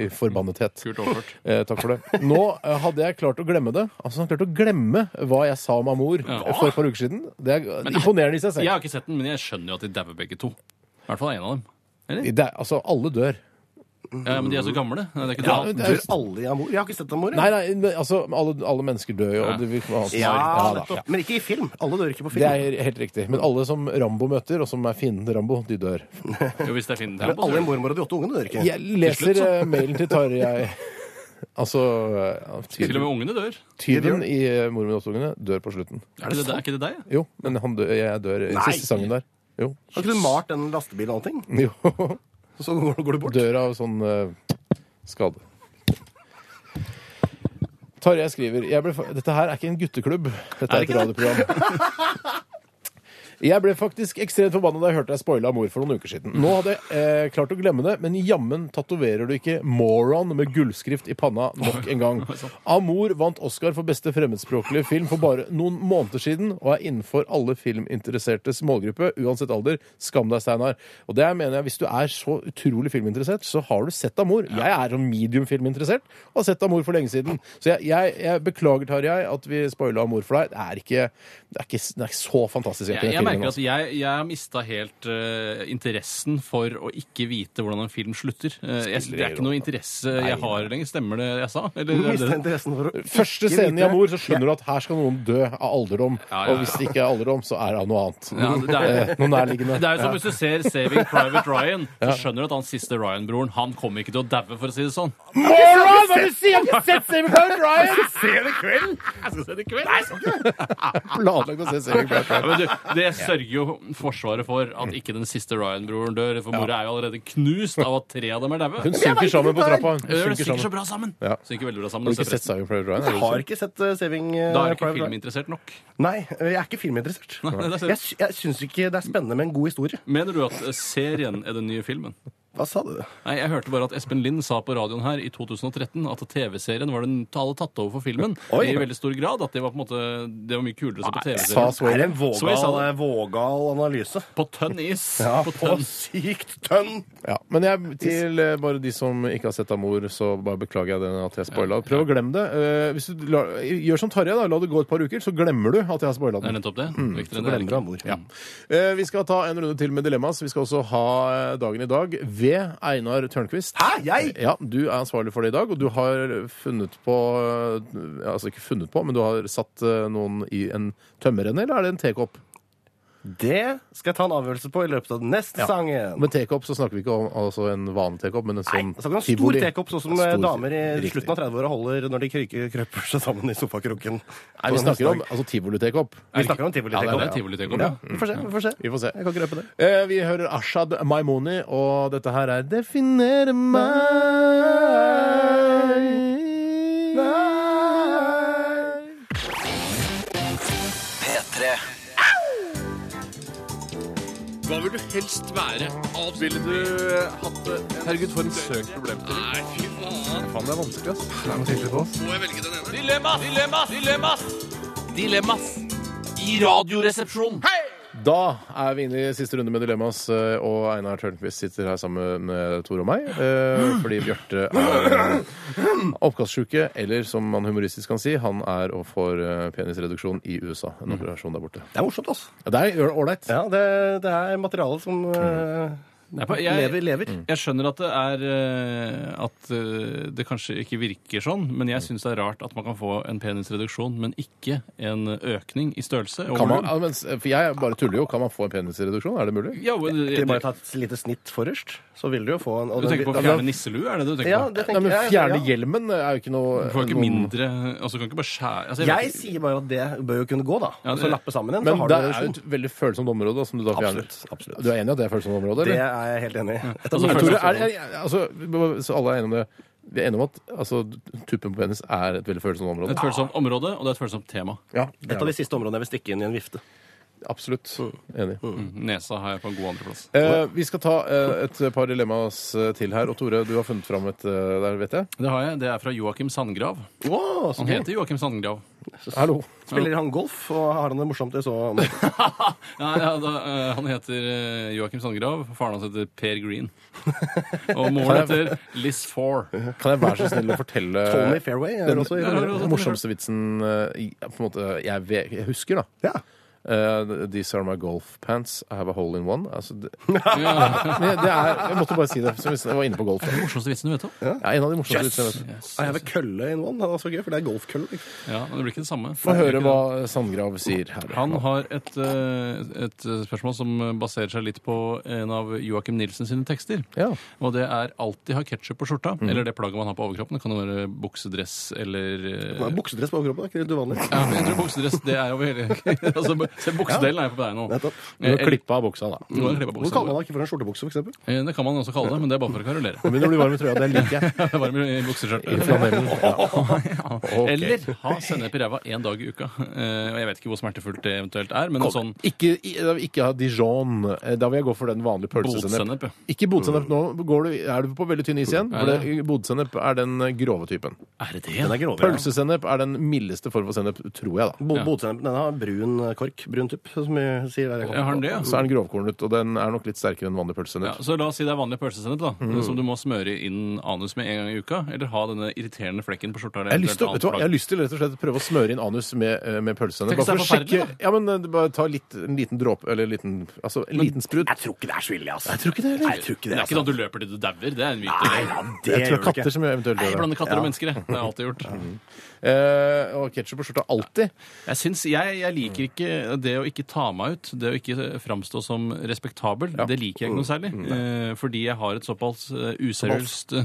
Speaker 3: i forbannethet.
Speaker 4: Kult overført.
Speaker 3: Eh, takk for det. Nå eh, hadde jeg klart å glemme det. Altså, han klarte å glemme hva jeg sa om Amor eh, for et par uker siden. Det er imponerende i seg
Speaker 4: Jeg
Speaker 3: selv.
Speaker 4: har ikke sett den, men jeg skjønner jo at de dauer begge to. I hvert fall en av dem.
Speaker 3: Det er, altså, alle dør.
Speaker 4: Ja, men de er så gamle. Nei, Det er ikke
Speaker 3: Ja,
Speaker 4: noe annet.
Speaker 3: det
Speaker 5: Dør
Speaker 3: er,
Speaker 5: alle i amor? Jeg har ikke sett amor. jeg.
Speaker 3: Nei, nei, men altså, alle, alle mennesker dør jo. og Det, vil ikke være
Speaker 5: Ja,
Speaker 3: annet.
Speaker 5: nettopp. Men ikke i film. Alle dør ikke på
Speaker 3: det
Speaker 5: film.
Speaker 3: er helt riktig. Men alle som Rambo møter, og som er fienden til Rambo, de dør.
Speaker 4: Jo, sånn. hvis det er Finn
Speaker 5: Men
Speaker 4: Tempo, så
Speaker 5: alle i
Speaker 4: er det.
Speaker 5: mormor og de åtte ungene dør ikke.
Speaker 3: Jeg leser eh, mailen til Tarjei Altså ja,
Speaker 4: Til og
Speaker 3: tyven,
Speaker 4: med ungene dør.
Speaker 3: tyven i eh, Mor min åtteungene dør på slutten.
Speaker 4: Er ikke det, er ikke det deg?
Speaker 3: Jo, men han dør, jeg dør i siste sangen der. Jo.
Speaker 5: Har ikke du malt den lastebilen og allting?
Speaker 3: jo.
Speaker 5: Så går, går du bort.
Speaker 3: Dør av sånn eh, skade. Tarjei skriver jeg ble, fa- Dette her er ikke en gutteklubb. Dette er, et radioprogram. Jeg ble faktisk ekstremt forbanna da jeg hørte deg spoile Amor for noen uker siden. Nå hadde jeg eh, klart å glemme det, men jammen tatoverer du ikke 'moron' med gullskrift i panna nok en gang. Amor vant Oscar for beste fremmedspråklige film for bare noen måneder siden, og er innenfor alle filminteressertes målgruppe, uansett alder. Skam deg, Steinar. Og det mener jeg, hvis du er så utrolig filminteressert, så har du sett Amor. Jeg er sånn medium filminteressert, og har sett Amor for lenge siden. Så jeg, jeg, jeg beklager, Tarjei, at vi spoila Amor for deg. Det er ikke, det er ikke, det er ikke så fantastisk.
Speaker 4: Jeg, jeg
Speaker 3: den filmen,
Speaker 4: merker at
Speaker 3: altså.
Speaker 4: jeg, jeg har mista helt eh, interessen for å ikke vite hvordan en film slutter. Eh, jeg, det er ikke noe interesse jeg har lenger. Stemmer det jeg sa? Eller, er
Speaker 5: Mista
Speaker 4: det det?
Speaker 5: interessen for å
Speaker 3: Første
Speaker 5: ikke
Speaker 3: scenen i
Speaker 5: vite-
Speaker 3: Amor, så skjønner du at her skal noen dø av alderdom.
Speaker 4: Ja, ja, ja.
Speaker 3: Og hvis det ikke er alderdom, så er det av noe annet.
Speaker 4: Ja, altså, det er-
Speaker 3: Eh, Noe nærliggende.
Speaker 4: Det er jo som hvis du ser Saving Private Ryan, så skjønner du at han siste Ryan-broren Han kommer ikke til å daue, for å si det sånn.
Speaker 3: Moron! Hva er det du sier? Jeg har ikke sett Saving Private Ryan!
Speaker 4: Jeg skal se det i kveld!
Speaker 3: Planlagt å se Saving Private
Speaker 4: sånn. Ja, men du, det sørger jo Forsvaret for at ikke den siste Ryan-broren dør, for mora er jo allerede knust av at tre av dem er daue.
Speaker 3: Hun synker sammen på trappa.
Speaker 4: Det
Speaker 3: Hun synker
Speaker 4: synker så
Speaker 3: sammen.
Speaker 4: bra sammen.
Speaker 3: Ja.
Speaker 4: Synker veldig bra
Speaker 3: Har
Speaker 4: sammen. altså,
Speaker 3: du ikke sett Saving Private Ryan?
Speaker 5: Jeg har ikke sett eh, Saving eh,
Speaker 4: Da er du ikke
Speaker 5: Private Ryan.
Speaker 4: filminteressert nok.
Speaker 5: Nei, eh, jeg er ikke filminteressert.
Speaker 4: Nei, det er sant.
Speaker 5: Jeg, sy- jeg syns ikke det er spennende med en god historie.
Speaker 4: Mener du at serien er den nye filmen?
Speaker 5: Hva sa du?
Speaker 4: Nei, Jeg hørte bare at Espen Lind sa på radioen her i 2013 at TV-serien var den alle tatt over for filmen.
Speaker 5: Oi.
Speaker 4: I veldig stor grad. At det var på en måte, det var mye kulere å se på
Speaker 5: Sa
Speaker 4: TV-serien.
Speaker 5: Sway. Er det en
Speaker 4: Sway sa
Speaker 5: vågal,
Speaker 4: det.
Speaker 5: vågal analyse?
Speaker 4: På tønn is. på
Speaker 5: på
Speaker 4: tønn.
Speaker 5: sykt tønn!
Speaker 3: Ja, men jeg, til eh, bare de som ikke har sett Amor, så bare beklager jeg den at jeg spoila. Prøv å glemme det. Eh, hvis du la, gjør som Tarjei, da. La det gå et par uker, så glemmer du at jeg har spoila
Speaker 4: Det er
Speaker 3: den.
Speaker 4: nettopp det. Viktigere enn det er det
Speaker 5: Mm, Glemmer
Speaker 4: ikke.
Speaker 5: han hvor.
Speaker 3: Ja. Eh, Vi skal ta en runde til med dilemmas. Vi skal også ha eh, dagen i dag ved Einar Tørnquist. Eh,
Speaker 5: Hæ, jeg?
Speaker 3: Ja, Du er ansvarlig for det i dag, og du har funnet på eh, Altså ikke funnet på, men du har satt eh, noen i en tømmerrenne, eller er det en tekopp?
Speaker 5: Det skal jeg ta en avgjørelse på i løpet av neste
Speaker 3: Ja.
Speaker 5: sangen.
Speaker 3: Med tekopp så snakker vi ikke om altså en vanlig tekopp, men en sånn
Speaker 5: Så altså, kan du ha stor
Speaker 3: tivoli.
Speaker 5: tekopp, sånn som
Speaker 3: Stor-
Speaker 5: damer i
Speaker 3: Riktig.
Speaker 5: slutten av 30-åra holder når de kryker, krøper seg sammen i sofakroken.
Speaker 3: Nei, vi snakker om altså, tivolitekkopp.
Speaker 5: Vi snakker om tivolitekkopp.
Speaker 4: Ja, det er Mm. tivolitekkopp, ja.
Speaker 5: Vi får se. Vi får se.
Speaker 3: Vi får se.
Speaker 5: Jeg kan krøpe det.
Speaker 3: Eh, vi hører Ashad Maimoni, og dette her er 'Definere meg'.
Speaker 2: P3.
Speaker 6: Hva vil du helst være? Ville du eh, hatt det? Herregud, for en søk problemstilling. Nei, fy faen. Faen, det er vanskelig, ass. Det er noe tydelig på oss. Må jeg velge den ene? Dilemmas! Dilemmas! Dilemmas! Dilemmas! I radioresepsjonen! Hei!
Speaker 3: Da er vi inne i siste runde med Dilemmas, eh, og Einar Tørnquist sitter her sammen med Tor og meg. eh, Fordi Bjarte er eh, oppkastsjuke, eller som man humoristisk kan si, han er og får eh, penisreduksjon i USA. En operasjon der borte.
Speaker 5: Det er morsomt, altså.
Speaker 3: Ja, Det er ålreit.
Speaker 5: Ja, det, det er materialet som eh,
Speaker 4: Nei, på- jeg- Mm.
Speaker 5: lever, lever.
Speaker 4: Jeg skjønner at det er eh, At eh, det kanskje ikke virker sånn, men
Speaker 5: Mm.
Speaker 4: jeg syns det er rart at man kan få en penisreduksjon, men ikke en økning i størrelse. og
Speaker 3: Kan man,
Speaker 4: volum.
Speaker 3: ja, men, s- for jeg bare tuller jo. Kan man få en penisreduksjon? Er det mulig?
Speaker 4: ja, men,
Speaker 5: Ikke bare ta et lite snitt forrest, så vil du jo få en og
Speaker 4: Du tenker på å
Speaker 5: den- altså,
Speaker 4: fjerne nisselue? Er det det du tenker
Speaker 5: Ja,
Speaker 4: på?
Speaker 5: det
Speaker 3: Nei,
Speaker 5: tenker
Speaker 3: men
Speaker 5: jeg.
Speaker 3: Fjerne
Speaker 5: ja.
Speaker 3: hjelmen er jo ikke noe
Speaker 4: Du får jo ikke
Speaker 3: noen-
Speaker 4: mindre altså, Du kan ikke bare skjære altså,
Speaker 5: Jeg
Speaker 4: vet ikke-
Speaker 5: sier bare at det bør jo kunne gå, da.
Speaker 4: Ja,
Speaker 5: Og så
Speaker 4: det-
Speaker 5: lappe sammen en, så
Speaker 3: Men
Speaker 5: har du
Speaker 3: det
Speaker 5: en
Speaker 3: er jo
Speaker 5: reduksjon.
Speaker 3: et veldig følsomt område da, som du da fjerner.
Speaker 5: Absolutt, absolutt.
Speaker 3: Du er enig i at det er et følsomt område?
Speaker 5: Det
Speaker 3: Eller?
Speaker 5: er jeg helt enig i. Et av
Speaker 4: Altså,
Speaker 5: de
Speaker 3: Men
Speaker 4: er-
Speaker 3: Tore,
Speaker 5: følelsene-
Speaker 3: er, er, er, altså, så alle er enige om det. Vi er enige om at altså, tuppen på penis er et veldig følsomt
Speaker 4: det er
Speaker 3: område.
Speaker 4: et følsomt område, og det er et følsomt tema.
Speaker 3: Ja, det
Speaker 5: et av
Speaker 3: er,
Speaker 5: de siste områdene jeg vil stikke inn i en vifte.
Speaker 3: det. absolutt.
Speaker 5: Mm.
Speaker 3: Enig.
Speaker 4: Nesa har jeg på en god andreplass.
Speaker 3: Eh, vi skal ta eh, et par dilemmas eh, til her. Og Tore, du har funnet fram et eh, der, vet jeg.
Speaker 4: Det har jeg, det er fra Joakim Sandgrav.
Speaker 5: Wow, så
Speaker 4: Han heter Joakim Sandgrav.
Speaker 3: Hallo.
Speaker 5: Spiller han golf, og har han det morsomt i så måte?
Speaker 4: Nei, ja, da, eh, han heter eh, Joakim Sandgrav. Faren hans heter Per Green. Og moren heter Liz Four.
Speaker 3: Kan jeg være så snill å fortelle
Speaker 5: Tony Fairway er
Speaker 3: den
Speaker 5: også i
Speaker 4: Ja,
Speaker 5: Romerike.
Speaker 3: den morsomste vitsen eh, i- på en måte, jeg, ve- jeg husker, da?
Speaker 5: Ja.
Speaker 3: Eh, these are my golf pants. I have a hole in one. Altså, det, Men det er, jeg måtte bare si det. Som jeg var inne på golf.
Speaker 4: Den Morsomste vitsen du vet om.
Speaker 3: Ja, en av de morsomste vitsene jeg vet.
Speaker 4: Yes.
Speaker 5: Jeg har en kølle in one. Det er så gøy, for det er golfkølle. liksom.
Speaker 4: Ja, men det blir ikke det samme.
Speaker 3: Få høre hva Sandgrav sier her.
Speaker 4: Han har et, eh, et spørsmål som baserer seg litt på en av Joakim Nilsen sine tekster.
Speaker 3: Ja. Mm.
Speaker 4: Og det er alltid ha ketsjup på skjorta, eller det plagget man har på overkroppen. Det kan jo være buksedress eller eh,
Speaker 5: Det er Buksedress på overkroppen, det er ikke litt uvanlig?
Speaker 4: ja, jeg tror buksedress det er over hele altså, Se, buksedelen er jo på deg nå. Eh,
Speaker 5: Nettopp.
Speaker 3: Du må klippe av buksa, da.
Speaker 4: Nå kan jeg klippe av
Speaker 5: Hvorfor kaller
Speaker 4: buksa.
Speaker 5: man det ikke for en skjortebukse, for eksempel?
Speaker 4: Eh, Det kan man også kalle det, men det er bare for å karolere.
Speaker 3: Men når du blir varm i trøya, det liker jeg.
Speaker 4: Varm i bukseskjørtet.
Speaker 3: Flanellen. Ok.
Speaker 4: Eller ha sennep i ræva én dag i uka. Eh, Og jeg vet ikke hvor smertefullt det eventuelt er, men en sånn
Speaker 3: Ikke, i- da vil jeg ikke ha Dijon. Eh, Da vil jeg gå for den vanlige pølsesennep.
Speaker 4: botsennep. ja.
Speaker 3: Ikke bodsennep nå. Går du, er du på veldig tynn is igjen? For det- Bodsennep er den eh, grove typen.
Speaker 4: Er det det?
Speaker 5: Den er grovere. ja.
Speaker 3: Pølsesennep er den mildeste form for sennep, tror jeg, da.
Speaker 5: Bo- Botsennepen den har brun eh, kork, brun tupp, som vi sier der.
Speaker 4: Ja, Har den det, ja?
Speaker 3: Så er den grovkornet, og den er nok litt sterkere enn vanlig
Speaker 4: Ja,
Speaker 3: pølsesennep.
Speaker 4: så la oss si det er vanlig pølsesennep, da.
Speaker 3: Mm.
Speaker 4: Som du må smøre inn anus med en gang i uka. Eller ha denne irriterende flekken på skjorta. eller
Speaker 3: Jeg har, lyst til,
Speaker 4: eventuelt
Speaker 3: vet du hva, jeg har
Speaker 4: annet
Speaker 3: lyst til rett og slett å prøve å smøre inn anus med, eh, med pølsesennep.
Speaker 4: Tenk hvis
Speaker 3: Bare for å
Speaker 4: det er
Speaker 3: sjekke Ja, men eh, bare ta litt, en liten dråpe Eller en liten, altså, en liten sprut.
Speaker 5: Jeg tror ikke det er så ille, altså. Jeg tror ikke det,
Speaker 4: plagg.
Speaker 5: Jeg tror ikke
Speaker 4: Det
Speaker 5: det, altså.
Speaker 4: er ikke sånn at du løper til du dauer. Det er en myte.
Speaker 5: Nei, ja,
Speaker 3: Jeg tror det
Speaker 5: det gjør
Speaker 3: er
Speaker 5: du ikke.
Speaker 3: katter som eventuelt
Speaker 4: Jeg
Speaker 3: gjør det.
Speaker 4: blander katter og mennesker, jeg. Det har jeg alltid gjort.
Speaker 3: Mm. Eh, og ketsjup på skjorta alltid.
Speaker 4: Jeg, syns, jeg, jeg
Speaker 3: Mm.
Speaker 4: liker ikke det å ikke ta meg ut, det å ikke framstå som respektabel. Det liker jeg ikke noe særlig.
Speaker 3: Mm.
Speaker 4: eh, fordi jeg har et såpass eh, useriøst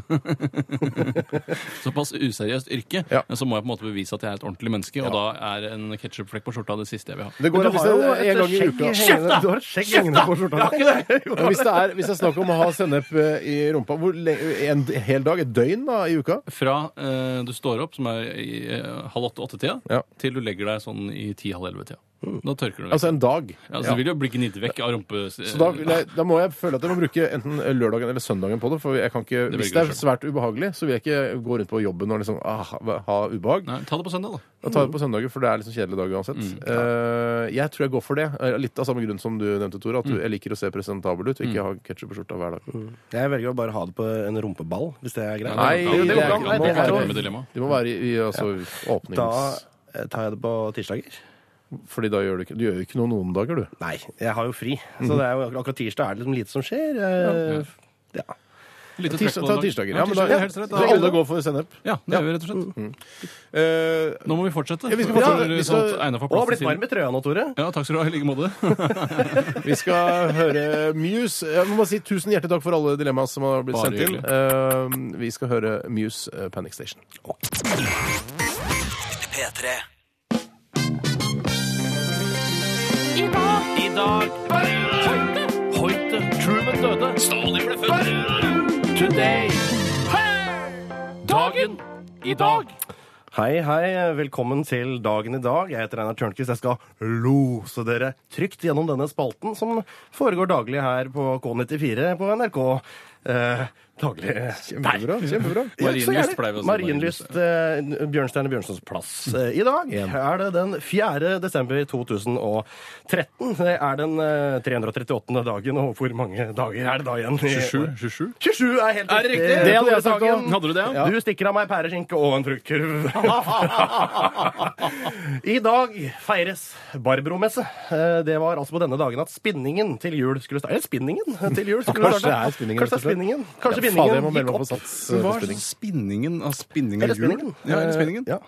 Speaker 4: Såpass useriøst yrke.
Speaker 3: Ja.
Speaker 4: Så må jeg på en måte bevise at jeg er et ordentlig menneske, og da er en ketsjupflekk på skjorta det siste jeg vil ha.
Speaker 3: Det går
Speaker 5: Men
Speaker 3: an hvis det er en gang i
Speaker 5: skjegg
Speaker 3: uka.
Speaker 5: hengende- Du har et skjegg hengende på skjorta.
Speaker 3: Ja, Hvis det er, hvis det er snakk om å ha sennep eh, i rumpa hvor le en d- hel dag, et døgn da, i uka
Speaker 4: Fra eh, du står opp, som er i eh, halv åtte-åtte-tida,
Speaker 3: Ja.
Speaker 4: til du legger deg sånn i ti-halv elleve-tida. Da tørker du deg.
Speaker 3: Altså en dag.
Speaker 4: ja, så
Speaker 3: Ja.
Speaker 4: vil du jo bli gnidd vekk av rumpe...
Speaker 3: Så da, vil jeg, da må jeg føle at jeg må bruke enten lørdagen eller søndagen på det. For jeg kan ikke,
Speaker 4: Det
Speaker 3: hvis
Speaker 4: velger
Speaker 3: det
Speaker 4: du
Speaker 3: er svært ubehagelig, så vil jeg ikke gå rundt på jobben og liksom ah, ha ubehag.
Speaker 4: Nei, Mm, ta det på søndag, da.
Speaker 3: Jeg tar det på søndager, for det er liksom kjedelig dag uansett. Eh, jeg tror jeg går for det. Eh, Litt av samme grunn som du nevnte, Tore. At du,
Speaker 4: Mm.
Speaker 3: jeg liker å se presentabel ut og ikke ha ketsjup på skjorta hver dag.
Speaker 5: Jeg velger å bare ha det på en rumpeball, hvis det er greit.
Speaker 4: Nei, det går ikke an.
Speaker 5: det går ikke an.
Speaker 4: Nei,
Speaker 5: Nei, det
Speaker 4: er
Speaker 5: er
Speaker 4: jo-
Speaker 5: jo-
Speaker 4: dilemma.
Speaker 3: De må være i, i altså, åpnings...
Speaker 5: Da eh, tar jeg det på tirsdager.
Speaker 3: Fordi da gjør du ikke Du gjør jo ikke noe noen dager, du.
Speaker 5: Nei, jeg har jo fri. Så det er jo akkurat tirsdag er det liksom lite som skjer. Eh, Ja.
Speaker 4: Litt å trekke
Speaker 3: Tirsdag,
Speaker 4: på
Speaker 3: ta
Speaker 4: den dagen.
Speaker 3: tirsdager. Ja, men da,
Speaker 4: tirsdag er helt rett, da.
Speaker 3: Så alle går for sennep.
Speaker 4: Ja, det gjør vi rett og slett.
Speaker 3: Eh,
Speaker 4: Nå må vi fortsette.
Speaker 3: Ja, vi skal fortsette.
Speaker 4: Før,
Speaker 3: Vi
Speaker 4: sånn
Speaker 3: skal-
Speaker 4: at Einar får
Speaker 5: Og har
Speaker 4: plass
Speaker 5: blitt
Speaker 4: til
Speaker 5: varm
Speaker 4: sin.
Speaker 5: i trøya nå, Tore.
Speaker 4: Ja, takk skal du ha. I like måte.
Speaker 3: Vi skal høre Muse. Jeg må bare si Tusen hjertelig takk for alle dilemmaer som har blitt
Speaker 4: Bare
Speaker 3: sendt inn.
Speaker 4: hyggelig.
Speaker 3: Eh, vi skal høre Muse eh, Panic Station.
Speaker 2: P3.
Speaker 7: I dag Hoite Hoite Truman døde Stalin ble født Today Dagen I dag
Speaker 5: Hei, hei. Velkommen til Dagen i dag. Jeg heter Einar Tørnquist. Jeg skal lose dere trygt gjennom denne spalten som foregår daglig her på K94 på NRK. Eh, daglig.
Speaker 3: Kjempebra. kjempebra.
Speaker 4: Marienlyst pleier vi å si.
Speaker 5: Marienlyst, eh, Bjørnstjerne Bjørnsons plass. Eh, I dag er det den 4. desember 2013. Det er den eh, 338. dagen, og hvor mange dager er det da igjen?
Speaker 4: 27?
Speaker 5: i år?
Speaker 4: 27?
Speaker 5: 27 er helt
Speaker 4: Er det riktig?
Speaker 5: Eh,
Speaker 4: Det hadde jeg
Speaker 5: Tore
Speaker 4: sagt også.
Speaker 5: Sagen,
Speaker 4: Hadde du det, ja?
Speaker 5: Du stikker av meg pæreskinke og en fruktkurv. I dag feires Barbro-messe. Eh, Det var altså på denne dagen at spinningen til jul skulle starte. Eller spinningen til jul skulle
Speaker 3: Kanskje
Speaker 5: starte.
Speaker 3: det er spinningen,
Speaker 5: Kanskje det er spinningen. Kanskje
Speaker 3: Ja, faen, jeg må melde
Speaker 5: spinningen
Speaker 3: meg på
Speaker 5: gikk opp.
Speaker 3: sats. eh,
Speaker 4: Hva er
Speaker 3: spinning.
Speaker 4: sånn spinningen av spinning
Speaker 5: Eller
Speaker 4: av hjul?
Speaker 5: spinningen.
Speaker 4: Ja, eller spinningen.
Speaker 5: Eh, Ja.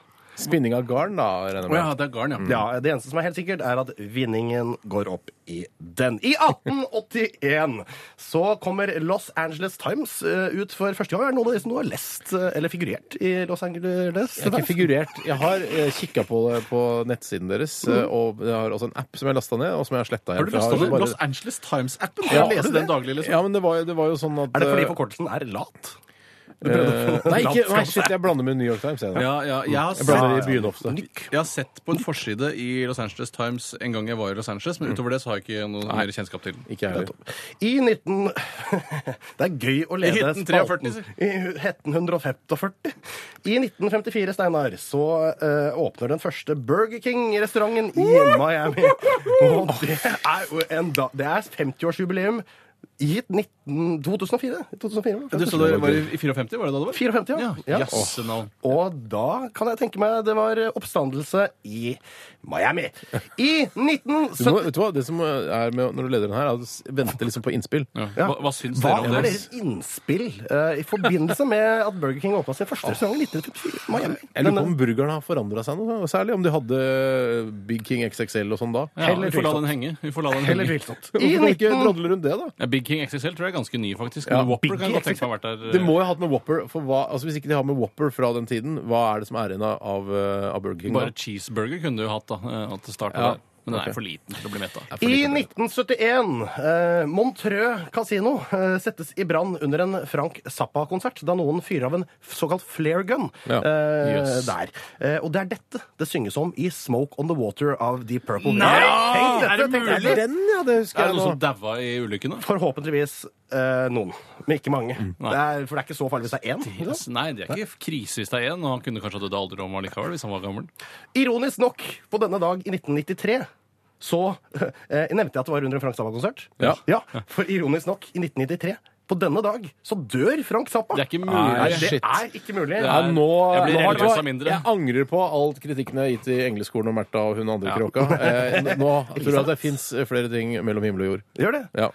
Speaker 3: Spinning av garn, da, regner jeg
Speaker 4: Å
Speaker 3: med.
Speaker 4: ja, det er garn, ja.
Speaker 5: Ja, Det eneste som er helt sikkert, er at vinningen går opp i den. I 1881 så kommer Los Angeles Times eh, ut for første gang. Er det noen av dere som nå har lest eh, eller figurert i Los Angeles?
Speaker 3: Jeg har ikke figurert. Jeg har eh, kikka på det på nettsiden deres, eh, og jeg har også en app som jeg lasta ned, og som jeg har sletta
Speaker 4: Mm. Har du lyst til å Los Angeles Times-appen? Kan
Speaker 3: Ja,
Speaker 4: jeg lese
Speaker 3: det-
Speaker 4: den daglig, liksom?
Speaker 3: Ja, men det var, jo- det var jo sånn at
Speaker 5: Er det fordi
Speaker 3: eh,
Speaker 5: forkortelsen er lat?
Speaker 3: eh, Nei, ikke, nei,
Speaker 5: Landskap-
Speaker 3: shit, jeg blander med New York Times. Jeg, da.
Speaker 4: Ja, ja, jeg har
Speaker 3: jeg
Speaker 4: sett
Speaker 3: blander i byen altså. ofte.
Speaker 4: jeg har sett på en forside i Los Angeles Times en gang jeg var i Los Angeles, men utover det så har jeg ikke noe mer kjennskap til den.
Speaker 3: Mm. Ikke jeg heller.
Speaker 5: I 19... Det er gøy å
Speaker 4: I
Speaker 5: lede
Speaker 4: 1943, sier.
Speaker 5: I 1945. I 1954, Steinar, så eh, åpner den første Burger King-restauranten i Miami. Og det er, jo en da, det er 50-årsjubileum i 19, 2004. 2004
Speaker 4: Du sa det var i i 54, var det da det var?
Speaker 5: 54, ja.
Speaker 4: ja.
Speaker 5: Ja.
Speaker 4: Jassenavn.
Speaker 5: Og da kan jeg tenke meg det var oppstandelse i Miami. I
Speaker 3: Du må,
Speaker 5: 1970...
Speaker 3: vet du hva, det som er med når du leder den her, er at du s- venter liksom på innspill.
Speaker 4: Ja.
Speaker 5: Ja.
Speaker 4: Hva, hva syns
Speaker 5: Hva
Speaker 4: dere om
Speaker 5: var
Speaker 4: det?
Speaker 5: deres innspill eh, i forbindelse med at Burger King åpna sin første restaurant i 1954? Miami?
Speaker 3: Jeg
Speaker 4: eh,
Speaker 3: lurer på om burgerne har forandra seg noe særlig. Om de hadde eh, Big King XXL og sånn da.
Speaker 4: Ja, vi får la den henge. Vi får la den
Speaker 5: Heller
Speaker 4: henge.
Speaker 5: tvilsomt. I
Speaker 3: Hvorfor kan vi ikke
Speaker 5: 19...
Speaker 3: drodle rundt det, da?
Speaker 4: Ja, Big King XXL tror jeg er ganske ny, faktisk.
Speaker 3: Ja,
Speaker 4: Men Whopper
Speaker 5: Big
Speaker 4: kan jeg godt
Speaker 5: King
Speaker 4: tenke meg har vært der. eh,
Speaker 3: Det må jo ha hatt med Whopper for hva, altså Hvis ikke de har med Whopper fra den tiden, hva er det som er igjen av, eh, av Burger King? da?
Speaker 4: Bare cheeseburger kunne du jo hatt, da. eh, At det startet
Speaker 3: Ja,
Speaker 4: der. Men den er for liten til å bli mett av.
Speaker 5: I 1971 eh, Montreux kasino eh, settes i brann under en Frank Zappa-konsert da noen fyrer av en såkalt flare gun
Speaker 3: Ja.
Speaker 5: eh,
Speaker 3: Yes.
Speaker 5: der. Eh, og det er dette det synges om i Smoke On The Water av Deep Purple. Nei! Tenk dette,
Speaker 4: Er det
Speaker 5: tenk
Speaker 4: mulig?
Speaker 5: dette.
Speaker 3: Den, ja, det husker
Speaker 4: Er det
Speaker 3: jeg
Speaker 4: noen
Speaker 3: nå.
Speaker 4: som daua i ulykken, da?
Speaker 5: Forhåpentligvis eh, noen, men ikke mange.
Speaker 3: Mm.
Speaker 5: det er, for det er ikke så farlig hvis det er én. ikke sant?
Speaker 4: Yes. Nei, det er ikke krise hvis det er én, og han kunne kanskje hatt dødd av alderdom allikevel hvis han var gammel.
Speaker 5: Ironisk nok, på denne dag i 1993 så eh, Jeg nevnte at det var under en Frank Zappa-konsert.
Speaker 3: Ja.
Speaker 5: For ironisk nok, i 1993, på denne dag, så dør Frank Zappa!
Speaker 4: Det er ikke
Speaker 5: Nei,
Speaker 4: mulig.
Speaker 5: det
Speaker 3: shit.
Speaker 5: er ikke mulig.
Speaker 4: Det
Speaker 3: Ja,
Speaker 4: er-
Speaker 3: nå,
Speaker 4: Jeg blir
Speaker 3: nå har-
Speaker 4: religiøs av mindre.
Speaker 3: Jeg angrer på alt kritikken jeg har gitt til Engleskolen og Märtha og hun andre kråka. Eh, n- nå tror jeg at det fins flere ting mellom himmel og jord.
Speaker 5: Gjør det.
Speaker 3: Ja.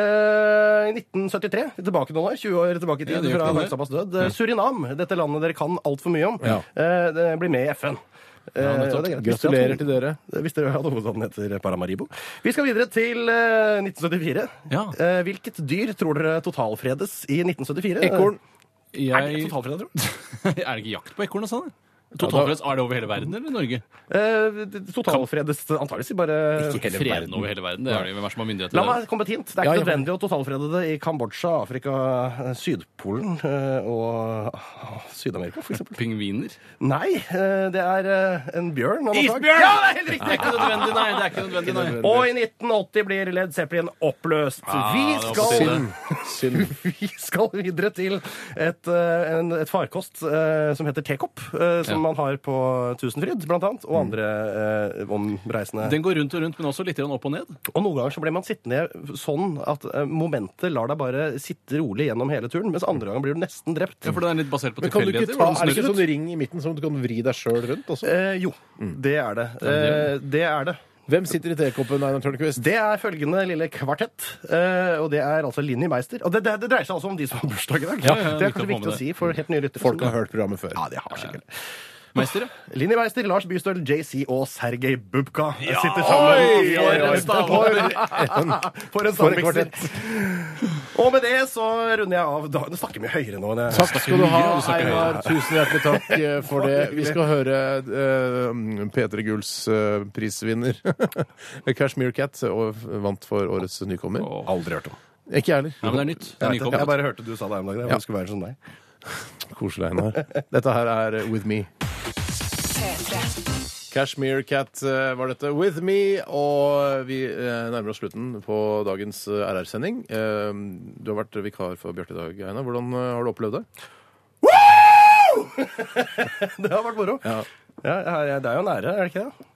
Speaker 5: Eh, I 1973, tilbake noen år, 20 år tilbake i
Speaker 4: Ja,
Speaker 5: tid,
Speaker 4: det gjør ikke
Speaker 5: fra
Speaker 4: noe,
Speaker 5: Frank
Speaker 4: det.
Speaker 5: Zappas død. eh, Surinam, dette landet dere kan altfor mye om,
Speaker 3: Ja.
Speaker 5: eh, det blir med i FN. Eh,
Speaker 4: nettopp.
Speaker 5: og det er greit.
Speaker 3: Gratulerer til dere.
Speaker 5: Eh, Hvis dere hadde hovedstaden heter Paramaribo. Vi skal videre til eh, 1974.
Speaker 4: Ja.
Speaker 5: Eh, hvilket dyr tror dere totalfredes i 1974?
Speaker 3: Ekorn.
Speaker 5: Er det
Speaker 4: Jeg...
Speaker 5: totalfredet, tror du?
Speaker 4: Er det ikke jakt på ekorn og sånn? Totalfreds, Er det over hele verden eller Norge?
Speaker 5: Eh, totalfredes antakeligvis bare
Speaker 4: Ikke freden over hele verden. Det er det hvem er det som har myndighet til
Speaker 5: La
Speaker 4: det?
Speaker 5: meg komme med et hint. Det er
Speaker 3: Ja,
Speaker 5: ikke
Speaker 3: ja.
Speaker 5: nødvendig å totalfrede det i Kambodsja, Afrika, eh, Sydpolen eh, og ah, Syd-Amerika, for eksempel.
Speaker 4: Pingviner?
Speaker 5: Nei, eh, det er eh, en bjørn. av noe slag.
Speaker 4: Isbjørn!
Speaker 5: Ja, det er helt riktig!
Speaker 4: Det er ikke nødvendig, nei. Det er ikke nødvendig, nei.
Speaker 5: Og i 1980 blir Led Zeppelin oppløst. vi,
Speaker 4: Ah, det var på
Speaker 5: skal,
Speaker 4: tide.
Speaker 3: Synd.
Speaker 5: vi skal videre til et, eh, en, et farkost eh, som heter Tekopp, eh,
Speaker 4: Ja.
Speaker 5: som man har på Tusenfryd, blant annet, og andre eh, omreisende.
Speaker 4: Den går rundt og rundt, men også litt grann opp og ned.
Speaker 5: Og noen ganger så blir man sittende sånn at eh, momentet lar deg bare sitte rolig gjennom hele turen, mens andre ganger blir du nesten drept.
Speaker 4: Ja, for den er litt basert på
Speaker 3: Men kan du ikke
Speaker 4: tilfeldigheter.
Speaker 3: ta,
Speaker 4: hvordan
Speaker 3: er det
Speaker 4: den
Speaker 3: ikke
Speaker 4: snur
Speaker 3: sånn
Speaker 4: ut.
Speaker 3: ring i midten som du kan vri deg sjøl rundt? Også?
Speaker 5: Eh, jo, det er det. Eh, det er det.
Speaker 3: Hvem sitter i tekoppen, Einar Tørnquist?
Speaker 5: Det er følgende lille kvartett, eh, og det er altså Linni Meister. Og det, det, det dreier seg altså om de som har bursdag i dag.
Speaker 4: Ja, ja, viktig å få
Speaker 5: det er kanskje
Speaker 4: med
Speaker 5: viktig
Speaker 4: det.
Speaker 5: å si for helt nye lyttere.
Speaker 3: Folk
Speaker 5: som-
Speaker 3: har hørt programmet før.
Speaker 5: Ja, det har sikkert.
Speaker 4: Meister, ja.
Speaker 5: Linni Meister, Lars Bystøl, JC og Sergej Bubka sitter
Speaker 4: oi,
Speaker 5: sammen.
Speaker 4: oi, oi, oi.
Speaker 5: For en
Speaker 3: For en
Speaker 5: stavmikser. Og med det så runder jeg av dagen. Det snakker mye høyere nå enn jeg
Speaker 3: Takk skal du ha,
Speaker 4: Mye, du snakker
Speaker 3: Einar. Tusen hjertelig takk eh, for det. Vi skal høre eh, P3 Gulls eh, prisvinner. Kashmir Cat og vant for årets nykommer.
Speaker 5: aldri hørt om.
Speaker 3: Ikke jeg heller.
Speaker 4: Nei, men det er nytt. Det er
Speaker 5: Jeg, vet det. jeg
Speaker 4: nykommet.
Speaker 5: bare hørte du sa det her om dagen. Jeg ønsker å være som deg.
Speaker 3: Koselig, Einar. Dette her er eh, With Me.
Speaker 1: P3.
Speaker 3: Kashmir Cat eh, var dette With Me, og vi eh, nærmer oss slutten på dagens eh, RR-sending. Eh, Du har vært vikar for Bjarte i dag, Einar. Hvordan eh, har du opplevd det?
Speaker 5: Det har vært moro. Ja. jeg- jeg- det er jo en ære, er det ikke det?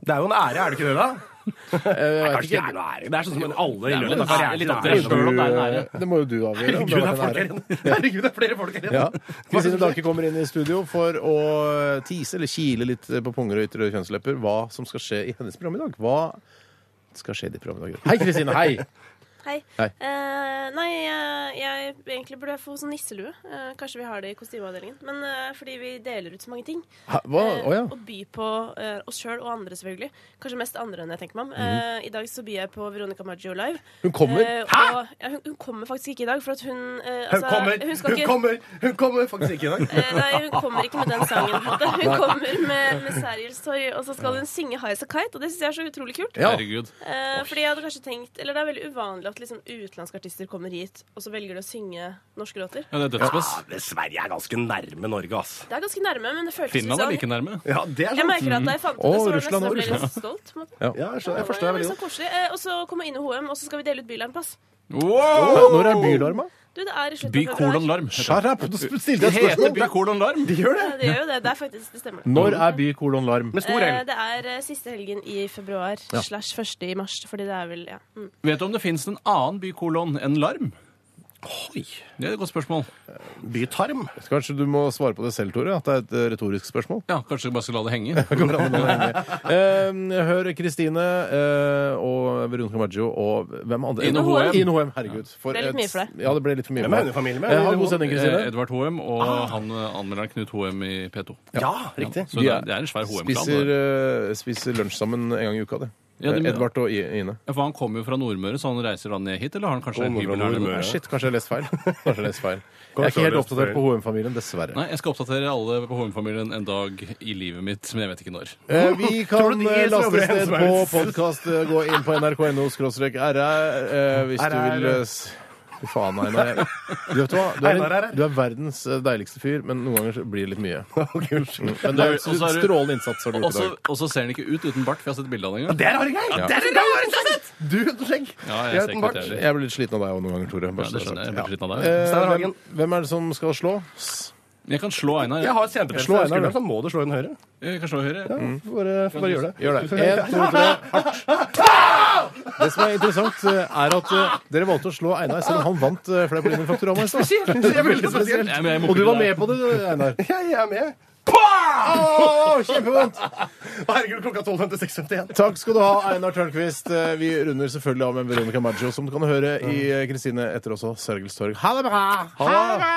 Speaker 5: Det er jo en ære, er det ikke det, da?
Speaker 3: Eh, Jeg vet
Speaker 5: Kanskje det er noe ære. Det er sånn som alle i
Speaker 4: vel
Speaker 5: løpet
Speaker 4: en ære, litt
Speaker 5: av
Speaker 4: sånn
Speaker 5: karrieren
Speaker 4: opp til
Speaker 5: er
Speaker 4: deg selv.
Speaker 5: ære.
Speaker 4: om det er en ære.
Speaker 3: eh, Det må jo du avgjøre. om det
Speaker 5: Herregud, det
Speaker 3: har vært en
Speaker 5: er folk
Speaker 3: ære.
Speaker 5: her inne. Herregud, det er flere folk her
Speaker 3: Ja.
Speaker 5: inne.
Speaker 3: Kristine Dake kommer inn i studio for å tise eller kile litt på punger og ytre kjønnslepper hva som skal skje i hennes program i dag. Hva skal skje i ditt program i dag? Hei, Kristine! Hei!
Speaker 8: Hei.
Speaker 3: Hei.
Speaker 8: Eh, nei, eh, jeg egentlig burde jeg få sånn nisselue. Eh, kanskje vi har det i kostymeavdelingen. Men eh, fordi vi deler ut så mange ting.
Speaker 3: Hæ, Hva?
Speaker 8: eh,
Speaker 3: Å ja.
Speaker 8: Og byr på eh, oss sjøl og andre, selvfølgelig. Kanskje mest andre enn jeg tenker meg om. Eh, I dag så byr jeg på Veronica Maggio live.
Speaker 3: Mhm. Hun kommer.
Speaker 8: Eh, og, ja, hun, hun kommer faktisk ikke i dag, for at hun eh,
Speaker 5: Hun
Speaker 8: altså,
Speaker 5: kommer,
Speaker 8: hun skal
Speaker 5: hun
Speaker 8: ikke-
Speaker 5: kommer, hun kommer faktisk ikke i dag.
Speaker 8: Eh, Nei, hun kommer ikke med den sangen. på en måte. Hun kommer med, med Sergelstorg, og så skal hun synge High As A Kite, og det syns jeg er så utrolig kult.
Speaker 3: Ja.
Speaker 4: Herregud.
Speaker 8: Eh, fordi jeg hadde kanskje tenkt Eller det er veldig uvanlig at liksom, utenlandske artister kommer hit, og så velger de å synge norske låter.
Speaker 4: Ja, det er dødspass.
Speaker 5: Ja, men Sverige er ganske nærme Norge, ass.
Speaker 8: Det er ganske nærme, men det føltes litt
Speaker 4: Finland er
Speaker 8: sånn.
Speaker 4: like nærme.
Speaker 5: Ja, det er
Speaker 8: Jeg
Speaker 5: sant.
Speaker 8: merker at da jeg fant ut
Speaker 3: Å,
Speaker 8: det, så var det
Speaker 3: Russland og
Speaker 8: nesten jeg ble litt stolt. på en måte.
Speaker 3: Ja.
Speaker 5: Ja, jeg skjønner- jeg forstår
Speaker 8: Det
Speaker 5: deg
Speaker 8: var
Speaker 5: veldig
Speaker 8: liksom
Speaker 5: godt.
Speaker 8: koselig. Eh, og så kommer jeg inn i HM, og så skal vi dele ut bylarmpass.
Speaker 4: Wow!
Speaker 3: Når er bylarma?
Speaker 8: Du, det er i slutten
Speaker 4: By
Speaker 8: av februar.
Speaker 4: kolon larm.
Speaker 3: Shut up! Du stilte
Speaker 4: Det
Speaker 3: et
Speaker 4: heter by
Speaker 3: spørsmål!
Speaker 4: kolon larm.
Speaker 8: Ja, det gjør jo det. Det er faktisk Det stemmer.
Speaker 3: Når er by kolon larm?
Speaker 5: Med stor
Speaker 8: Eh,
Speaker 5: L.
Speaker 8: det er eh, siste helgen i februar slash første i mars, fordi det er vel ja. Mm.
Speaker 4: Vet du om det fins en annen by kolon enn larm?
Speaker 5: Oi.
Speaker 4: Det er et godt spørsmål.
Speaker 5: Bytarm.
Speaker 3: Kanskje du må svare på det selv, Tore? At det er et eh, retorisk spørsmål?
Speaker 4: Ja, Kanskje vi bare skal la det henge.
Speaker 3: Eh, hør Kristine eh, og Veronica Maggio og hvem andre?
Speaker 4: Ine Hoem.
Speaker 3: Ine Hoem, herregud. For
Speaker 8: Ble litt
Speaker 3: et-
Speaker 8: mye for deg.
Speaker 3: Ja, det ble litt for mye.
Speaker 5: Hvem er hun i familie med?
Speaker 3: Eh, Ha en god sending,
Speaker 4: Eh,
Speaker 3: Kristine.
Speaker 4: Edvard Hoem og han eh, anmelderen Knut Hoem i P2.
Speaker 5: Ja, riktig.
Speaker 4: Så det er, det er en svær
Speaker 3: Spiser,
Speaker 4: Hoem-klan.
Speaker 3: eh, spiser lunsj sammen en gang i uka, det. Eh,
Speaker 4: Ja, det-
Speaker 3: Edvard og I- Ine.
Speaker 4: Ja, for han kommer jo fra Nordmøre, så han reiser da ned hit? Eller har han kanskje en
Speaker 5: Kommer fra
Speaker 4: hybel her? nede?
Speaker 5: Nordmøre.
Speaker 3: Ah, Shit, kanskje jeg har lest feil. Kanskje jeg har lest feil. Jeg er
Speaker 5: Kanskje
Speaker 3: ikke
Speaker 5: jeg
Speaker 3: helt
Speaker 5: har lest
Speaker 3: oppdatert
Speaker 5: feil.
Speaker 3: på HM-familien, dessverre.
Speaker 4: Nei, jeg skal oppdatere alle på Hoem-familien en dag i livet mitt, men jeg vet ikke når.
Speaker 3: Eh, vi
Speaker 5: Tror du
Speaker 3: kan
Speaker 5: de
Speaker 3: eh,
Speaker 5: som jobber i
Speaker 3: lastes ned
Speaker 5: Helse
Speaker 3: på
Speaker 5: Maurits?
Speaker 3: podkast. Gå inn på nrk.no skråstrek rr eh, hvis du
Speaker 5: RR.
Speaker 3: vil eh, s- Fy faen, Einar. Du vet hva? Du er,
Speaker 5: Einar RR.
Speaker 3: en, du er verdens eh, deiligste fyr, men noen ganger så blir det litt mye. Mm,
Speaker 5: Ok, unnskyld.
Speaker 3: Men det er
Speaker 4: Og så er du-
Speaker 3: strålende innsats har du gjort i dag.
Speaker 4: Også- Og så ser han ikke ut uten bart, for jeg har sett bilde av han en gang.
Speaker 5: Det er rare greier! Det er rare greier! Du uten skjegg.
Speaker 4: Ja, jeg
Speaker 5: Jeg
Speaker 4: ser
Speaker 5: uten
Speaker 4: ikke
Speaker 5: bart.
Speaker 4: at jeg er det.
Speaker 3: Jeg blir litt sliten av deg òg noen ganger, Tore. Bare
Speaker 4: Ja, det
Speaker 3: så det
Speaker 4: skjønner jeg.
Speaker 3: er
Speaker 4: Jeg
Speaker 3: sagt.
Speaker 4: blir sliten av
Speaker 3: Ja.
Speaker 4: deg.
Speaker 3: Eh,
Speaker 5: Steinar
Speaker 3: hvem,
Speaker 5: Hagen.
Speaker 3: hvem er det som skal slås?
Speaker 4: Jeg kan slå Einar.
Speaker 5: Jeg har senepels.
Speaker 3: Slå
Speaker 5: Slå
Speaker 3: Einar,
Speaker 5: hendene.
Speaker 3: da.
Speaker 5: Så må du slå en høyre.
Speaker 4: Jeg kan slå høyre.
Speaker 5: Får Bare, får bare gjør det.
Speaker 3: Gjør det. En, to, tre, hardt. Det som er interessant, eh, er at eh, dere valgte å slå Einar selv om han vant eh, Flere på linjen Faktorama i stad.
Speaker 5: Det er veldig spesielt.
Speaker 4: Nei, men jeg må
Speaker 3: Og du
Speaker 4: ikke
Speaker 3: var
Speaker 4: bli
Speaker 3: med på det, Einar.
Speaker 5: Jeg er med.
Speaker 3: Åh, Kjempevondt!
Speaker 5: Herregud, klokka 12.56.51.
Speaker 3: Takk skal du ha, Einar Tørnquist. Eh, Vi runder selvfølgelig av med Veronica Maggio, som du kan høre i eh, Kristine etter også Sørgelstorg. Ha det bra! Ha det bra!